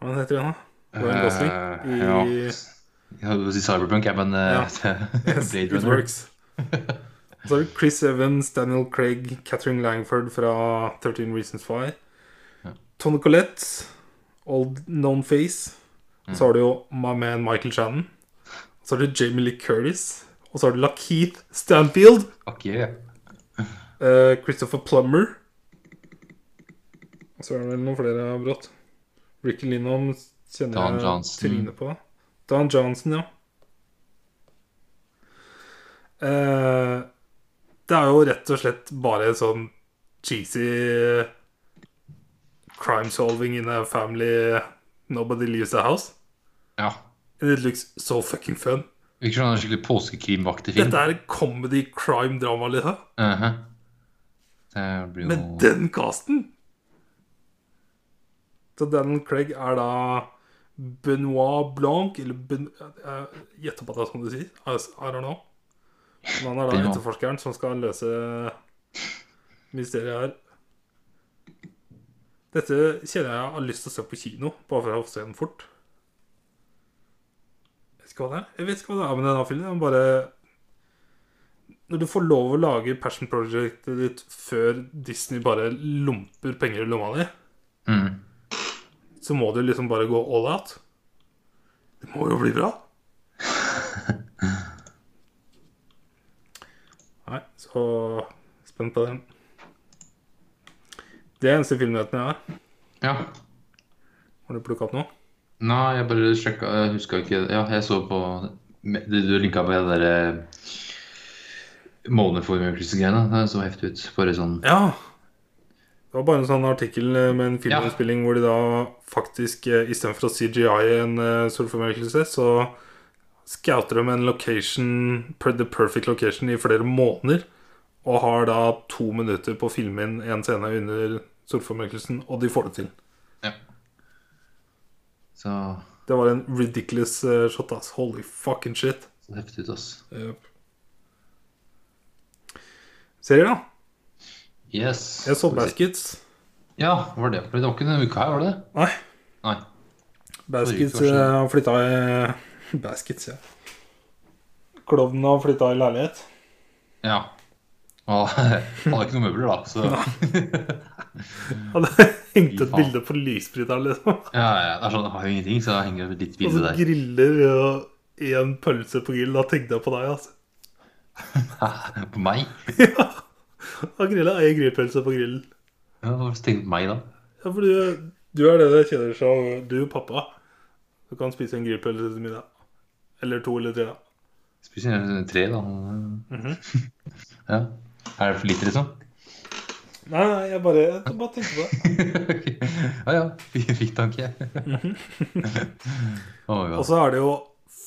Speaker 1: Hva heter hun, da? Ryan Gosling
Speaker 2: Eh, ja.
Speaker 1: i-
Speaker 2: Jeg holdt på å si Cyberpunk, jeg, men eh,
Speaker 1: Yes,
Speaker 2: Blade
Speaker 1: it
Speaker 2: Runner.
Speaker 1: works. Og så er det Chris Evans, Daniel Craig, Catherine Langford fra 13 Reasons Why.
Speaker 2: Ja.
Speaker 1: Tone Collette, Old Known Face.
Speaker 2: Mm.
Speaker 1: Og så har du jo my man Michael Shannon. Og så har du Jamie Lee Curtis. Og så har du LaKeith Stanfield.
Speaker 2: Ok, ja.
Speaker 1: eh, Christopher Plummer. Og så er det vel noen flere brått. Ricky Linholm
Speaker 2: Dan
Speaker 1: kjenner jeg
Speaker 2: Johnson.
Speaker 1: trynet på. Dan Johnson, ja. Eh, det er jo rett og slett bare sånn cheesy eh, crime solving in a family Nobody leaves the house.
Speaker 2: ja.
Speaker 1: And it looks so fucking fun.
Speaker 2: Virker som en skikkelig påskekrimvaktig film.
Speaker 1: Dette er comedy crime drama, liksom.
Speaker 2: Mhm. Det blir jo
Speaker 1: Med den casten! Så Daniel Craig er da Benoit Blanc, eller ben, Jeg gjetter på at det er sånn du sier. I I don't know. Men han er da
Speaker 2: Benoit.
Speaker 1: etterforskeren som skal løse mysteriet her. Dette kjenner jeg har lyst til å se på kino, bare for å se den fort. Jeg vet ikke hva det er. Jeg vet ikke hva det er med denne filmen. Den bare når du får lov å lage passion projectet ditt før Disney bare lomper penger i lomma di,
Speaker 2: mm.
Speaker 1: så må du liksom bare gå all out. Det må jo bli bra. Nei, så spent på den. Det er eneste filmnyheten jeg har.
Speaker 2: Ja.
Speaker 1: Har du plukka opp noe?
Speaker 2: Nei, jeg bare sjekka Jeg huska ikke Ja, jeg så på det du linka på det eh, derre måneformøkelsesgreiene. Det så heftig ut. Bare sånn
Speaker 1: Ja. Det var bare en sånn artikkel eh, med en
Speaker 2: Ja.
Speaker 1: filminnspilling hvor de da faktisk eh, istedenfor å CGI en eh, solformørkelse, så scouter de en location, per- the perfect location, i flere måneder. Og har da to minutter på å filme inn en scene under solformørkelsen, og de får det til.
Speaker 2: Så,
Speaker 1: Det var en ridiculous eh, shot, ass. Holy fucking shit.
Speaker 2: så heftig ut, ass.
Speaker 1: Serier, da?
Speaker 2: Yes.
Speaker 1: Jeg så Baskets.
Speaker 2: Ja, var det Det var ikke denne uka her, var det det?
Speaker 1: Nei.
Speaker 2: Nei.
Speaker 1: Baskets
Speaker 2: Forrige uke,
Speaker 1: eh, har flytta i Baskets, ja. Klovnen har flytta i leilighet.
Speaker 2: Ja. Og han hadde ikke noen møbler, da, så
Speaker 1: Han hengte et
Speaker 2: faen.
Speaker 1: bilde på lysbryteren, liksom.
Speaker 2: Ja, ja, det er sånn, jeg har jo ingenting, så da henger det et lite
Speaker 1: Og
Speaker 2: bilde
Speaker 1: så
Speaker 2: der.
Speaker 1: griller og én pølse på grill. Da tenkte jeg på deg, altså.
Speaker 2: På meg?
Speaker 1: Han grilla ei grillpølse på grillen.
Speaker 2: Ja, hva tenkte du på meg da?
Speaker 1: Ja, for du, du er det det kjenner som Du, pappa, du kan spise en grillpølse til middag. Eller to eller tre. da.
Speaker 2: Spiser gjerne tre, da.
Speaker 1: Mhm.
Speaker 2: Ja. Er det for lite, liksom?
Speaker 1: Nei, nei, jeg bare, jeg bare tenkte på det.
Speaker 2: ja, ja. Fikk fikk tanke.
Speaker 1: Mhm.
Speaker 2: Å, ja.
Speaker 1: Og så er det jo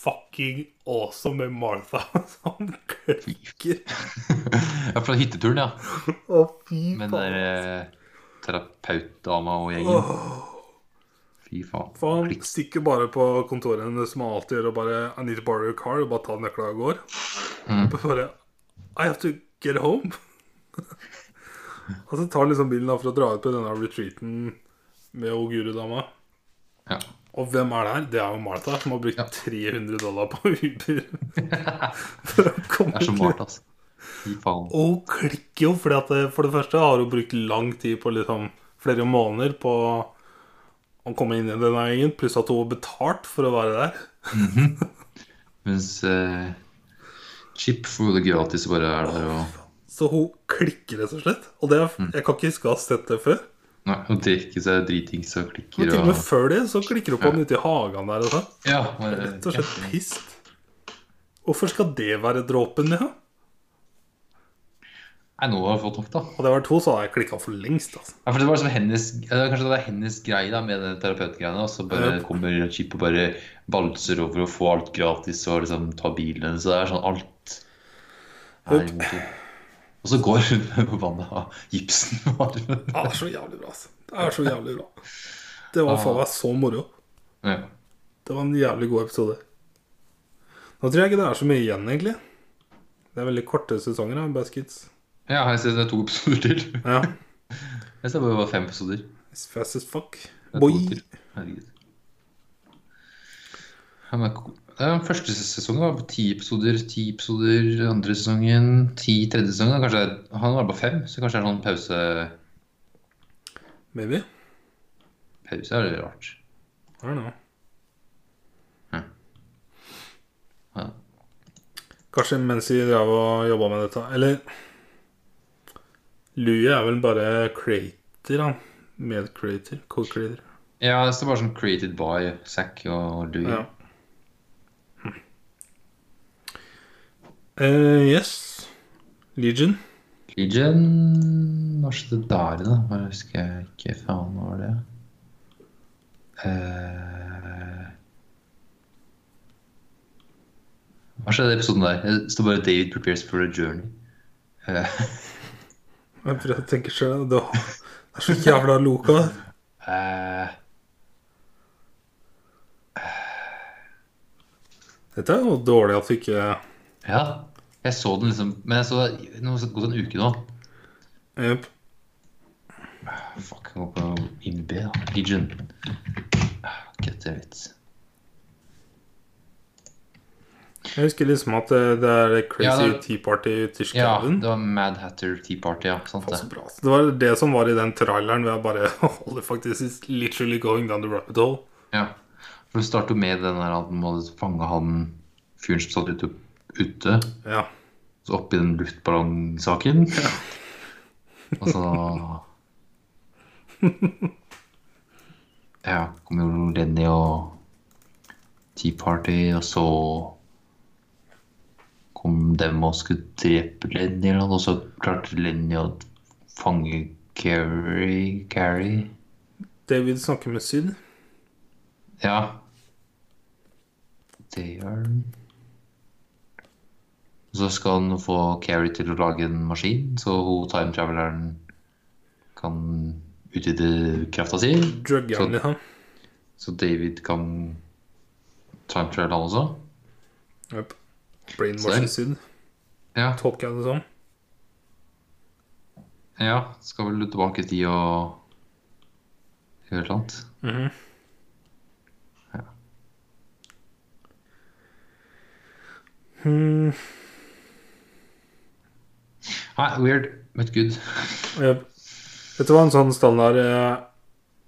Speaker 1: fucking awesome med Martha som klikker.
Speaker 2: ja, fra hytteturen, ja.
Speaker 1: Å, fy
Speaker 2: Med den der
Speaker 1: faen.
Speaker 2: eh, terapeutdama og gjengen.
Speaker 1: Åh.
Speaker 2: Fy faen.
Speaker 1: For han
Speaker 2: Klikk.
Speaker 1: stikker bare på kontoret hennes som han alltid gjør, og bare I need to borrow your car, og bare tar nøkla og går.
Speaker 2: Mm.
Speaker 1: Bare I have to get home. og så tar han liksom bilen da for å dra ut på denne retreaten med Oguru-dama.
Speaker 2: Ja.
Speaker 1: Og hvem er det her? Det er jo Martha, som har brukt
Speaker 2: Ja.
Speaker 1: 300 dollar på Uber. for å komme
Speaker 2: Det er så
Speaker 1: til-
Speaker 2: malt, altså. Fy faen.
Speaker 1: og hun klikker jo, fordi at det- for det første har hun brukt lang tid på liksom flere måneder på å komme inn i denne gjengen, pluss at hun har betalt for å være der.
Speaker 2: Mens eh, Chip får det gratis og bare er der og
Speaker 1: Så hun klikker rett og slett. Og det er, jeg kan ikke huske å ha sett det før.
Speaker 2: Nei, og drikker seg dritings og
Speaker 1: Men
Speaker 2: klikker
Speaker 1: til og
Speaker 2: og
Speaker 1: med før det så klikker hun på den ute i hagen der. Og sånn.
Speaker 2: Ja. bare-
Speaker 1: rett og slett pissed. Hvorfor skal det være dråpen, ja?
Speaker 2: Nei, nå har jeg fått nok, da.
Speaker 1: Hadde jeg vært to, så hadde jeg klikka for lengst. altså.
Speaker 2: Ja, for det var liksom hennes, ja, Kanskje det er hennes greie da, med den terapeutgreiene. Og så bare
Speaker 1: Ja.
Speaker 2: kommer Chip og bare balser over og får alt gratis og liksom tar bilen hennes. Så det er sånn alt er
Speaker 1: Yep.
Speaker 2: imot henne. Og så går hun forbanna av gipsen på armen.
Speaker 1: Ja, det er så jævlig bra, altså. Det er så jævlig bra. Det var faen meg så moro.
Speaker 2: Ja.
Speaker 1: Det var en jævlig god episode. Nå tror jeg ikke det er så mye igjen, egentlig. Det er veldig korte sesonger av Baskets.
Speaker 2: ja, jeg ser det er to episoder til.
Speaker 1: Ja.
Speaker 2: Jeg ser bare det var fem episoder.
Speaker 1: It's fast as fuck.
Speaker 2: Det er to
Speaker 1: Boy.
Speaker 2: til. Herregud. Ja, men ko- ja, Første sesongen var på ti episoder, ti episoder andre sesongen, ti tredje sesongen. Kanskje det er- han var på fem, så kanskje det er sånn pause
Speaker 1: Maybe.
Speaker 2: Pause er litt rart.
Speaker 1: I don't know.
Speaker 2: Ja.
Speaker 1: Kanskje mens vi drev og jobba med dette Eller Louie er vel bare creator, han. Med-creator. Co-creator.
Speaker 2: Ja, det står bare sånn 'created by Zack og Louis'.
Speaker 1: Ja. Hm. Eh, yes. Legion.
Speaker 2: Legion Hva skjedde der, da? Hva husker jeg ikke faen hva var det? Eh, Hva skjedde i episoden der? Det står bare 'David prepares for a journey'. Eh,
Speaker 1: Jeg prøver å tenke sjøl. Det var- det er så jævla loka.
Speaker 2: eh,
Speaker 1: Dette er jo dårlig at vi ikke
Speaker 2: ja, jeg så den liksom Men jeg så den nå har det gått en uke nå.
Speaker 1: Jep.
Speaker 2: Fuck, jeg går på IMDb, da. Legion. Get it.
Speaker 1: Jeg husker liksom at det, det er det Crazy
Speaker 2: Ja, det-
Speaker 1: Tea Party ute i
Speaker 2: Ja,
Speaker 1: skauen.
Speaker 2: det var Mad Hatter Tea Party, ja. Sant
Speaker 1: Faen, så
Speaker 2: det.
Speaker 1: bra. Det var det som var i den traileren ved å bare holde faktisk is literally going down the rabbit hole.
Speaker 2: Ja. For det starter jo med den der at man må fange han fyren som satt ute, ute
Speaker 1: Ja.
Speaker 2: så oppi den luftballongsaken. Og så Ja, kommer jo Lenny og Tea Party, og så kom dem og skulle drepe Lenny eller noe, og så klarte Lenny å fange Carrie Carrie?
Speaker 1: David snakker med Syd.
Speaker 2: Ja. Det gjør den. Og Så skal han få Carrie til å lage en maskin, så hun time-traveleren kan utvide krafta si.
Speaker 1: Drugger
Speaker 2: Så-
Speaker 1: han litt, han.
Speaker 2: Så David kan time-travele han også.
Speaker 1: Jep.
Speaker 2: Same.
Speaker 1: Brainwashing Syd,
Speaker 2: Ja,
Speaker 1: tolker jeg det som.
Speaker 2: ja. Skal vel tilbake i tid og gjøre noe annet.
Speaker 1: Mhm.
Speaker 2: Ja.
Speaker 1: Hmm,
Speaker 2: Nei, weird, but good.
Speaker 1: jep. Dette var en sånn standard eh,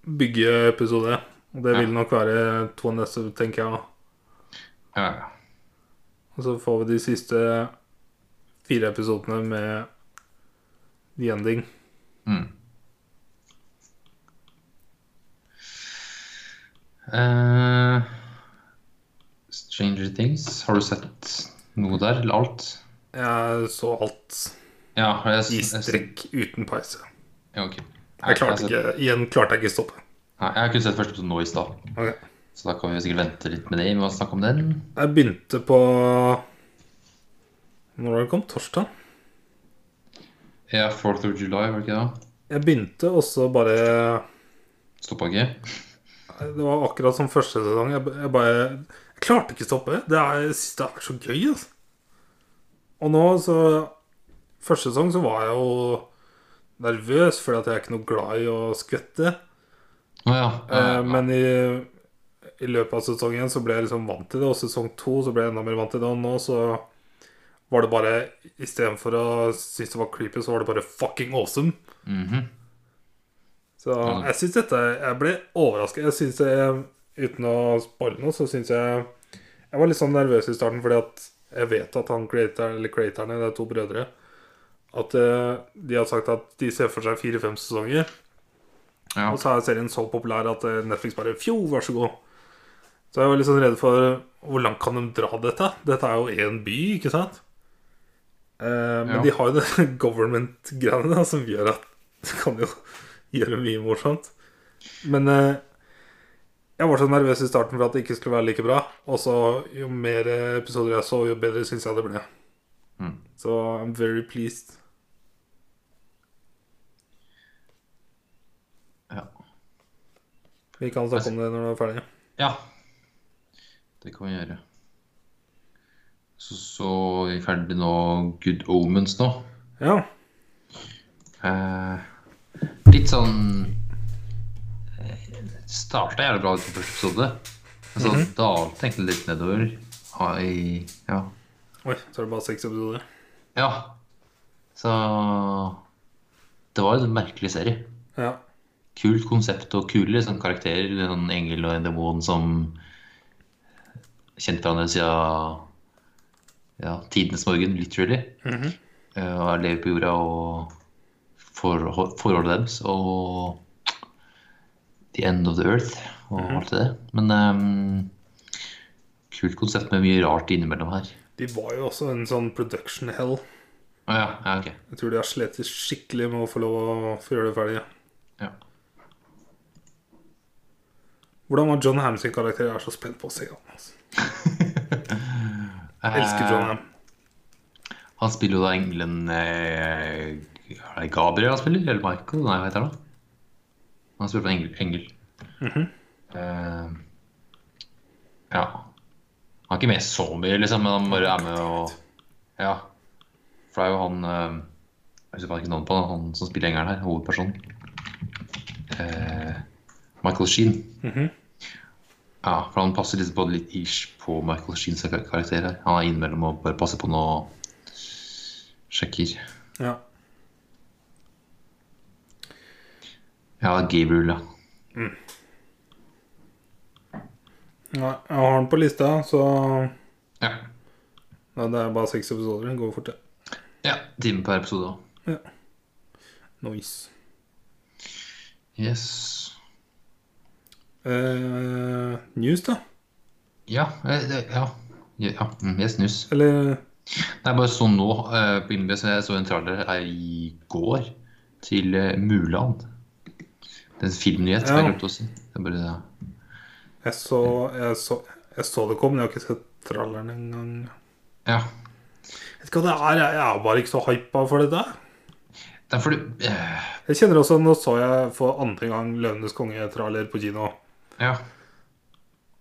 Speaker 1: byggeepisode. Og det
Speaker 2: Ja.
Speaker 1: vil nok være to neste, tenker jeg.
Speaker 2: Ja, ja.
Speaker 1: Og så får vi de siste fire episodene med the ending.
Speaker 2: Mm. Eh, Stranger Things, har du sett noe der, eller alt?
Speaker 1: Jeg så alt
Speaker 2: Ja, har jeg,
Speaker 1: i
Speaker 2: jeg-
Speaker 1: strekk uten pause.
Speaker 2: Ja, ok.
Speaker 1: Jeg
Speaker 2: har
Speaker 1: klarte
Speaker 2: sett-
Speaker 1: ikke, igjen klarte jeg ikke stoppe.
Speaker 2: Nei, jeg har kun sett første episode nå i stad,
Speaker 1: Ok.
Speaker 2: så da kan vi sikkert vente litt med det. Vi må snakke om den.
Speaker 1: Jeg begynte på Når var det kom? Torsdag?
Speaker 2: Ja, 4th of July, var det ikke det?
Speaker 1: Jeg begynte, og så bare
Speaker 2: Stoppa ikke?
Speaker 1: Det var akkurat som første sesong. Jeg, jeg bare Jeg klarte ikke å stoppe. Det er, jeg synes det er så gøy, altså. Og nå, så Første sesong så var jeg jo nervøs, fordi at jeg er ikke noe glad i å skvette.
Speaker 2: Å ja.
Speaker 1: Eh,
Speaker 2: ja, ja.
Speaker 1: Men i, i løpet av sesong én så ble jeg liksom vant til det, og sesong to så ble jeg enda mer vant til det. Og nå så var det bare Istedenfor å synes det var creepy, så var det bare fucking awesome.
Speaker 2: Mhm.
Speaker 1: Så jeg syns dette Jeg ble overraska. Jeg syns jeg Uten å spoile noe, så syns jeg Jeg var litt sånn nervøs i starten fordi at jeg vet at han creator, eller creatorene, det er to brødre, at eh, de har sagt at de ser for seg fire-fem sesonger.
Speaker 2: ja.
Speaker 1: Og så er serien så populær at eh, Netflix bare Fjo, vær så god. Så jeg var litt sånn redd for hvor langt kan de dra dette? Dette er jo én by, ikke sant? Eh, men
Speaker 2: Ja.
Speaker 1: de har jo det government-greiene da, som gjør at du kan jo gjøre mye morsomt. Men eh, jeg var så nervøs i starten for at det ikke skulle være like bra. Og så jo mer episoder jeg så, jo bedre syns jeg det ble.
Speaker 2: Mm.
Speaker 1: Så I'm very pleased.
Speaker 2: Ja.
Speaker 1: Vi kan snakke om det når du er ferdig.
Speaker 2: Ja. Det kan vi gjøre. Så, så er vi ferdig nå Good Omens nå.
Speaker 1: Ja.
Speaker 2: Eh, litt sånn Starta jævlig bra ut på første episode. Men så
Speaker 1: Mhm.
Speaker 2: dalte egentlig litt nedover. Ha- i- Ja.
Speaker 1: Oi, så er det bare seks episoder.
Speaker 2: ja. Så Det var en merkelig serie.
Speaker 1: Ja.
Speaker 2: kult konsept og kule liksom, karakterer. En engel og en demon som kjente hverandre siden ja, tidenes morgen, literally.
Speaker 1: Mhm.
Speaker 2: Eh, Og lever på jorda og forhold- forholdet deres og The End of the Earth og alt det der. Men ehm, kult konsept med mye rart innimellom her.
Speaker 1: De var jo også en sånn production hell.
Speaker 2: Å ja, ja, ok.
Speaker 1: Jeg tror de har slitt skikkelig med å få lov å få gjøre det ferdig.
Speaker 2: Ja.
Speaker 1: Hvordan var John Ham sin karakter? Jeg er så spent på å se han. Altså. Jeg elsker John Ham.
Speaker 2: Han spiller jo da engelen eh, Er det Gabriel han spiller? Eller Michael? Nei, hva heter han? da? Han spiller på en engel. engel. eh, ja. Han er ikke med så mye, liksom, men han bare er med og Ja. For det er jo han eh, Jeg husker faen ikke navnet på han, han som spiller engelen her. Hovedpersonen. Eh, Michael Sheen.
Speaker 1: Mhm.
Speaker 2: Ja, for han passer liksom både litt ish på Michael Sheens kar- karakter her. Han er innimellom og bare passer på noe sjekker.
Speaker 1: Ja.
Speaker 2: Ja, Gabriel, ja.
Speaker 1: Nei, jeg har han på lista, så
Speaker 2: Ja.
Speaker 1: Nei, det er bare seks episoder. Det går fort, det.
Speaker 2: ja time per episode òg.
Speaker 1: Nice.
Speaker 2: Yes.
Speaker 1: Eh, news, da?
Speaker 2: Ja. eh, det- Ja. ja. mm, Yes, news.
Speaker 1: Eller
Speaker 2: Det er bare sånn nå eh, på IMDb, så jeg så en trailer her i går til eh, Mulan. Det er en filmnyhet, som
Speaker 1: Ja.
Speaker 2: jeg glemte å si. Det er bare,
Speaker 1: jeg så, jeg, så, jeg så det kom, men jeg har ikke sett tralleren engang.
Speaker 2: ja.
Speaker 1: Jeg vet ikke hva det er, jeg jeg er bare ikke så hypa for dette. her.
Speaker 2: Det er fordi eh,
Speaker 1: Jeg kjenner også, Nå så jeg for andre gang 'Løvenes konge'-traller på kino.
Speaker 2: Ja.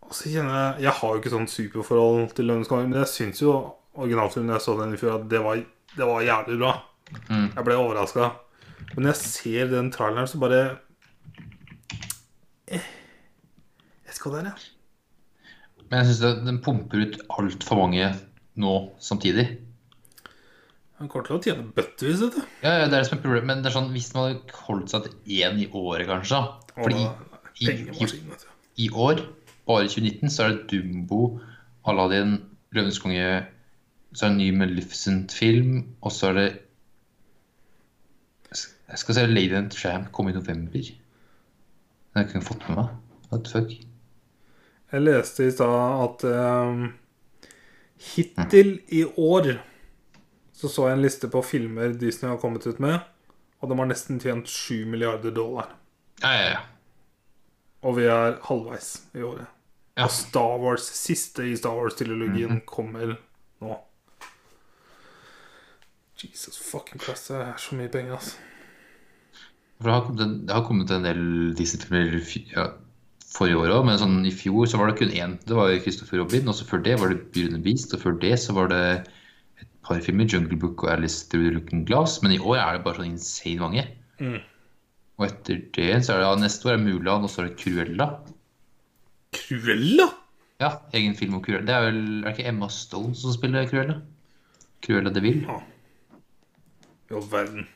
Speaker 1: Og så kjenner Jeg jeg har jo ikke sånn superforhold til Løvenes konge, men jeg syns jo originalfilmen jeg så den i fjor, at det var, det var jævlig bra.
Speaker 2: Mm.
Speaker 1: Jeg ble overraska. Men når jeg ser den traileren, så bare Eh, Jeg vet ikke hva det er, jeg.
Speaker 2: Men jeg syns den pumper ut altfor mange nå samtidig.
Speaker 1: Han kommer til å tjene bøttevis, vet du.
Speaker 2: Ja, ja, det er det som er problemet. Men det er sånn, hvis man hadde holdt seg til én i året, kanskje da.
Speaker 1: Og
Speaker 2: Fordi i, i,
Speaker 1: pengemaskin, vet du.
Speaker 2: i år, bare 2019, så er det Dumbo, Aladdin, Løvenes konge, så er det en ny Maleficent-film, og så er det Jeg skal se Lady and the Tramp komme i november. Det har jeg ikke fått med meg. What the fuck?
Speaker 1: Jeg leste i stad at ehm, hittil i år så så jeg en liste på filmer Disney har kommet ut med, og de har nesten tjent 7 milliarder dollar.
Speaker 2: Ja, ja, ja.
Speaker 1: Og vi er halvveis i året.
Speaker 2: Ja. Mhm.
Speaker 1: Og Star Wars, siste i Star Wars-trilogien kommer nå. Jesus fucking Christ, det er så mye penger, altså.
Speaker 2: For det har kommet en, det har kommet en del Disney-filmer fy- ja, forrige år òg, men sånn i fjor så var det kun én. Det var jo Christopher Robin, og så før det var det Beauty and the Beast, og før det så var det et par filmer, Jungle Book og Alice Through the Looking Glass, men i år er det bare sånn insane mange.
Speaker 1: Mm.
Speaker 2: Og etter det så er det ja, neste år er Mulan, og så er det Cruella.
Speaker 1: Cruella?
Speaker 2: Ja, egen film om Cruella. Det er vel er det ikke Emma Stone som spiller Cruella? Cruella de Vil.
Speaker 1: I all verden.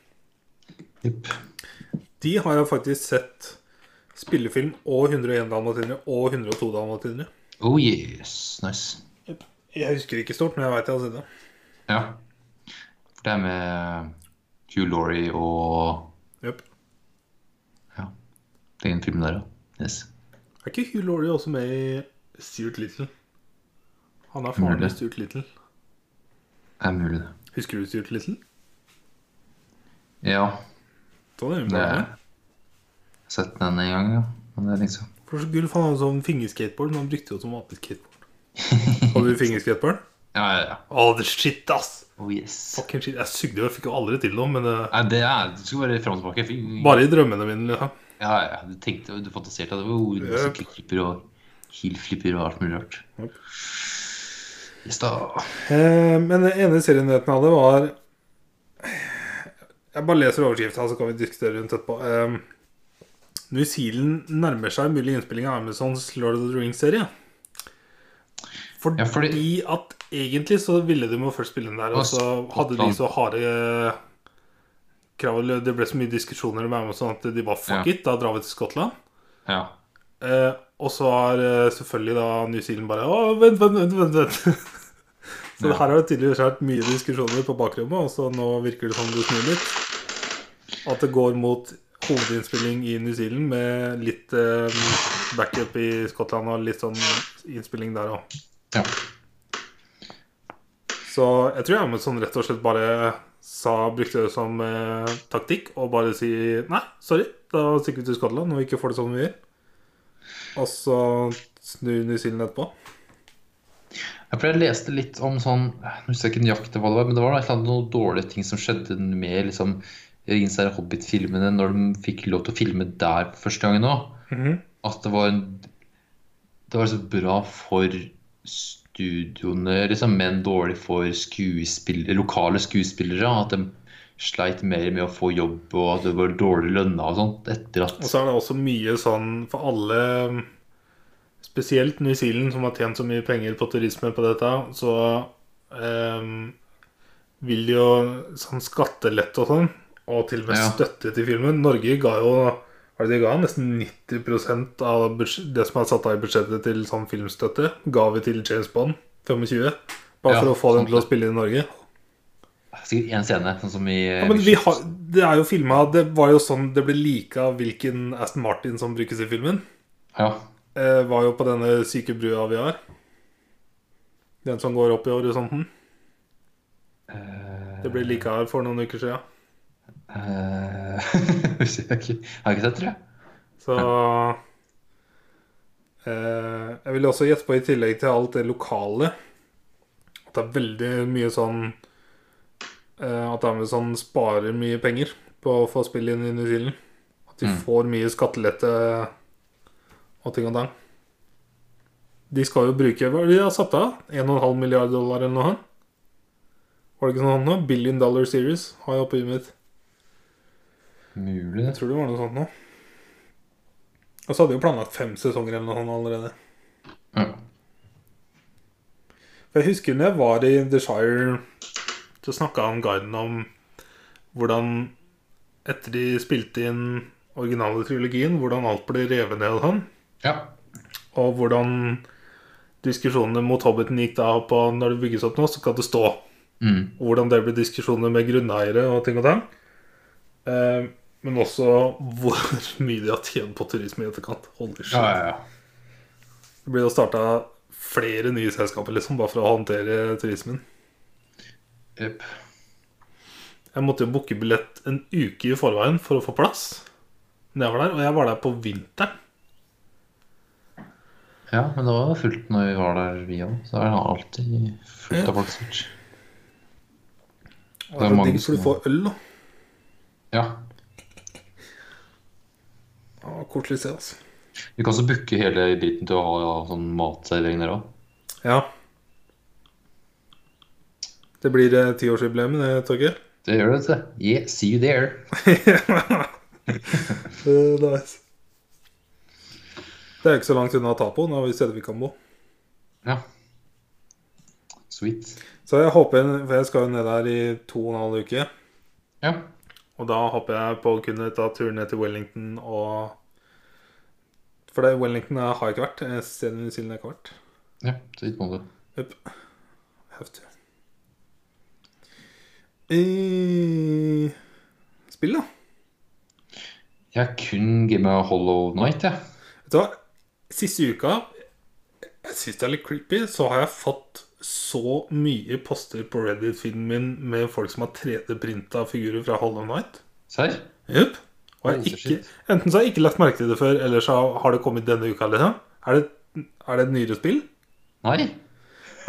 Speaker 2: Yep.
Speaker 1: De har jeg faktisk sett spillefilm og 101 dalmatinere og 102 dalmatinere.
Speaker 2: Oh yes, nice.
Speaker 1: Jeg husker ikke stort, men jeg veit jeg har sett det.
Speaker 2: Ja. For det er med eh, Hugh Laurie og
Speaker 1: Jep.
Speaker 2: den filmen der, ja. Yes.
Speaker 1: Er ikke Hugh Laurie også med i Stuart Little? Han er faren
Speaker 2: Mulig.
Speaker 1: til Stuart Little.
Speaker 2: Det er mulig, det.
Speaker 1: Husker du Stuart Little?
Speaker 2: Ja,
Speaker 1: Da er det
Speaker 2: det
Speaker 1: bra.
Speaker 2: har jeg sett den en gang, ja. Men det er liksom
Speaker 1: For så gulv han hadde sånn fingerskateboard, men han brukte jo som apeskateboard. Hadde du fingerskateboard?
Speaker 2: Ja, ja, ja.
Speaker 1: Å, det shit, ass!
Speaker 2: Oh yes.
Speaker 1: Fucking shit. Jeg sugde jo, jeg fikk jo aldri til noe, men eh,
Speaker 2: Nei, det er Du skal bare fram og tilbake. Fy-
Speaker 1: bare i drømmene mine. liksom.
Speaker 2: Ja, ja. Du tenkte Du fantaserte at oh, det var ord
Speaker 1: Yep.
Speaker 2: sykkelflipper og heelflipper og alt mulig rart.
Speaker 1: Yep.
Speaker 2: Yes, da.
Speaker 1: Eh, men den ene serienyheten jeg hadde, var Jeg bare leser overskrifta, så kan vi diskutere rundt etterpå. Eh, New Zealand nærmer seg mulig innspilling av Amazons Lord of the Rings-serie. Fordi,
Speaker 2: Ja, fordi-
Speaker 1: at egentlig så ville de jo først spille den der, og så hadde de så harde krav Det ble så mye diskusjoner med Amazon at de bare fuck
Speaker 2: Ja.
Speaker 1: it, da drar vi til Skottland.
Speaker 2: Ja.
Speaker 1: Eh, og så har eh, selvfølgelig da New Zealand bare Å, vent, vent, vent, vent, vent. Så
Speaker 2: Ja.
Speaker 1: her har det tydeligvis vært mye diskusjoner på bakrommet, og så nå virker det som det snur litt. At det går mot hovedinnspilling i New Zealand med litt eh, backup i Skottland og litt sånn innspilling der òg.
Speaker 2: ja.
Speaker 1: Så jeg tror Amazon rett og slett bare sa, brukte det som eh, taktikk og bare si nei, sorry, da stikker vi til Skottland og ikke får det som vi vil. Og så snur New Zealand etterpå.
Speaker 2: Jeg pleier å leste litt om sånn Jeg husker ikke nøyaktig hva det var, men det var noe, et eller annet, noen dårlige ting som skjedde med liksom Ringens herre Hobbit-filmene når de fikk lov til å filme der for første gangen òg. at det var en, Det var så bra for studioene, liksom, men dårlig for skuespill- lokale skuespillere. At de sleit mer med å få jobb, og at det var dårlig lønna og sånt etter at
Speaker 1: Og så er det også mye sånn for alle Spesielt New Zealand, som har tjent så mye penger på turisme på dette, så ehm, vil jo sånn skattelette og sånn, og til og med
Speaker 2: Ja.
Speaker 1: støtte til filmen Norge ga jo hva er det de ga? Nesten 90 av budsj- det som er satt av i budsjettet til sånn filmstøtte, ga vi til James Bond 25. Bare
Speaker 2: Ja,
Speaker 1: for å få dem
Speaker 2: sant
Speaker 1: til å
Speaker 2: det.
Speaker 1: spille i Norge.
Speaker 2: Sikkert én scene, sånn som i
Speaker 1: Ja, men vi har, det er jo filma Det var jo sånn det ble lika hvilken Aston Martin som brukes i filmen.
Speaker 2: ja.
Speaker 1: eh, var jo på denne syke brua vi har. Den som går opp i horisonten.
Speaker 2: Eh,
Speaker 1: Det ble like her for noen uker siden.
Speaker 2: eh, husker jeg ikke. Har jeg ikke sett, tror jeg.
Speaker 1: Så eh, Jeg vil også gjette på, i tillegg til alt det lokale, at det er veldig mye sånn eh, At Amazon sparer mye penger på å få spill inn i New Zealand. At de
Speaker 2: Mm.
Speaker 1: får mye skattelette og ting og tang. De skal jo bruke Hva er det de har satt av? 1,5 milliard dollar eller noe? Var det ikke sånn nå? Billion Dollar Series har jeg oppe i huet mitt.
Speaker 2: Mulig.
Speaker 1: Jeg tror det var noe sånt nå. Og så hadde vi jo planlagt fem sesonger eller noe sånt allerede.
Speaker 2: Ja.
Speaker 1: For jeg husker når jeg var i The Shire, så snakka han guiden om hvordan etter de spilte inn originale trilogien, hvordan alt ble revet ned og sånn.
Speaker 2: ja.
Speaker 1: Og hvordan diskusjonene mot Hobbiten gikk da på når det bygges opp nå, så skal det stå.
Speaker 2: Mm.
Speaker 1: Og hvordan det ble diskusjoner med grunneiere og ting og tang. Eh, men også hvor mye de har tjent på turisme i etterkant. Holy shit.
Speaker 2: ja, ja, ja.
Speaker 1: Det blir jo starta flere nye selskaper liksom, bare for å håndtere turismen.
Speaker 2: Jep.
Speaker 1: Jeg måtte jo booke billett en uke i forveien for å få plass. Når jeg var der, Og jeg var der på vinteren.
Speaker 2: Ja, men det var fullt når vi var der, vi òg. Så er det alltid fullt av folk. sikkert.
Speaker 1: Og
Speaker 2: Det
Speaker 1: det
Speaker 2: er
Speaker 1: er
Speaker 2: mange
Speaker 1: digg, for du
Speaker 2: som-
Speaker 1: får øl, da.
Speaker 2: Ja.
Speaker 1: Ja, Koselig sted, altså.
Speaker 2: Vi kan også booke hele driten til å ha sånn matservering der òg.
Speaker 1: Ja. Det blir eh, tiårsjubileum, det, Torgeir.
Speaker 2: Det gjør det, vet du. Yeah, see you there.
Speaker 1: Eh, nice. Det er jo ikke så langt unna Tapo. Nå har vi steder vi kan bo.
Speaker 2: Ja. Sweet.
Speaker 1: Så jeg håper, for jeg skal jo ned der i to og en halv uke.
Speaker 2: Ja.
Speaker 1: Og da håper jeg på å kunne ta turen ned til Wellington og For det, Wellington har jeg ikke vært. eh, Stedet i New Zealand har jeg ikke vært.
Speaker 2: ja så dit må du.
Speaker 1: Yep. Have to. Eh, spill, da.
Speaker 2: Jeg har kun Game of Hollow Night, jeg.
Speaker 1: Vet du hva? Siste uka Jeg syns det er litt creepy. Så har jeg fått så mye poster på Reddit-filmen min med folk som har 3D-printa figurer fra Hollow Night.
Speaker 2: Serr?
Speaker 1: Jupp. Og jeg har
Speaker 2: Holy
Speaker 1: ikke,
Speaker 2: shit.
Speaker 1: enten så har jeg ikke lagt merke til det før, eller så har det kommet denne uka. Liksom. Er, det, er det et nyere spill?
Speaker 2: Nei?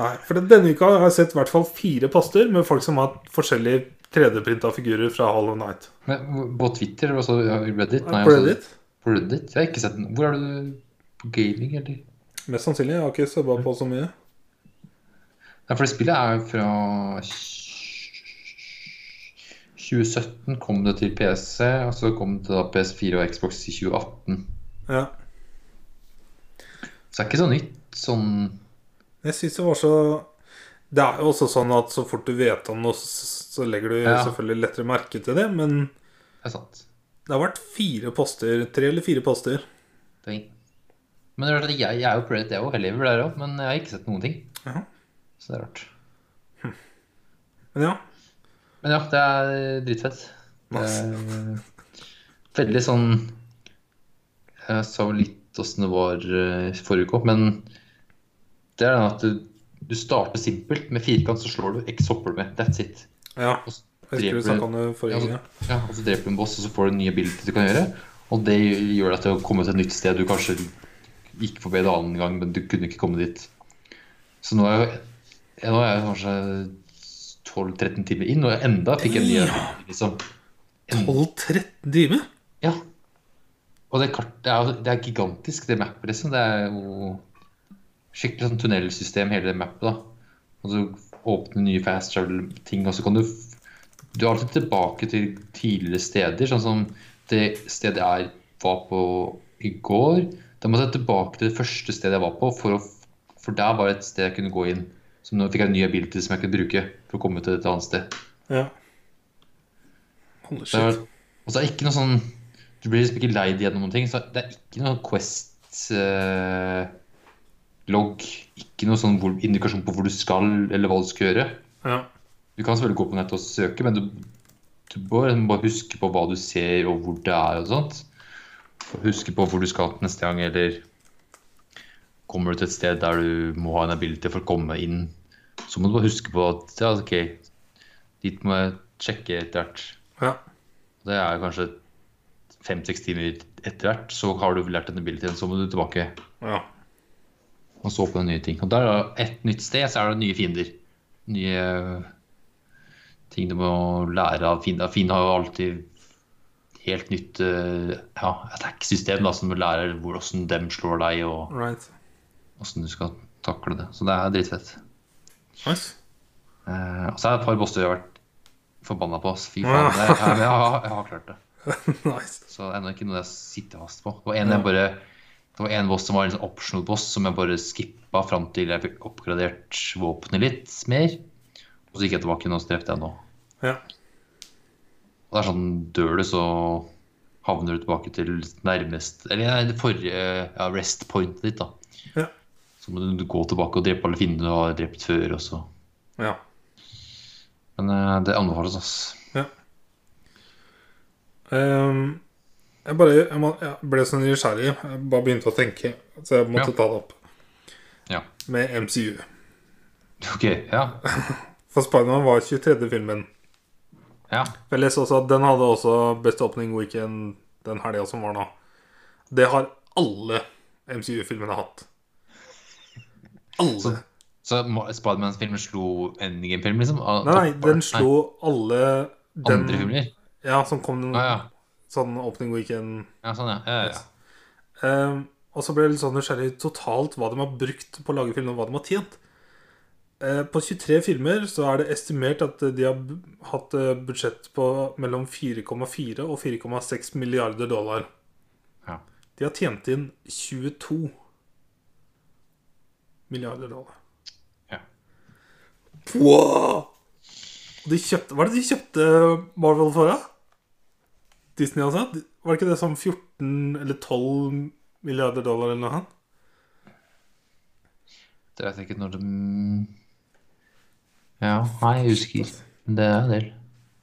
Speaker 1: Nei. For denne uka har jeg sett i hvert fall fire poster med folk som har hatt forskjellige 3D-printa figurer fra Hollow Night.
Speaker 2: Men, hvor- på Twitter eller også ja, i Reddit? Nei,
Speaker 1: på
Speaker 2: altså-
Speaker 1: Reddit?
Speaker 2: på Reddit? Jeg har ikke sett den. Hvor er du? På gaming, eller?
Speaker 1: Mest sannsynlig. Jeg har ikke subba på så mye.
Speaker 2: Nei, for det spillet er jo fra 2017 kom det til PC, og så kom det da PS4 og Xbox i 2018.
Speaker 1: Ja.
Speaker 2: Så det er ikke så nytt sånn
Speaker 1: Jeg syns det var så Det er jo også sånn at så fort du vet om noe, så så legger du
Speaker 2: Ja.
Speaker 1: selvfølgelig lettere merke til det, men
Speaker 2: Det er sant.
Speaker 1: det har vært fire poster, tre eller fire poster.
Speaker 2: Det er ingen- men det er rart at jeg, jeg er jo på Reddit, jeg òg. Jeg lever der òg, men jeg har ikke sett noen ting.
Speaker 1: Jaha.
Speaker 2: Så det er rart.
Speaker 1: Men ja.
Speaker 2: Men ja, det er eh, dritfett. Det er veldig sånn Jeg sa jo litt åssen det var eh, forrige uke, men det er den at du, du starter simpelt. Med firkant så slår du X hopper du med. That's it.
Speaker 1: ja.
Speaker 2: Og altså,
Speaker 1: Jeg husker
Speaker 2: så dreper
Speaker 1: du
Speaker 2: du-
Speaker 1: snakka om det forrige gang.
Speaker 2: Ja,
Speaker 1: ja.
Speaker 2: så- ja, og så dreper du en boss, og så får du nye bilder du kan gjøre. Og det gjør deg til å komme til et nytt sted du kanskje gikk forbi en annen gang, men du kunne ikke komme dit. Så nå er jeg, ja, nå er jeg kanskje 12-13 timer inn, og jeg enda fikk en ny erfaring, liksom.
Speaker 1: 12-13 timer?
Speaker 2: Ja. Og det kartet det er, jo- det er gigantisk, det mappet, liksom. Det er jo skikkelig sånn tunnelsystem, hele det mappet, da. Og så åpne nye fast travel-ting, og så kan du f- Du er alltid tilbake til tidligere steder, sånn som det stedet jeg var på i går. Da måtte jeg tilbake til det første stedet jeg var på, for, å, f- for der var et sted jeg kunne gå inn. Så nå fikk jeg en ny ability som jeg kunne bruke for å komme til et annet sted.
Speaker 1: Ja. Holy
Speaker 2: Det er,
Speaker 1: shit.
Speaker 2: og så er det ikke noe sånn Du blir liksom ikke leid gjennom noen ting. Så det er ikke noe Quest-logg. ikke noe sånn hvor, indikasjon på hvor du skal, eller hva du skal gjøre.
Speaker 1: Ja.
Speaker 2: Du kan selvfølgelig gå på nettet og søke, men du, du bør liksom bare huske på hva du ser, og hvor det er, og sånt. Og Huske på hvor du skal neste gang, eller kommer du til et sted der du må ha en ability for å komme inn, så må du bare huske på at ja, OK, dit må jeg sjekke etter hvert.
Speaker 1: ja.
Speaker 2: Det er kanskje fem-seks timer etter hvert, så har du lært denne abilityen, så må du tilbake
Speaker 1: ja.
Speaker 2: og så på nye ting. Og der er det et nytt sted, så er det nye fiender. Nye eh, ting du må lære av fiender. Fiender har jo alltid helt nytt eh, ja, attack-system, da, som du lærer hvor- hvordan dem slår deg, og
Speaker 1: Right.
Speaker 2: hvordan du skal takle det. Så det er dritfett.
Speaker 1: Nice.
Speaker 2: Eh, og så er det et par bosser jeg har vært forbanna på. ass. Fy
Speaker 1: Ja.
Speaker 2: faen, det, jeg, jeg, har, jeg har klart det.
Speaker 1: nice.
Speaker 2: Så det er ennå ikke noe jeg sitter fast på. Det var en, jeg bare, det var en boss som var en sånn optional boss, som jeg bare skippa fram til jeg fikk oppgradert våpenet litt mer. Og så gikk jeg tilbake og så drepte jeg nå.
Speaker 1: Ja.
Speaker 2: Og det er sånn, dør du, så havner du tilbake til nærmest Eller nei, det forrige ja, rest pointet ditt, da.
Speaker 1: Ja.
Speaker 2: Så må du gå tilbake og drepe alle fiendene du har drept før også.
Speaker 1: Ja.
Speaker 2: Men eh, det anbefales, ass.
Speaker 1: Ehm, jeg bare jeg må, jeg ble så nysgjerrig. Jeg bare begynte å tenke, så jeg måtte
Speaker 2: Ja.
Speaker 1: ta det opp.
Speaker 2: Ja.
Speaker 1: Med MCU.
Speaker 2: OK. Ja.
Speaker 1: For Spiderman var 23. filmen.
Speaker 2: Ja.
Speaker 1: Jeg leste også at den hadde også Best Opening Weekend den helga som var nå. Det har alle MCU-filmene hatt. Alle.
Speaker 2: Så- Så Ma- Spiderman-filmen slo Endgame-filmen, liksom? Ah,
Speaker 1: Nei, nei,
Speaker 2: topp-
Speaker 1: den slo alle den,
Speaker 2: Andre filmer?
Speaker 1: Ja, som kom den
Speaker 2: Ah, ja.
Speaker 1: sånn opening weekend.
Speaker 2: ja, sånn, ja. ja, ja.
Speaker 1: Ehm, og så ble jeg litt sånn nysgjerrig totalt hva de har brukt på å lage filmen, og hva de har tjent. Eh, på 23 filmer så er det estimert at de har b- hatt eh, budsjett på mellom 4,4 og 4,6 milliarder dollar.
Speaker 2: Ja.
Speaker 1: De har tjent inn 22 milliarder dollar.
Speaker 2: Ja.
Speaker 1: Wow! Og de kjøpte, hva er det de kjøpte Marvel for? da? Disney altså? Var det ikke det som 14 eller 12 milliarder dollar eller noe sånt?
Speaker 2: Det vet jeg ikke når det Ja, nei, jeg husker. Men Det er en del.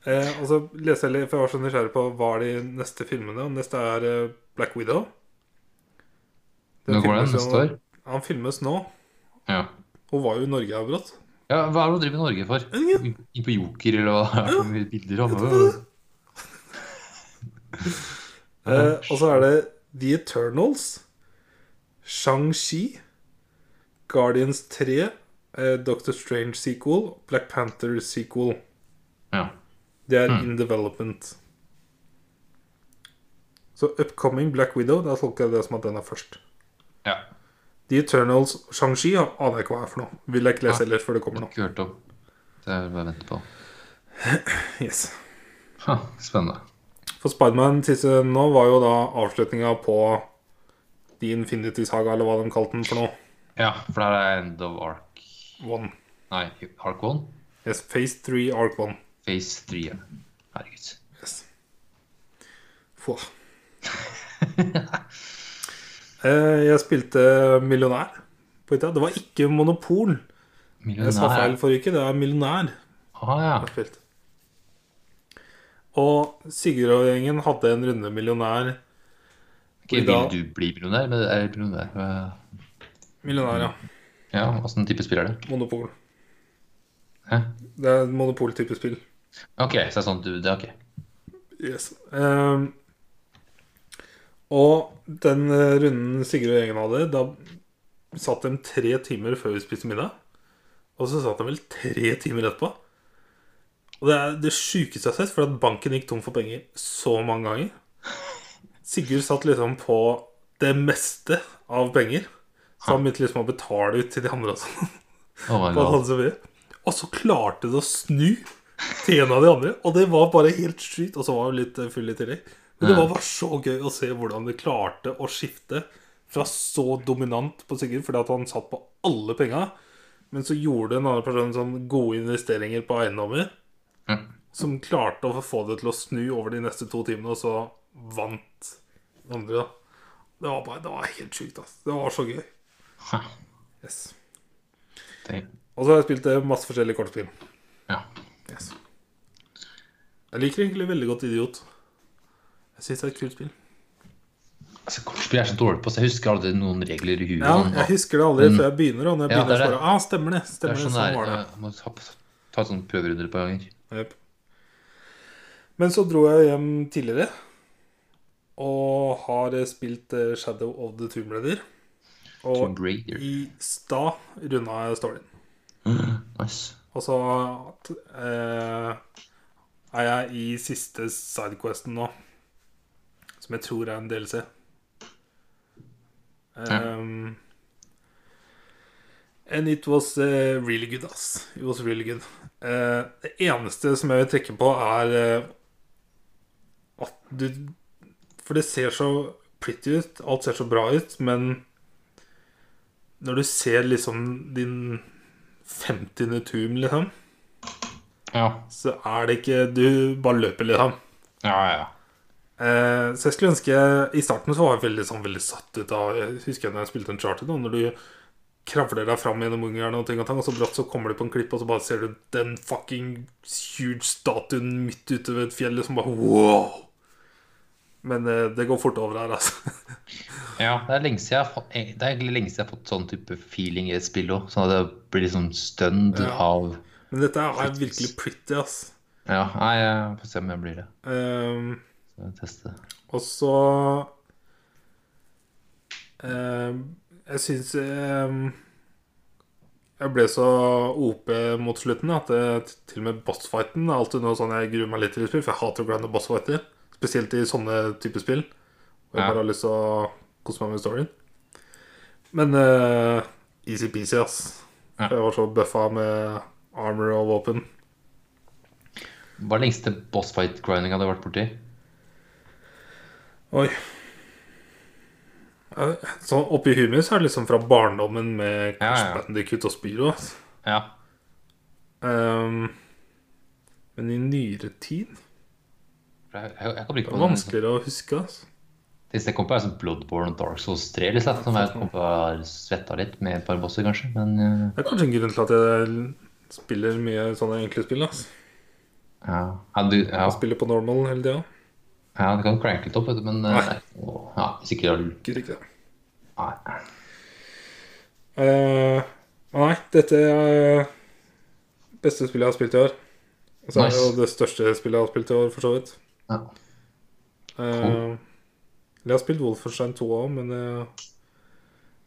Speaker 1: Eh, og så leser jeg litt, for jeg var så nysgjerrig på hva er de neste filmene. Og neste er eh, Black Widow.
Speaker 2: Nå går den
Speaker 1: filmes jo-
Speaker 2: neste år.
Speaker 1: Han filmes nå.
Speaker 2: Ja.
Speaker 1: Hun var jo i Norge her brått.
Speaker 2: Ja, hva er det hun driver i Norge for?
Speaker 1: Ingen.
Speaker 2: Inn på Joker, eller hva? det er for mye Bilder av
Speaker 1: Eh, og så er det The Eternals, Shang-Chi, Guardians 3, eh, Doctor Strange sequel, Black Panther sequel.
Speaker 2: Ja.
Speaker 1: Det er in development. Så Upcoming Black Widow, da tolker jeg det som at den er først.
Speaker 2: ja.
Speaker 1: The Eternals, Shang-Chi ja, aner jeg ikke hva er for noe. Vil jeg ikke lese ellers før det kommer nå.
Speaker 2: Ikke hørt om. Det er bare å vente på.
Speaker 1: Yes.
Speaker 2: Ha, spennende.
Speaker 1: For Spiderman siste nå var jo da avslutninga på The Infinity Saga, eller hva de kalte den for noe.
Speaker 2: Ja, for der er End of Ark
Speaker 1: One.
Speaker 2: Nei, Ark 1.
Speaker 1: Yes, Phase 3, Arc 1.
Speaker 2: Phase 3. ja. Herregud.
Speaker 1: Yes. Få. Eh, jeg spilte millionær på hytta. Det var ikke monopol. Jeg sa feil
Speaker 2: Millionær.
Speaker 1: forrige uke. Det er millionær.
Speaker 2: Ah, ja.
Speaker 1: jeg har spilt. Og Sigurd og gjengen hadde en runde millionær.
Speaker 2: Ikke
Speaker 1: Fordi da-
Speaker 2: vil du bli millionær, men er millionær eh,
Speaker 1: Millionær, ja.
Speaker 2: Ja, åssen type spill er det?
Speaker 1: Monopol.
Speaker 2: Hæ?
Speaker 1: Det er et monopoltype spill.
Speaker 2: OK, så det er sånn du Det er OK.
Speaker 1: Yes. Ehm, og den eh, runden Sigurd og gjengen hadde, da satt de tre timer før vi spiste middag. Og så satt de vel tre timer etterpå. Og det er det sjukeste jeg har sett, for at banken gikk tom for penger så mange ganger. Sigurd satt liksom på det meste av penger. Så han begynte liksom å betale ut til de andre og sånn.
Speaker 2: Oh
Speaker 1: Og
Speaker 2: my
Speaker 1: han
Speaker 2: god.
Speaker 1: hadde så mye. Og så klarte det å snu til en av de andre, og det var bare helt sjukt. Og så var hun litt eh, full i tillegg. Men det
Speaker 2: Ja.
Speaker 1: var bare så gøy å se hvordan det klarte å skifte fra så dominant på Sigurd, fordi at han satt på alle penga, men så gjorde en annen person sånn gode investeringer på eiendommer,
Speaker 2: Mm.
Speaker 1: som klarte å få det til å snu over de neste to timene, og så vant den andre, da. Det var, bare, det var helt sjukt, ass. Det var så gøy.
Speaker 2: Hæ,
Speaker 1: Yes.
Speaker 2: det-
Speaker 1: Og så har jeg spilt eh, masse forskjellige kortspill.
Speaker 2: Ja.
Speaker 1: Yes. Jeg liker egentlig veldig godt Idiot. Jeg syns det er et kult spill.
Speaker 2: Altså, Kortspill er så dårlig på, så jeg husker aldri noen regler i huet.
Speaker 1: Ja,
Speaker 2: sånn,
Speaker 1: jeg husker det aldri før jeg begynner. Og når jeg
Speaker 2: Ja,
Speaker 1: begynner
Speaker 2: det er
Speaker 1: så
Speaker 2: det.
Speaker 1: bare Ah, stemmer det.
Speaker 2: det
Speaker 1: Stemmer
Speaker 2: er
Speaker 1: det,
Speaker 2: sånn
Speaker 1: sånn
Speaker 2: der,
Speaker 1: var det.
Speaker 2: jeg må ta, ta sånn prøverunder et par ganger.
Speaker 1: Jep. Men så dro jeg hjem tidligere og har eh, spilt eh, Shadow of the Tomb Raider. Og
Speaker 2: Tomb Raider.
Speaker 1: i stad runda jeg storyen.
Speaker 2: Nice.
Speaker 1: Og så eh, er jeg i siste sidequesten nå, som jeg tror er en DLC. Um, and it was eh, really good, ass. It was really good. Eh, det eneste som jeg vil trekke på, er eh, at du For det ser så pretty ut, alt ser så bra ut, men når du ser liksom din 50. tomb, liksom,
Speaker 2: Ja.
Speaker 1: så er det ikke Du bare løper, liksom.
Speaker 2: Ja, ja, ja.
Speaker 1: Eh, så jeg skulle ønske I starten så var jeg veldig, sånn, veldig satt ut av Jeg husker da jeg spilte en charter, da, når du kravler deg fram gjennom ungarne og ting og tang, og så brått så kommer du på en klipp, og så bare ser du den fucking huge statuen midt ute ved et fjell, liksom bare wow! Men eh, det går fort over her, altså.
Speaker 2: Ja, det er, lenge siden jeg har fått, eh, det er egentlig lenge siden jeg har fått sånn type feeling i et spill òg. Sånn at jeg blir liksom stønd
Speaker 1: Ja.
Speaker 2: av
Speaker 1: Men dette er virkelig pretty, ass.
Speaker 2: Ja, nei, jeg får se om jeg blir det.
Speaker 1: Um,
Speaker 2: Så jeg tester.
Speaker 1: Og så eh, Jeg syns eh, Jeg ble så OP mot slutten at det, til og med bossfighten er alltid noe sånn jeg gruer meg litt til i spill, for jeg hater å grinde bossfighter. Spesielt i sånne typer spill. Hvor jeg
Speaker 2: Ja.
Speaker 1: bare har lyst til å kose meg med storyen. Men eh, easy-peasy, ass.
Speaker 2: Ja.
Speaker 1: Jeg var så bøffa med armor og våpen.
Speaker 2: Hva er den lengste bossfight-grindinga du har vært borti?
Speaker 1: Oi. Ja, Så oppi huet mitt så er det liksom fra barndommen med
Speaker 2: Ja, ja.
Speaker 1: Crash Bandicoot og Spyro. altså.
Speaker 2: Ja.
Speaker 1: Ehm, men i nyere tid
Speaker 2: for Jeg, jeg, jeg kan bruke
Speaker 1: Det
Speaker 2: på
Speaker 1: er
Speaker 2: den.
Speaker 1: vanskeligere å huske. Altså.
Speaker 2: Det siste jeg kom på, er sånn Bloodborne og Dark Souls 3. Liksom, som jeg kom på har svetta litt med et par bosser, kanskje. Men eh,
Speaker 1: Det er kanskje en grunn til at jeg spiller mye sånne enkle spill. Altså.
Speaker 2: ja. ja, du, ja.
Speaker 1: Jeg spiller på normal hele tida.
Speaker 2: Ja, det kan cranke litt opp, vet du, men eh,
Speaker 1: Nei.
Speaker 2: åh, ja, hvis ikke du har
Speaker 1: Gidder ikke det.
Speaker 2: Nei.
Speaker 1: Eh, Nei, dette er eh, beste spillet jeg har spilt i år. Og så er det
Speaker 2: Nice.
Speaker 1: jo det største spillet jeg har spilt i år, for så vidt.
Speaker 2: Ja.
Speaker 1: Eh, Jeg har spilt Wolfenstein 2 òg, men eh,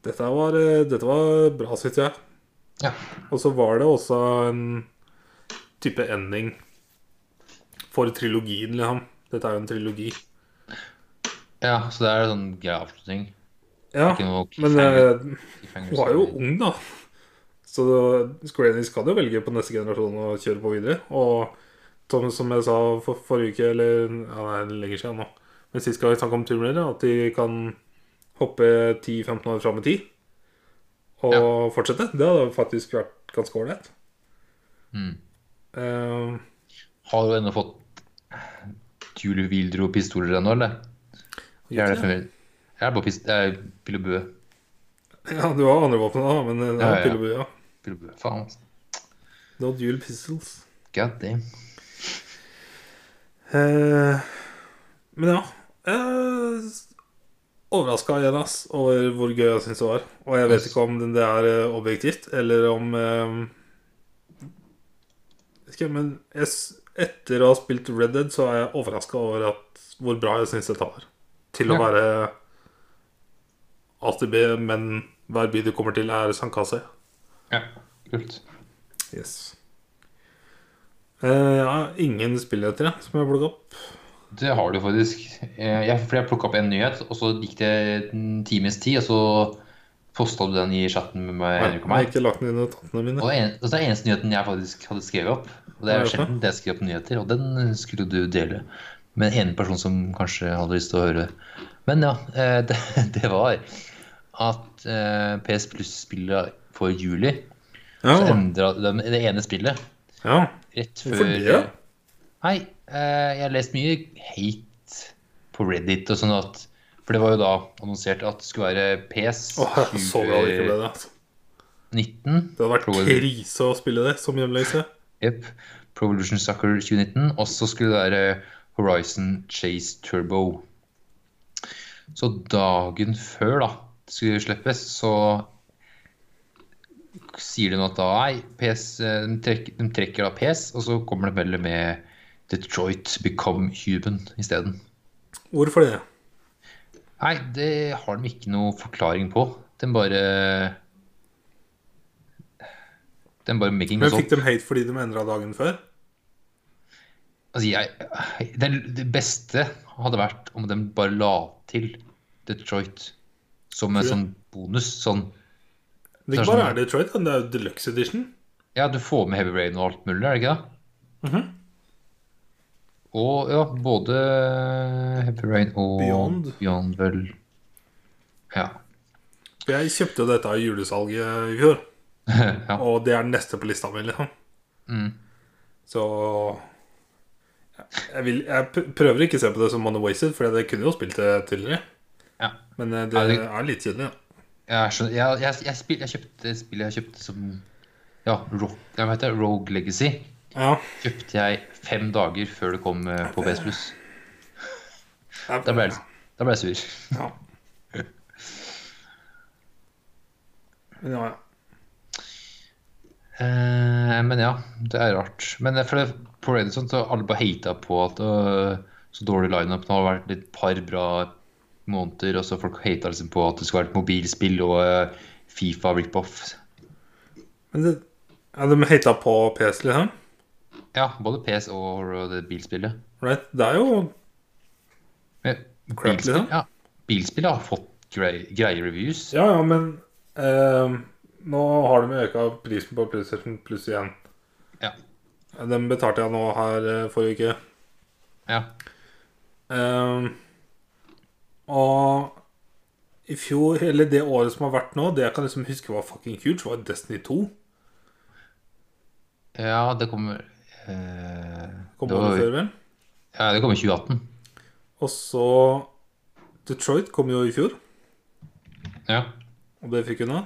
Speaker 1: dette, var, eh, dette var bra, syns jeg.
Speaker 2: Ja.
Speaker 1: Og så var det også en type ending for trilogien, liksom. Dette er jo en trilogi.
Speaker 2: ja, så det er sånn grei avslutning.
Speaker 1: Ja,
Speaker 2: Ikke noe
Speaker 1: men
Speaker 2: cliffhanger-
Speaker 1: eh,
Speaker 2: cliffhanger-
Speaker 1: Hun var jo ung, da. Så Square Enix kan jo velge på neste generasjon å kjøre på videre. Og som, som jeg sa for, forrige uke, eller ja, nei, det er lenger siden nå Men sist gang vi snakket om Tomb Raider, at de kan hoppe 10-15 år fram i tid og fortsette. Det hadde faktisk vært ganske ålreit.
Speaker 2: Mm.
Speaker 1: Eh,
Speaker 2: Har du ennå fått Julie Wildro-pistoler ennå, eller? Jeg er det for Jeg er bare pist... Jeg er Pilebue.
Speaker 1: ja, du har andre våpen da, men det
Speaker 2: Ja,
Speaker 1: er
Speaker 2: ja.
Speaker 1: pillebue, ja.
Speaker 2: Pilebue. Faen, altså.
Speaker 1: No dual pistols.
Speaker 2: God damn.
Speaker 1: Eh, men ja eh, Overraska igjen ass, over hvor gøy jeg syns det var. Og jeg vet ikke om det er eh, objektivt, eller om eh, vet ikke, Men jeg, s- etter å ha spilt Red Dead, så er jeg overraska over at, hvor bra jeg syns dette var. Til å
Speaker 2: Ja.
Speaker 1: være AtB, men hver by du kommer til, er sandkasse.
Speaker 2: Ja, kult.
Speaker 1: Yes. Eh, ja, ingen spill etter, jeg, som jeg plukka opp.
Speaker 2: Det har du faktisk. Eh, Jeg, for jeg plukka opp en nyhet, og så gikk det en times tid, og så posta du den i chatten med meg.
Speaker 1: Nei,
Speaker 2: Henrik og
Speaker 1: jeg har
Speaker 2: meg.
Speaker 1: ikke lagt ned notatene mine.
Speaker 2: Og det er en- altså, det er den eneste nyheten jeg faktisk hadde skrevet opp. Og det
Speaker 1: Hva er
Speaker 2: er jo
Speaker 1: det for?
Speaker 2: sjelden jeg skriver opp nyheter, og den skulle du dele med en person som kanskje hadde lyst til å høre. Men ja, eh, det, det var at eh, PS Plus-spillet for juli så
Speaker 1: Ja.
Speaker 2: endra de det ene spillet
Speaker 1: ja.
Speaker 2: rett før
Speaker 1: Hvorfor det?
Speaker 2: Nei, eh, jeg har lest mye hate på Reddit og sånn at For det var jo da annonsert at det skulle være PS
Speaker 1: Åh, jeg er så glad det ikke ble det. altså.
Speaker 2: 2019.
Speaker 1: Det hadde vært
Speaker 2: Tror du-
Speaker 1: krise å spille det som hjemløse.
Speaker 2: Yep. Pro Evolution Soccer 2019. Og så skulle det være Horizon Chase Turbo. Så dagen før da det skulle slippes, så sier de nå at da nei, PS, eh, de, trekker, de trekker da PS, og så kommer det vel med Detroit Become Human isteden.
Speaker 1: Hvorfor det?
Speaker 2: Nei, det har de ikke noe forklaring på. Den bare Den bare making
Speaker 1: Men
Speaker 2: us up.
Speaker 1: Fikk de hate fordi de endra dagen før?
Speaker 2: Altså, jeg, det, det beste hadde vært om de bare la til Detroit som en
Speaker 1: Tror du?
Speaker 2: sånn bonus. Sånn
Speaker 1: Det er
Speaker 2: Det er
Speaker 1: ikke bare
Speaker 2: sånn-
Speaker 1: er Detroit, men det er jo Deluxe Edition.
Speaker 2: Ja, du får med Heavy Rain og alt mulig, er det ikke det?
Speaker 1: Mhm.
Speaker 2: Og ja, både Heavy Rain og
Speaker 1: Beyond.
Speaker 2: Beyond vel. Ja.
Speaker 1: For Jeg kjøpte jo dette i julesalget i fjor,
Speaker 2: ja.
Speaker 1: og det er neste på lista mi. liksom.
Speaker 2: Mm.
Speaker 1: Så jeg, vil, jeg pr- prøver ikke å se på det som Money Wasted, for jeg kunne jo spilt det tidligere.
Speaker 2: Ja.
Speaker 1: Men eh,
Speaker 2: Ja,
Speaker 1: det
Speaker 2: det-
Speaker 1: er litt kjedelig. Ja.
Speaker 2: Jeg, skjønner, jeg, jeg, jeg, spil, jeg kjøpte spillet jeg kjøpte som ja, Rock, jeg vet det, Rogue Legacy.
Speaker 1: Ja.
Speaker 2: Kjøpte jeg fem dager før det kom eh, på PS Plus.
Speaker 1: jeg-
Speaker 2: Da ble jeg, da ble jeg sur.
Speaker 1: Ja. Men ja, ja.
Speaker 2: Eh, men ja, det er rart. Men eh, for det, på Reddit sånn, så har alle bare hata på at øh, så dårlig lineup. Nå har det vært et par bra måneder, og så folk hata liksom på at det skulle være et mobilspill og eh, Fifa rip-off.
Speaker 1: Men det, ja, de hata på PS, liksom?
Speaker 2: Ja, både PS og øh, det bilspillet.
Speaker 1: Right? Det er jo
Speaker 2: Men
Speaker 1: Crap,
Speaker 2: bilspill,
Speaker 1: liksom.
Speaker 2: ja. Bilspillet har fått grei, greie reviews.
Speaker 1: Ja, ja, men eh, nå har de øka prisen på PlayStation pluss igjen.
Speaker 2: Ja.
Speaker 1: Den betalte jeg nå her eh, forrige uke.
Speaker 2: Ja.
Speaker 1: Eh, og i fjor, eller det året som har vært nå, det jeg kan liksom huske var fucking huge, var Destiny 2.
Speaker 2: ja, det kommer eh,
Speaker 1: Kom
Speaker 2: det,
Speaker 1: året
Speaker 2: var,
Speaker 1: før, vel?
Speaker 2: ja, det kommer i 2018.
Speaker 1: Og så Detroit kom jo i fjor.
Speaker 2: Ja.
Speaker 1: Og det fikk hun da.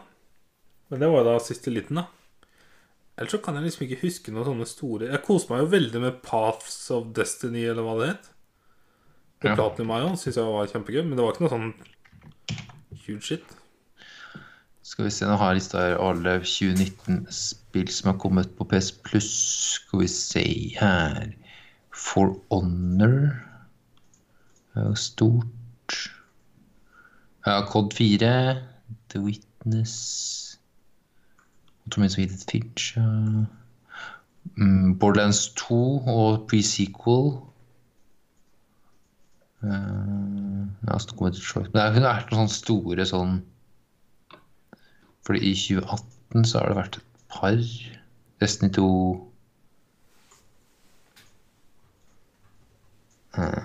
Speaker 1: Men det var jo da siste liten, da. Ellers så kan jeg liksom ikke huske noen sånne store Jeg koste meg jo veldig med Paths of Destiny, eller hva det het. Det
Speaker 2: Ja.
Speaker 1: Platinum Ion synes jeg var kjempegøy, men det var ikke noe sånn huge shit.
Speaker 2: Skal vi se, nå har jeg lista her alle 2019-spill som har kommet på PS Pluss. Skal vi se her For Honor er jo stort. Ja, Cod 4. The Witness. Thomas Widet Finch. ja. Mm, Borderlands 2 og pre-sequel. Uh, ja, så kommer Detroit. Men det har ikke vært noen sånne store sånn Fordi i 2018 så har det vært et par. Destiny 2 Eh.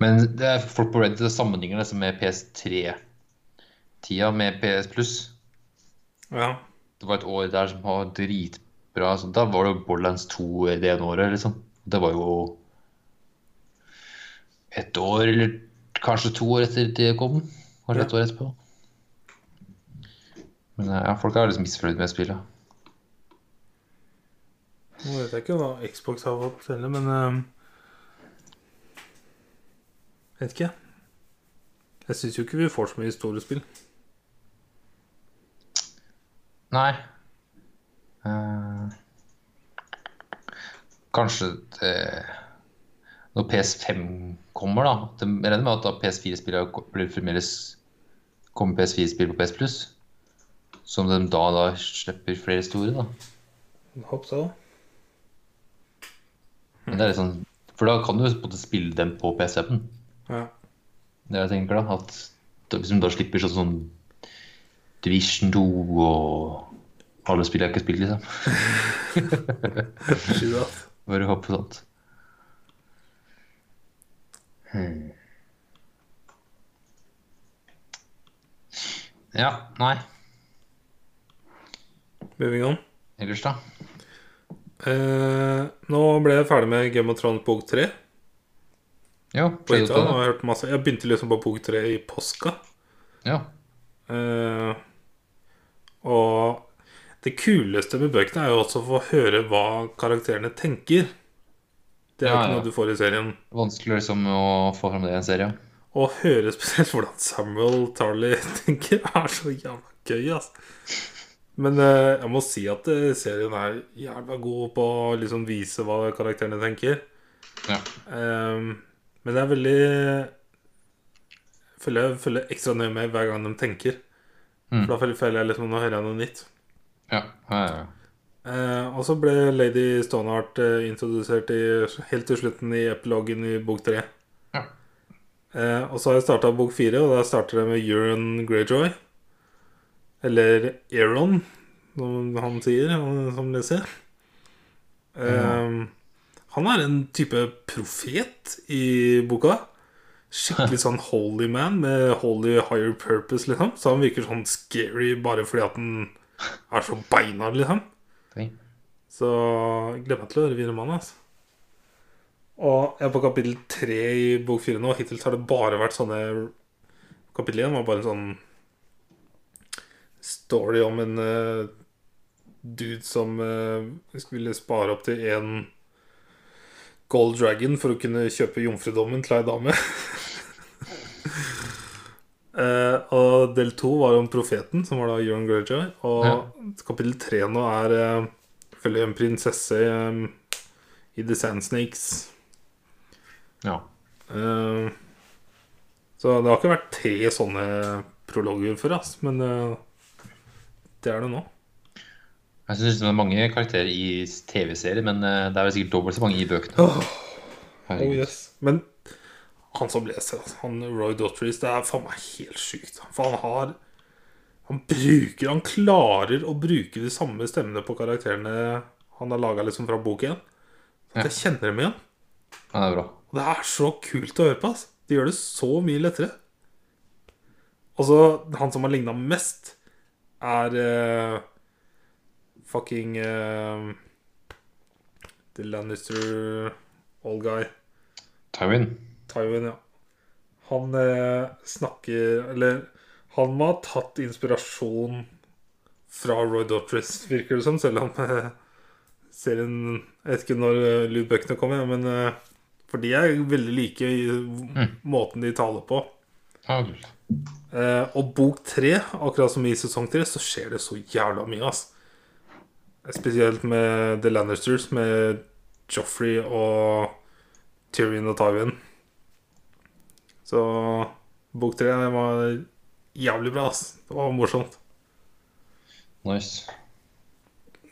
Speaker 2: Men det er folk på Reddit som sammenligner dette med PS3-tida med PS Pluss.
Speaker 1: Ja.
Speaker 2: Det var et år der som var dritbra. Så da var det jo Borderlands 2 i det ene året, liksom. Det var jo et år, eller kanskje to år etter det kom. Kanskje et år etterpå. Men ja, folk er liksom misfornøyd med spillet.
Speaker 1: Nå vet jeg ikke hva Xbox har fått heller, men ehm, eh, Vet ikke. Jeg syns jo ikke vi får så mye store spill.
Speaker 2: Nei. Eh, kanskje det, når PS5 kommer, da det- Jeg regner med at da PS4-spillene blir fremdeles kommer PS4-spill på PS Pluss. Som de da og da slipper flere store, da.
Speaker 1: Håper så.
Speaker 2: Men det er litt sånn, for da kan du jo både spille dem på PS5-en.
Speaker 1: Ja.
Speaker 2: Det jeg tenker da, at da- hvis de da slipper sånn som Division 2 og alle spillene jeg ikke har spilt, liksom.
Speaker 1: Skyld at.
Speaker 2: Bare håpe på sånt. Hmm. Ja, nei.
Speaker 1: Moving on.
Speaker 2: Ellers, da?
Speaker 1: Eh, nå ble jeg ferdig med Game of Thrones bok 3.
Speaker 2: Jo,
Speaker 1: På
Speaker 2: skjedde
Speaker 1: Ita,
Speaker 2: det.
Speaker 1: og jeg, hørte masse. jeg begynte liksom på bok 3 i påska.
Speaker 2: Ja.
Speaker 1: Eh, og det kuleste med bøkene er jo også å få høre hva karakterene tenker. Det er jo
Speaker 2: Ja,
Speaker 1: ikke
Speaker 2: ja.
Speaker 1: noe du får i serien.
Speaker 2: Vanskelig liksom å få fram det i en serie.
Speaker 1: Å høre spesielt hvordan Samuel Tarley tenker, er så jævla gøy, ass. Men eh, jeg må si at eh, serien er jævla god på å liksom vise hva karakterene tenker.
Speaker 2: Ja.
Speaker 1: Ehm, men det er veldig Jeg følger, jeg følger ekstra nøye med hver gang de tenker.
Speaker 2: Mm.
Speaker 1: For da føler- føler jeg liksom nå hører jeg noe nytt.
Speaker 2: Ja. ja, ja.
Speaker 1: Eh, og så ble Lady Stonehart eh, introdusert i, helt til slutten i epilogen i bok tre.
Speaker 2: Ja.
Speaker 1: Eh, og så har jeg starta bok fire, og der starter det med Euron Greyjoy. Eller Euron, som han sier, han- som leser. Eh, han er en type profet i boka. Skikkelig sånn holy man med holy higher purpose, liksom. Så han virker sånn scary bare fordi at han er så beinhard, liksom.
Speaker 2: Ok.
Speaker 1: Så jeg gleder meg til å høre videre om han. Altså. Og jeg er på kapittel tre i bok fire nå. Hittil så har det bare vært sånne Kapittel én var bare en sånn story om en eh, dude som eh, skulle spare opp til én gold dragon for å kunne kjøpe jomfrudommen til ei dame. Eh, og del to var om profeten, som var da Jørn Greyjoy. Og
Speaker 2: Ja.
Speaker 1: kapittel tre nå er eh, følger en prinsesse eh, i The Sand Snakes.
Speaker 2: ja.
Speaker 1: Eh, så det har ikke vært tre sånne prologer før, ass, men eh, det er det nå.
Speaker 2: Jeg syns det er mange karakterer i TV-serier, men eh, det er vel sikkert dobbelt så mange i bøkene.
Speaker 1: Åh, Oh,
Speaker 2: Herregud.
Speaker 1: Men han som leser, altså, han Roy Dotteries, det er faen meg helt sjukt. For han har Han bruker Han klarer å bruke de samme stemmene på karakterene han har laga liksom fra bok én. At jeg kjenner dem igjen.
Speaker 2: Ja, det er bra.
Speaker 1: Og det er så kult å høre på, ass. Det gjør det så mye lettere. Og så, han som har ligna mest, er eh, fucking eh, The Lannister Old Guy.
Speaker 2: Tywin.
Speaker 1: Tywin, ja. Han eh, snakker Eller han må ha tatt inspirasjon fra Roy Dotteris, virker det som, selv om eh, serien Jeg vet ikke når eh, lydbøkene kommer, men eh, For de er veldig like i måten de taler på.
Speaker 2: Ja, Vel.
Speaker 1: Eh, og bok tre, akkurat som i sesong tre, så skjer det så jævla mye, ass. Spesielt med The Lannisters, med Joffrey og Tyrion og Tywin. Så bok tre var jævlig bra, ass. Det var morsomt.
Speaker 2: Nice.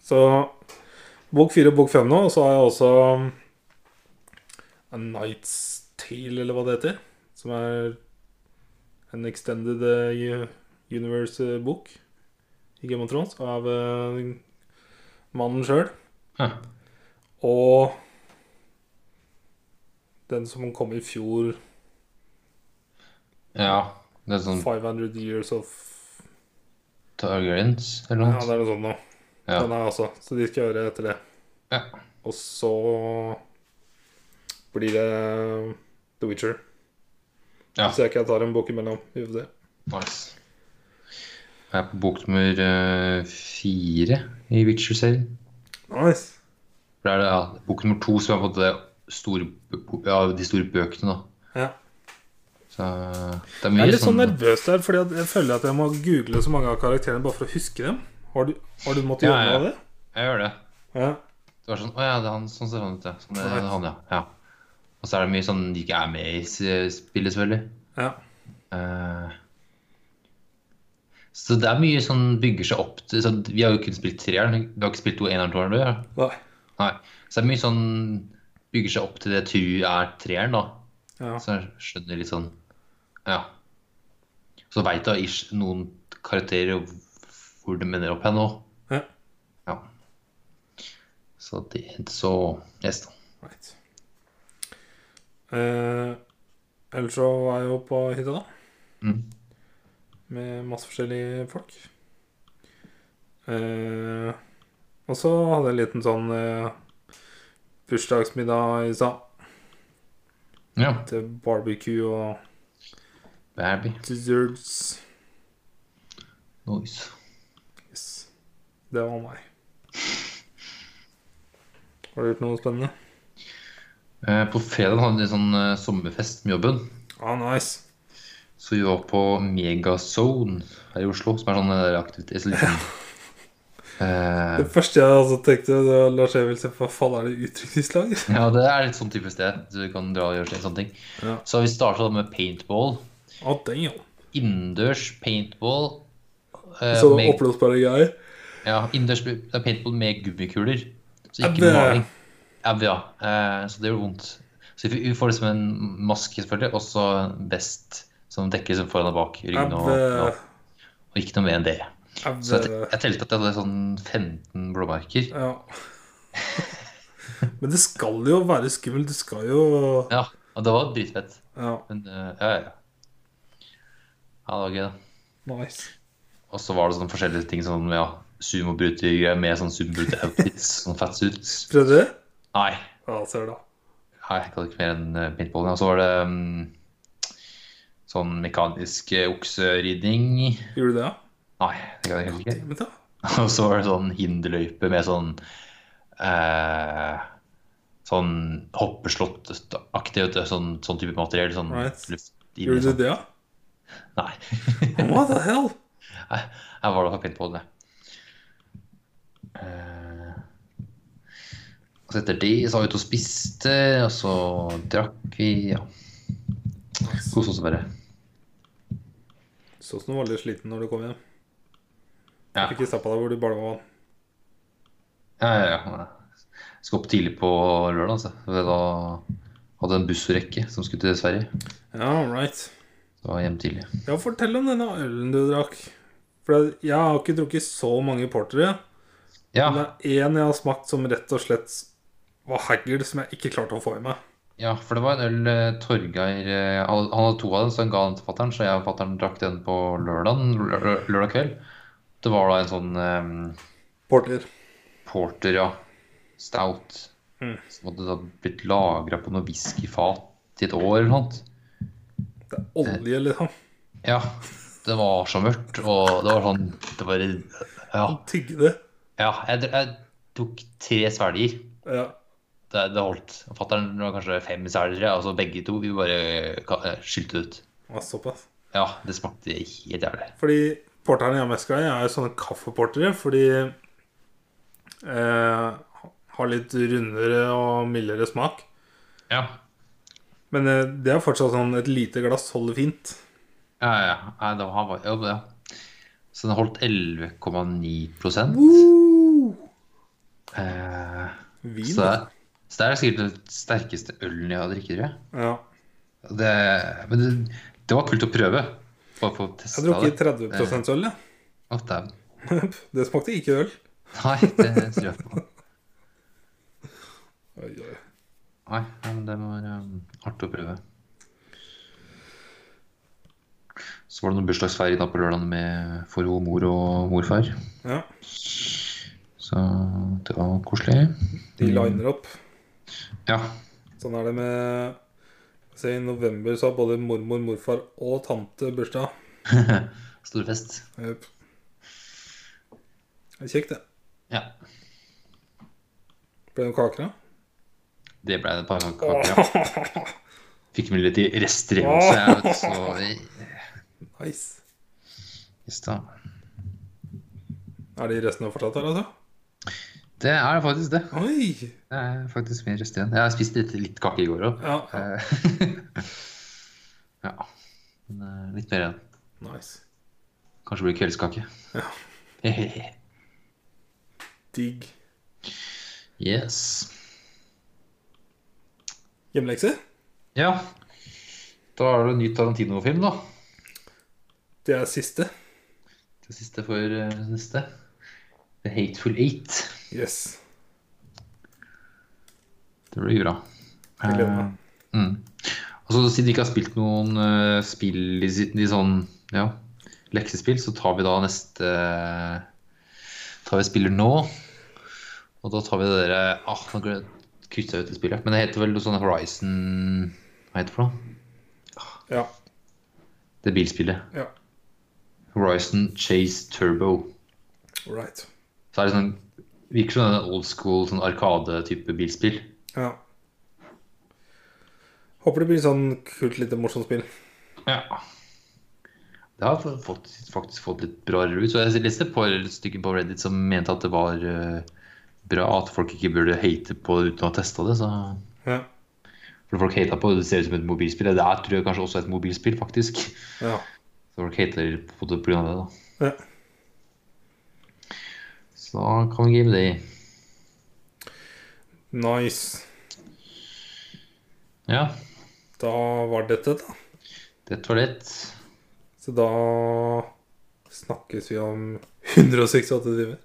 Speaker 1: Så bok fire og bok fem nå, og så har jeg også um, A Night's Tale, eller hva det heter. Som er en extended eh, u- universe-bok i Game of Thrones av eh, mannen sjøl.
Speaker 2: Hæ.
Speaker 1: Og den som kom i fjor,
Speaker 2: Ja. Det er sånn
Speaker 1: 500 Years of
Speaker 2: Targaryens eller
Speaker 1: Ja,
Speaker 2: noe
Speaker 1: det
Speaker 2: sånt.
Speaker 1: er noe sånt nå.
Speaker 2: Ja.
Speaker 1: Den er også. Så de skal gjøre etter det.
Speaker 2: Ja.
Speaker 1: Og så blir det The Witcher.
Speaker 2: Ja.
Speaker 1: Hvis jeg ikke tar en bok imellom. Vi får se.
Speaker 2: Nice. Jeg er på bok nummer eh, fire i Witcher-serien.
Speaker 1: Nice.
Speaker 2: For det er det, ja, bok nummer to som er på en måte store, bo- ja, de store bøkene, da.
Speaker 1: Ja.
Speaker 2: Så det er
Speaker 1: Jeg
Speaker 2: mye
Speaker 1: er litt sånn
Speaker 2: sånn
Speaker 1: nervøs der, fordi at jeg føler at jeg må google så mange av karakterene bare for å huske dem. Har du, har du måttet
Speaker 2: Ja,
Speaker 1: gjøre noe av det?
Speaker 2: Jeg gjør det.
Speaker 1: Ja.
Speaker 2: Det var sånn Å ja, det er han sånn ser han ut, ja. Sånn, det, er han, ja. ja. Og så er det mye sånn de ikke er med i s- spillet, selvfølgelig.
Speaker 1: ja.
Speaker 2: Eh, så det er mye sånn bygger seg opp til så Vi har jo kun spilt treeren. Vi har ikke spilt to eneren, toeren, du? Ja.
Speaker 1: Nei.
Speaker 2: Nei. Så det er mye sånn bygger seg opp til det jeg tror er treeren, da.
Speaker 1: Ja.
Speaker 2: Så jeg skjønner litt sånn Ja. Så veit jeg ish noen karakterer og hvor de ender opp hen nå.
Speaker 1: Ja.
Speaker 2: Ja. Så det Så yes, da.
Speaker 1: Right. Eh, ellers så var jeg jo på hytta, da.
Speaker 2: Mm.
Speaker 1: Med masse forskjellige folk. Eh, og så hadde jeg en liten sånn eh, bursdagsmiddag i stad.
Speaker 2: Ja.
Speaker 1: Til barbecue og
Speaker 2: Baby.
Speaker 1: desserts.
Speaker 2: Nice.
Speaker 1: Yes. Det var meg. Har du gjort noe spennende?
Speaker 2: Eh, På fredag hadde vi en sånn eh, sommerfest med jobben.
Speaker 1: Ah, nice.
Speaker 2: Så vi var på Megazone her i Oslo, som er sånn eh, aktivitet så liksom, eh,
Speaker 1: Det første jeg altså tenkte, det var Lars Emil sitt Hva faen er det utrykningslaget?
Speaker 2: Ja, det er litt sånn type sted. Du kan dra og gjøre sånne ting.
Speaker 1: Ja.
Speaker 2: Så vi starta med paintball.
Speaker 1: Ah, damn.
Speaker 2: Innendørs paintball. eh,
Speaker 1: Så
Speaker 2: med,
Speaker 1: oppblåsbare greier.
Speaker 2: ja, innendørs paintball med gummikuler. Så ikke
Speaker 1: Ebbe.
Speaker 2: med maling. Ebbe, ja. Eh, så det gjorde vondt. Så vi vi får liksom en maske, selvfølgelig, og så en vest som dekker liksom foran og bak i ryggen. Og,
Speaker 1: Ebbe.
Speaker 2: ja, og ikke noe mer enn det. Så jeg,
Speaker 1: Ebbe.
Speaker 2: jeg telte at jeg hadde sånn 15 blåmerker.
Speaker 1: eh, Ja. Men det skal jo være skummelt. Du skal jo
Speaker 2: Ja, og det var dritfett.
Speaker 1: Ja,
Speaker 2: Men eh, ja, ja, ja. Ja, det var gøy, da.
Speaker 1: nice.
Speaker 2: Og så var det sånne forskjellige ting som ja, sumobruter med sånn sumobruter-outfits. sånn fatsuits.
Speaker 1: Prøvde du?
Speaker 2: Nei,
Speaker 1: Ja, ser du da.
Speaker 2: nei, jeg kan ikke mer enn eh, paintballen. Og så var det mm, sånn mekanisk eh, okseridning.
Speaker 1: Gjorde du det, ja?
Speaker 2: Nei, det kan jeg kanskje ikke.
Speaker 1: Dammit, ja.
Speaker 2: Og så var det sånn hinderløype med sånn eh, Sånn hoppeslottaktig, vet du, sånn, sånn type materiell. Sånn
Speaker 1: Right.
Speaker 2: luft inni
Speaker 1: Gjorde
Speaker 2: sånn.
Speaker 1: du det, ja?
Speaker 2: Nei,
Speaker 1: What the hell?
Speaker 2: her var det for paintballen, det. Eh, og så etter det så var vi ute og spiste, og så drakk vi, ja.
Speaker 1: Nice.
Speaker 2: Koste oss bare.
Speaker 1: Så ut som du var litt sliten når du kom hjem.
Speaker 2: Ja.
Speaker 1: Fikk ikke stappa deg hvor du bare var
Speaker 2: Ja, ja, ja. Jeg Skal opp tidlig på lørdag, altså. For Da hadde jeg en bussrekke som skulle til Sverige.
Speaker 1: Ja, right.
Speaker 2: Så var jeg hjemme tidlig.
Speaker 1: Ja, fortell om denne ølen du drakk. For jeg har ikke drukket så mange portere.
Speaker 2: Ja,
Speaker 1: Men det er én jeg har smakt som rett og slett var hagl, som jeg ikke klarte å få i meg.
Speaker 2: ja, for det var en øl eh, Torgeir eh, Han han hadde to av dem, så han ga den til fatter'n. Så jeg og fatter'n drakk den på lørdag, lørdag kveld. Det var da en sånn eh,
Speaker 1: Porter.
Speaker 2: porter, ja. Stout.
Speaker 1: Mm.
Speaker 2: Som hadde da blitt lagra på noe whiskyfat i et år eller noe. sånt.
Speaker 1: Det er olje, liksom.
Speaker 2: Ja. Det var så mørkt, og det var sånn Det var Ja.
Speaker 1: Tygge det.
Speaker 2: Ja, jeg, dr- jeg tok tre svelger.
Speaker 1: Ja.
Speaker 2: Det, det holdt. Fatteren var kanskje fem svelger, ja, og så begge to. Vi bare ka- eh, skylte ut.
Speaker 1: Ja, såpass.
Speaker 2: Ja, det smakte helt jævlig.
Speaker 1: Fordi porterne i Ameska er jo sånne kaffeportere, fordi eh, har litt rundere og mildere smak.
Speaker 2: Ja,
Speaker 1: Men eh, det er fortsatt sånn et lite glass holder fint.
Speaker 2: ja, ja. Nei, det var, ja, det- ja. Så den holdt 11,9
Speaker 1: Woo!
Speaker 2: eh,
Speaker 1: Vin,
Speaker 2: så,
Speaker 1: da.
Speaker 2: det- så det er sikkert den sterkeste ølen jeg har drukket, tror jeg.
Speaker 1: Ja.
Speaker 2: Det, men det, det var kult å prøve. Bare for å
Speaker 1: Jeg
Speaker 2: teste
Speaker 1: har drukket
Speaker 2: det.
Speaker 1: 30 øl, jeg.
Speaker 2: Å, dæven.
Speaker 1: Det smakte ikke øl.
Speaker 2: Nei, det tror jeg på.
Speaker 1: Oi, oi.
Speaker 2: Nei, nei, men det var um, artig å prøve. Så var det noen bursdagsfeiring da på lørdagen med for mor og morfar.
Speaker 1: Ja,
Speaker 2: Så det var koselig. Mm.
Speaker 1: de liner opp.
Speaker 2: Ja.
Speaker 1: Sånn er det med Se, I november så har både mormor, morfar og tante bursdag.
Speaker 2: Stor fest.
Speaker 1: Jep. Det er kjekt, det.
Speaker 2: Ja.
Speaker 1: Ble det noen kaker, da?
Speaker 2: Det ble et par kaker. ja.
Speaker 1: Åh,
Speaker 2: Fikk med litt i rester hjemme også. Jeg vet, så i-
Speaker 1: nice.
Speaker 2: i stad.
Speaker 1: Er de restene fortsatt her, altså?
Speaker 2: Det er faktisk det.
Speaker 1: Oi!
Speaker 2: Det er faktisk mye rester igjen. Jeg spiste litt, litt kake i går òg.
Speaker 1: Ja, ja.
Speaker 2: ja. Men eh, litt mer igjen.
Speaker 1: nice.
Speaker 2: Kanskje blir det kveldskake. Ja.
Speaker 1: Digg.
Speaker 2: yes.
Speaker 1: Hjemmelekse?
Speaker 2: Ja. Da er det en ny Tarantino-film, da.
Speaker 1: Det er siste.
Speaker 2: Det siste for eh, neste. The Hateful Eight.
Speaker 1: Yes.
Speaker 2: Det blir bra.
Speaker 1: Jeg gleder meg.
Speaker 2: Eh, Mm. Og så Siden vi ikke har spilt noen eh, spill i, si- i sånn ja, leksespill, så tar vi da neste eh, Tar vi spiller nå. Og da tar vi det dere ah, Nå gled- kutter jeg ut det spillet. Men det heter vel noe sånn Horizon Hva heter det for noe?
Speaker 1: Ja.
Speaker 2: Det bilspillet.
Speaker 1: ja.
Speaker 2: Horizon Chase Turbo.
Speaker 1: Right.
Speaker 2: Så er det sånn Virker som en old school sånn arkade-type bilspill.
Speaker 1: Ja. Håper det blir sånn kult, lite morsomt spill.
Speaker 2: Ja. Det har fått, faktisk fått litt bra reviews. Og jeg leste et par stykker på Reddit som mente at det var eh, bra at folk ikke burde hate på det uten å ha testa det. Så.
Speaker 1: Ja.
Speaker 2: For folk hata på det, det ser ut som et mobilspill. Det er tror jeg kanskje også et mobilspill, faktisk.
Speaker 1: ja.
Speaker 2: Så folk hater på det pga. det, da.
Speaker 1: Ja.
Speaker 2: Så da kan vi give det i.
Speaker 1: Nice.
Speaker 2: Ja,
Speaker 1: Da var dette, da.
Speaker 2: det var det.
Speaker 1: Så da snakkes vi om 168 timer.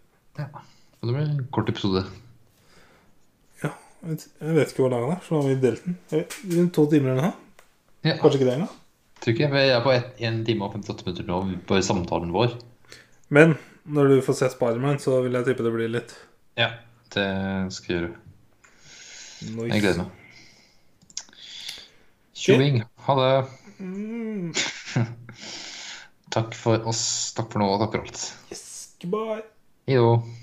Speaker 2: Og det ble en kort episode.
Speaker 1: Ja. Jeg vet- jeg vet ikke hvor lang den er, så da har vi delt den. Jeg vet- Rundt to timer eller noe.
Speaker 2: Ja,
Speaker 1: Kanskje ikke det engang.
Speaker 2: tror ikke jeg. Vi er på 1 time og 58 minutter nå, bare samtalen vår.
Speaker 1: Men når du får sett Spiderman, så vil jeg tippe det blir litt
Speaker 2: Ja, det skal jeg gjøre.
Speaker 1: noise.
Speaker 2: Jeg gleder meg. Tjoing. Ha det.
Speaker 1: Mm,
Speaker 2: Takk for oss. Takk for nå, og takk for alt.
Speaker 1: yes, goodbye.
Speaker 2: Hei då.